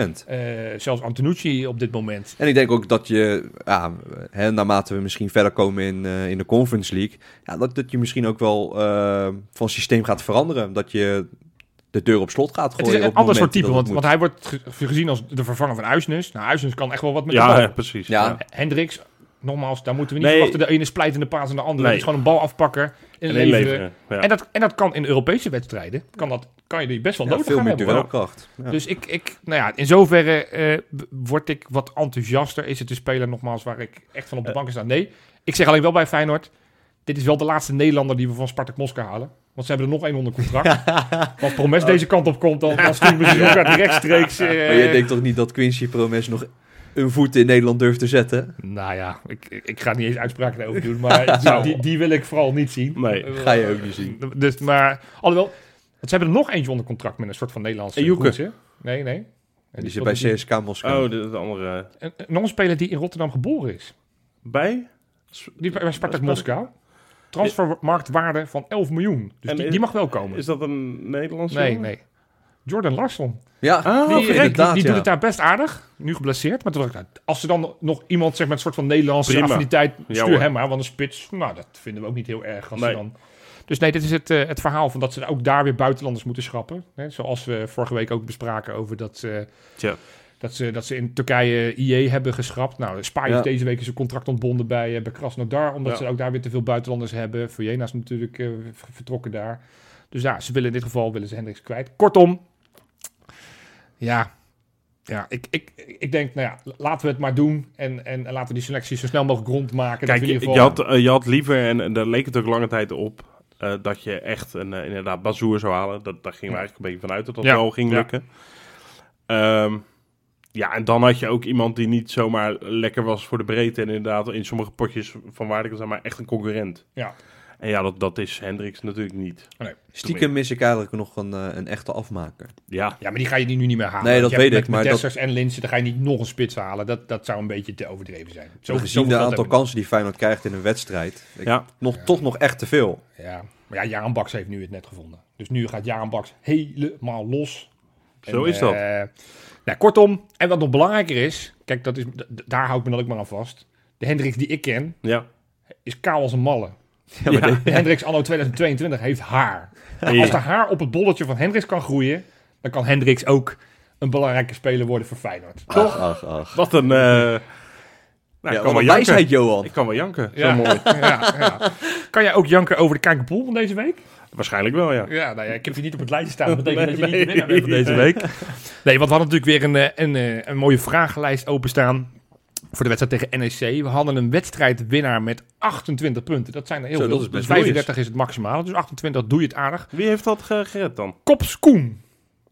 Speaker 4: 100%.
Speaker 2: eh, zelfs Antonucci op dit moment.
Speaker 4: En ik denk ook dat je, ja, hè, naarmate we misschien verder komen in, eh, in de Conference League, ja, dat, dat je misschien ook wel eh, van systeem gaat veranderen. Dat je de deur op slot gaat
Speaker 2: Het
Speaker 4: gooien.
Speaker 2: is een
Speaker 4: op het
Speaker 2: ander soort
Speaker 4: moment
Speaker 2: type,
Speaker 4: dat het
Speaker 2: want,
Speaker 4: moet.
Speaker 2: want hij wordt ge- gezien als de vervanger van Uisnes. Nou, Uisnes kan echt wel wat met de
Speaker 3: Ja,
Speaker 2: bal.
Speaker 3: ja, precies.
Speaker 4: Ja.
Speaker 3: Ja.
Speaker 2: Hendricks, nogmaals, daar moeten we niet
Speaker 3: Nee.
Speaker 2: verwachten. De ene splijt in de paas en de andere.
Speaker 3: Nee.
Speaker 2: Het is gewoon een bal afpakken en
Speaker 3: En
Speaker 2: leveren.
Speaker 3: inleveren, ja.
Speaker 2: En, dat, en dat kan in Europese wedstrijden. Kan, dat, kan je die best wel
Speaker 4: Ja,
Speaker 2: nodig
Speaker 4: veel
Speaker 2: gaan
Speaker 4: meer
Speaker 2: hebben.
Speaker 4: duelkracht. Ja.
Speaker 2: Dus ik, ik, nou ja, in zoverre eh, b- word ik wat enthousiaster. Is het de speler nogmaals waar ik echt van op de bank sta? Nee. Ik zeg alleen wel bij Feyenoord. Dit is wel de laatste Nederlander die we van Spartak Moskou halen. Want ze hebben er nog één onder contract.
Speaker 3: <laughs>
Speaker 2: Als Promes deze kant op komt, dan, dan sturen we ze ook uit rechtstreeks. eh,
Speaker 4: maar je denkt toch niet dat Quincy Promes nog een voet in Nederland durft te zetten.
Speaker 2: Nou ja, ik, ik ik ga niet eens uitspraken daarover
Speaker 4: <laughs>
Speaker 2: doen, maar die, die, die wil ik vooral niet zien.
Speaker 3: Nee.
Speaker 4: Ga je ook niet zien.
Speaker 2: Dus, maar, alhoewel, want ze hebben er nog eentje onder contract met een soort van Nederlandse
Speaker 3: En Joeke.
Speaker 2: broertje. Nee, nee. En
Speaker 4: Die zit
Speaker 2: speelt
Speaker 4: bij
Speaker 2: natuurlijk-
Speaker 4: CSK Moskou.
Speaker 3: Oh, de, de andere.
Speaker 2: Een, een andere speler die in Rotterdam geboren is.
Speaker 3: Bij?
Speaker 2: Die bij bij Spartak Moskou. Transfermarktwaarde van 11 miljoen. Dus
Speaker 3: En
Speaker 2: die,
Speaker 3: is-
Speaker 2: die mag wel komen.
Speaker 3: Is dat een Nederlandse?
Speaker 2: nee,
Speaker 3: jongen?
Speaker 2: nee. Jordan Larsson.
Speaker 4: ja,
Speaker 3: Oh,
Speaker 2: die, die,
Speaker 4: inderdaad,
Speaker 2: Ah, Dus die
Speaker 4: ja.
Speaker 2: doet het daar best aardig. Nu geblesseerd. Maar toen dacht ik, nou, als ze dan nog iemand zeg, met een soort van Nederlandse
Speaker 3: Prima.
Speaker 2: affiniteit... stuur
Speaker 3: hoor.
Speaker 2: hem maar, want een spits... Nou, dat vinden we ook niet heel erg. Als ze
Speaker 3: Nee.
Speaker 2: dan... Dus nee, dit is het, eh, het verhaal van dat ze ook daar weer buitenlanders moeten schrappen. Hè? Zoals we vorige week ook bespraken over dat... eh,
Speaker 3: Tja.
Speaker 2: dat ze, dat ze in Turkije IE hebben geschrapt. Nou, Spanje
Speaker 4: Ja.
Speaker 2: is deze week zijn contract ontbonden bij, eh, bij Krasnodar. Omdat
Speaker 3: Ja.
Speaker 2: ze ook daar weer te veel buitenlanders hebben. Fujena is natuurlijk eh, v- vertrokken daar. Dus ja, ze willen in dit geval willen ze Hendricks kwijt. Kortom, ja, ja ik, ik, ik denk, nou ja, laten we het maar doen. En, en, en laten we die selectie zo snel mogelijk rondmaken. dat
Speaker 3: Kijk,
Speaker 2: we in
Speaker 3: je,
Speaker 2: ieder
Speaker 3: je
Speaker 2: geval...
Speaker 3: had, eh, je had liever, en, en daar leek het ook lange tijd op, eh, dat je echt een, eh, inderdaad Bazoer zou halen. Dat, daar gingen we eigenlijk een beetje vanuit dat dat
Speaker 2: Ja,
Speaker 3: wel ging
Speaker 2: ja.
Speaker 3: lukken. Ehm, ja, en dan had je ook iemand die niet zomaar lekker was voor de breedte. En inderdaad in sommige potjes van waarde kan zijn, maar echt een concurrent.
Speaker 2: Ja.
Speaker 3: En ja, dat, dat is Hendricks natuurlijk niet.
Speaker 2: Nee.
Speaker 4: Stiekem mis ik eigenlijk nog een, eh, een echte afmaker.
Speaker 3: Ja,
Speaker 2: ja, maar die ga je nu niet meer halen.
Speaker 4: Nee,
Speaker 2: Want
Speaker 4: dat
Speaker 2: je hebt
Speaker 4: weet ik,
Speaker 2: Met, met
Speaker 4: maar dat-
Speaker 2: Dessers en Linsen, daar ga je niet nog een spits halen. Dat, dat zou een beetje te overdreven zijn. Zo,
Speaker 4: Gezien de aantal
Speaker 2: kansen.
Speaker 4: kansen die Feyenoord krijgt in een wedstrijd. Ik,
Speaker 3: Ja.
Speaker 4: nog, Toch nog echt te veel.
Speaker 2: Ja, maar ja, Jaan Baks heeft nu het net gevonden. Dus nu gaat Jaan Baks helemaal los.
Speaker 3: Zo is dat.
Speaker 2: eh, nou, kortom, en wat nog belangrijker is... Kijk, dat is, d- d- daar hou ik me dan ook maar aan vast. De Hendricks die ik ken,
Speaker 4: <laughs>
Speaker 3: ja.
Speaker 2: is kaal als een malle.
Speaker 3: ja, ja. <laughs>
Speaker 2: De Hendricks anno 2022 heeft haar.
Speaker 3: Ja.
Speaker 2: Als de haar op het bolletje van Hendricks kan groeien... dan kan Hendricks ook een belangrijke speler worden voor Feyenoord.
Speaker 4: Ach, ach, ach.
Speaker 3: Wat een... eh, nou, ik,
Speaker 4: Ja, wat
Speaker 3: kan wel
Speaker 4: een
Speaker 3: Nou, janken.
Speaker 4: wijsheid, Johan.
Speaker 3: ik kan wel janken.
Speaker 2: Ja,
Speaker 3: <laughs>
Speaker 2: ja, ja. Kan jij ook janken over de Kijkerpool van deze week?
Speaker 3: Waarschijnlijk wel, ja.
Speaker 2: Ja, nou ja, ik heb die niet op het lijstje staan. Dat betekent dat je
Speaker 3: Nee,
Speaker 2: niet de winnaar bent van deze
Speaker 3: <laughs> nee.
Speaker 2: week. Nee, want we hadden natuurlijk weer een, eh, een, eh, een mooie vragenlijst openstaan voor de wedstrijd tegen NEC. We hadden een wedstrijdwinnaar met 28 punten. Dat zijn er heel
Speaker 4: Zo,
Speaker 2: veel.
Speaker 4: dat is best
Speaker 2: Dus 35 is het maximale, dus 28 doe je het aardig.
Speaker 3: Wie heeft dat ge- gered dan?
Speaker 2: Kopskoen.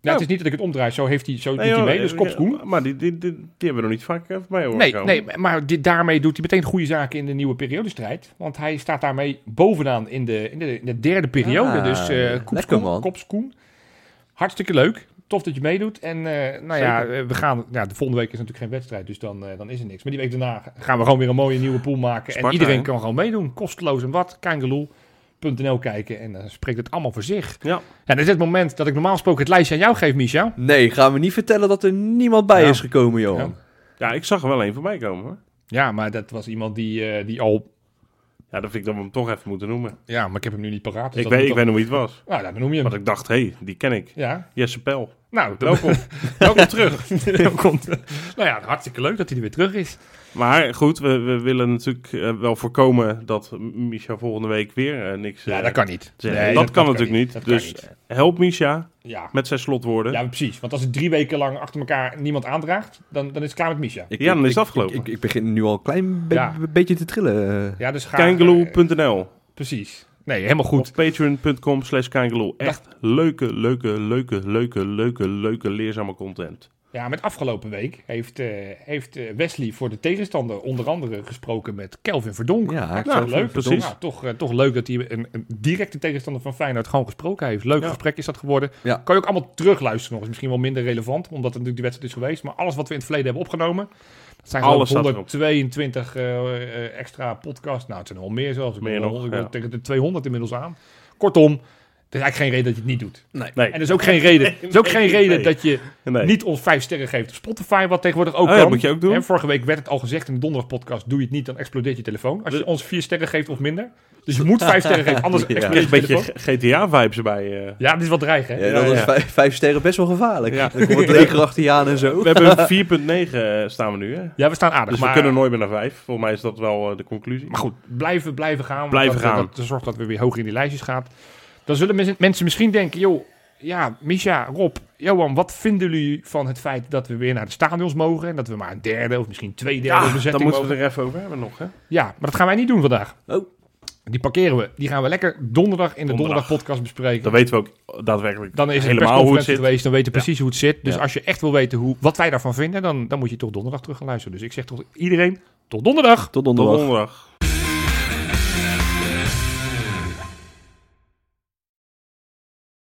Speaker 2: Nou,
Speaker 3: Ja.
Speaker 2: het is niet dat ik het omdraai. Zo heeft hij, zo
Speaker 3: Nee,
Speaker 2: doet hij
Speaker 3: joh,
Speaker 2: mee, dus
Speaker 3: eh,
Speaker 2: Kopskoen.
Speaker 3: ja, Maar die, die, die, die hebben we nog niet vaak eh, voorbij horen
Speaker 2: Nee,
Speaker 3: komen.
Speaker 2: nee, maar dit, daarmee doet hij meteen goede zaken in de nieuwe periodestrijd. Want hij staat daarmee bovenaan in de, in de, in de derde periode.
Speaker 4: Ah,
Speaker 2: dus eh
Speaker 4: lekker, man.
Speaker 2: Kopskoen, Kopskoen. Hartstikke leuk. Tof dat je meedoet. En eh, nou ja, eh, we gaan, ja, de volgende week is natuurlijk geen wedstrijd, dus dan, eh, dan is er niks. Maar die week daarna gaan we gewoon weer een mooie nieuwe pool maken.
Speaker 3: Sparta,
Speaker 2: en iedereen
Speaker 3: hè?
Speaker 2: kan gewoon meedoen. Kosteloos en wat. Kangeloel.nl kijken en dan spreekt het allemaal voor zich.
Speaker 3: Ja.
Speaker 2: Ja, dat is het moment dat ik normaal gesproken het lijstje aan jou geef, Micha.
Speaker 4: Nee, gaan we niet vertellen dat er niemand bij
Speaker 2: Ja.
Speaker 4: is gekomen, Johan.
Speaker 3: Ja, ik zag er wel één voorbij komen. Hoor.
Speaker 2: Ja, maar dat was iemand die, eh, die al...
Speaker 3: Ja, dat vind ik dat we hem toch even moeten noemen.
Speaker 2: Ja, maar ik heb hem nu niet paraat. dus
Speaker 3: ik
Speaker 2: dat moet
Speaker 3: weet, ik
Speaker 2: dan-
Speaker 3: weet nog wie het was.
Speaker 2: Nou, dan noem je hem.
Speaker 3: Want ik dacht, hé, hey, die ken ik.
Speaker 2: Ja,
Speaker 3: Jesse Pel.
Speaker 2: nou, <laughs> dat
Speaker 3: Welkom. Welkom <laughs> terug.
Speaker 2: komt. <laughs> Nou ja, hartstikke leuk dat hij er weer terug is.
Speaker 3: Maar goed, we, we willen natuurlijk eh, wel voorkomen dat Misha volgende week weer eh, niks... eh,
Speaker 2: niet.
Speaker 3: zegt. dat, kan natuurlijk niet.
Speaker 2: Dat kan
Speaker 3: dus
Speaker 2: niet.
Speaker 3: help Misha
Speaker 2: Ja.
Speaker 3: met zijn slotwoorden.
Speaker 2: ja, precies. Want als het drie weken lang achter elkaar niemand aandraagt, dan, dan is het klaar met Misha.
Speaker 4: Ik-
Speaker 3: Ja, dan
Speaker 4: ik-
Speaker 3: is
Speaker 4: ik-
Speaker 3: het afgelopen.
Speaker 4: Ik, ik begin nu al een klein be-
Speaker 2: Ja.
Speaker 4: be- beetje te trillen. eh.
Speaker 2: Ja, dus ga...
Speaker 3: Kangaloo.nl
Speaker 2: eh, precies. Nee, helemaal goed.
Speaker 3: Of patreon.com slash kangaloo. Echt leuke, leuke, leuke, leuke, leuke, leuke leerzame content.
Speaker 2: Ja, met afgelopen week heeft, eh, heeft eh, Wesley voor de tegenstander onder andere gesproken met Kelvin Verdonk.
Speaker 4: Ja, ik
Speaker 2: Nou,
Speaker 4: zou-
Speaker 2: leuk.
Speaker 3: Precies.
Speaker 2: Nou, toch, eh, toch leuk dat hij een, een directe tegenstander van Feyenoord gewoon gesproken heeft. Leuk
Speaker 3: Ja.
Speaker 2: gesprek is dat geworden.
Speaker 4: Ja.
Speaker 2: Kan je ook allemaal terugluisteren nog. Is misschien wel minder relevant, omdat het natuurlijk die wedstrijd is geweest. Maar alles wat we in het verleden hebben opgenomen. Dat zijn
Speaker 3: Alles
Speaker 2: geloof ik
Speaker 3: staat erop.
Speaker 2: 122 eh, eh, extra podcasts. Nou, het zijn er al meer zelfs. Ik
Speaker 3: Meer
Speaker 2: ben al-
Speaker 3: nog,
Speaker 2: ik ben
Speaker 3: ja.
Speaker 2: tegen de 200 inmiddels aan. Kortom, er is eigenlijk geen reden dat je het niet doet.
Speaker 3: Nee.
Speaker 2: En er is ook geen reden, er is ook geen
Speaker 3: <laughs> nee,
Speaker 2: reden
Speaker 3: nee.
Speaker 2: dat je
Speaker 3: Nee.
Speaker 2: niet ons vijf sterren geeft op Spotify, wat tegenwoordig ook
Speaker 3: Oh ja,
Speaker 2: kan.
Speaker 3: dat moet je ook doen.
Speaker 2: Hè, vorige week werd het al gezegd in de donderdagpodcast, doe je het niet, dan explodeert je telefoon. Als je
Speaker 3: Dus-
Speaker 2: ons vier sterren geeft of minder. Dus je moet vijf sterren geven,
Speaker 3: <laughs>
Speaker 2: anders explodeert je
Speaker 3: een beetje
Speaker 2: telefoon.
Speaker 3: GTA-vibes erbij. eh.
Speaker 2: Ja, dit is wat dreig, hè?
Speaker 4: Ja, dat
Speaker 3: Ja,
Speaker 4: is
Speaker 3: ja.
Speaker 4: vijf, vijf sterren best wel gevaarlijk.
Speaker 3: Ja.
Speaker 4: Dan komt het leger achter je aan en zo.
Speaker 3: We hebben een 4.9 eh, staan we nu, hè?
Speaker 2: Ja, we staan aardig.
Speaker 3: Dus
Speaker 2: maar,
Speaker 3: we kunnen nooit meer naar 5. Volgens mij is dat wel eh, de conclusie.
Speaker 2: maar goed, blijven, blijven gaan. want
Speaker 3: Blijven
Speaker 2: dat, eh,
Speaker 3: gaan.
Speaker 2: Dat, zorgt dat we weer hoger in die lijstjes gaan. Dan zullen mis- mensen misschien denken, joh, ja, Misha, Rob, Johan, wat vinden jullie van het feit dat we weer naar de stadions mogen? En dat we maar een derde of misschien twee derde
Speaker 3: ja,
Speaker 2: bezetting
Speaker 3: dan moeten
Speaker 2: mogen?
Speaker 3: we het er even over hebben nog, hè?
Speaker 2: Ja, maar dat gaan wij niet doen vandaag.
Speaker 4: Oh.
Speaker 2: Die parkeren we. Die gaan we lekker donderdag in de
Speaker 3: Donderdag.
Speaker 2: donderdag podcast bespreken.
Speaker 3: Dan weten we ook daadwerkelijk
Speaker 2: Dan is het een
Speaker 3: helemaal hoe het
Speaker 2: persconferentie
Speaker 3: zit.
Speaker 2: geweest, dan weten we precies hoe het zit. Dus
Speaker 4: Ja.
Speaker 2: als je echt wil weten hoe, wat wij daarvan vinden, dan, dan moet je toch donderdag terug gaan luisteren. Dus ik zeg tot iedereen, tot donderdag!
Speaker 1: Tot
Speaker 3: Tot
Speaker 1: donderdag.
Speaker 3: donderdag.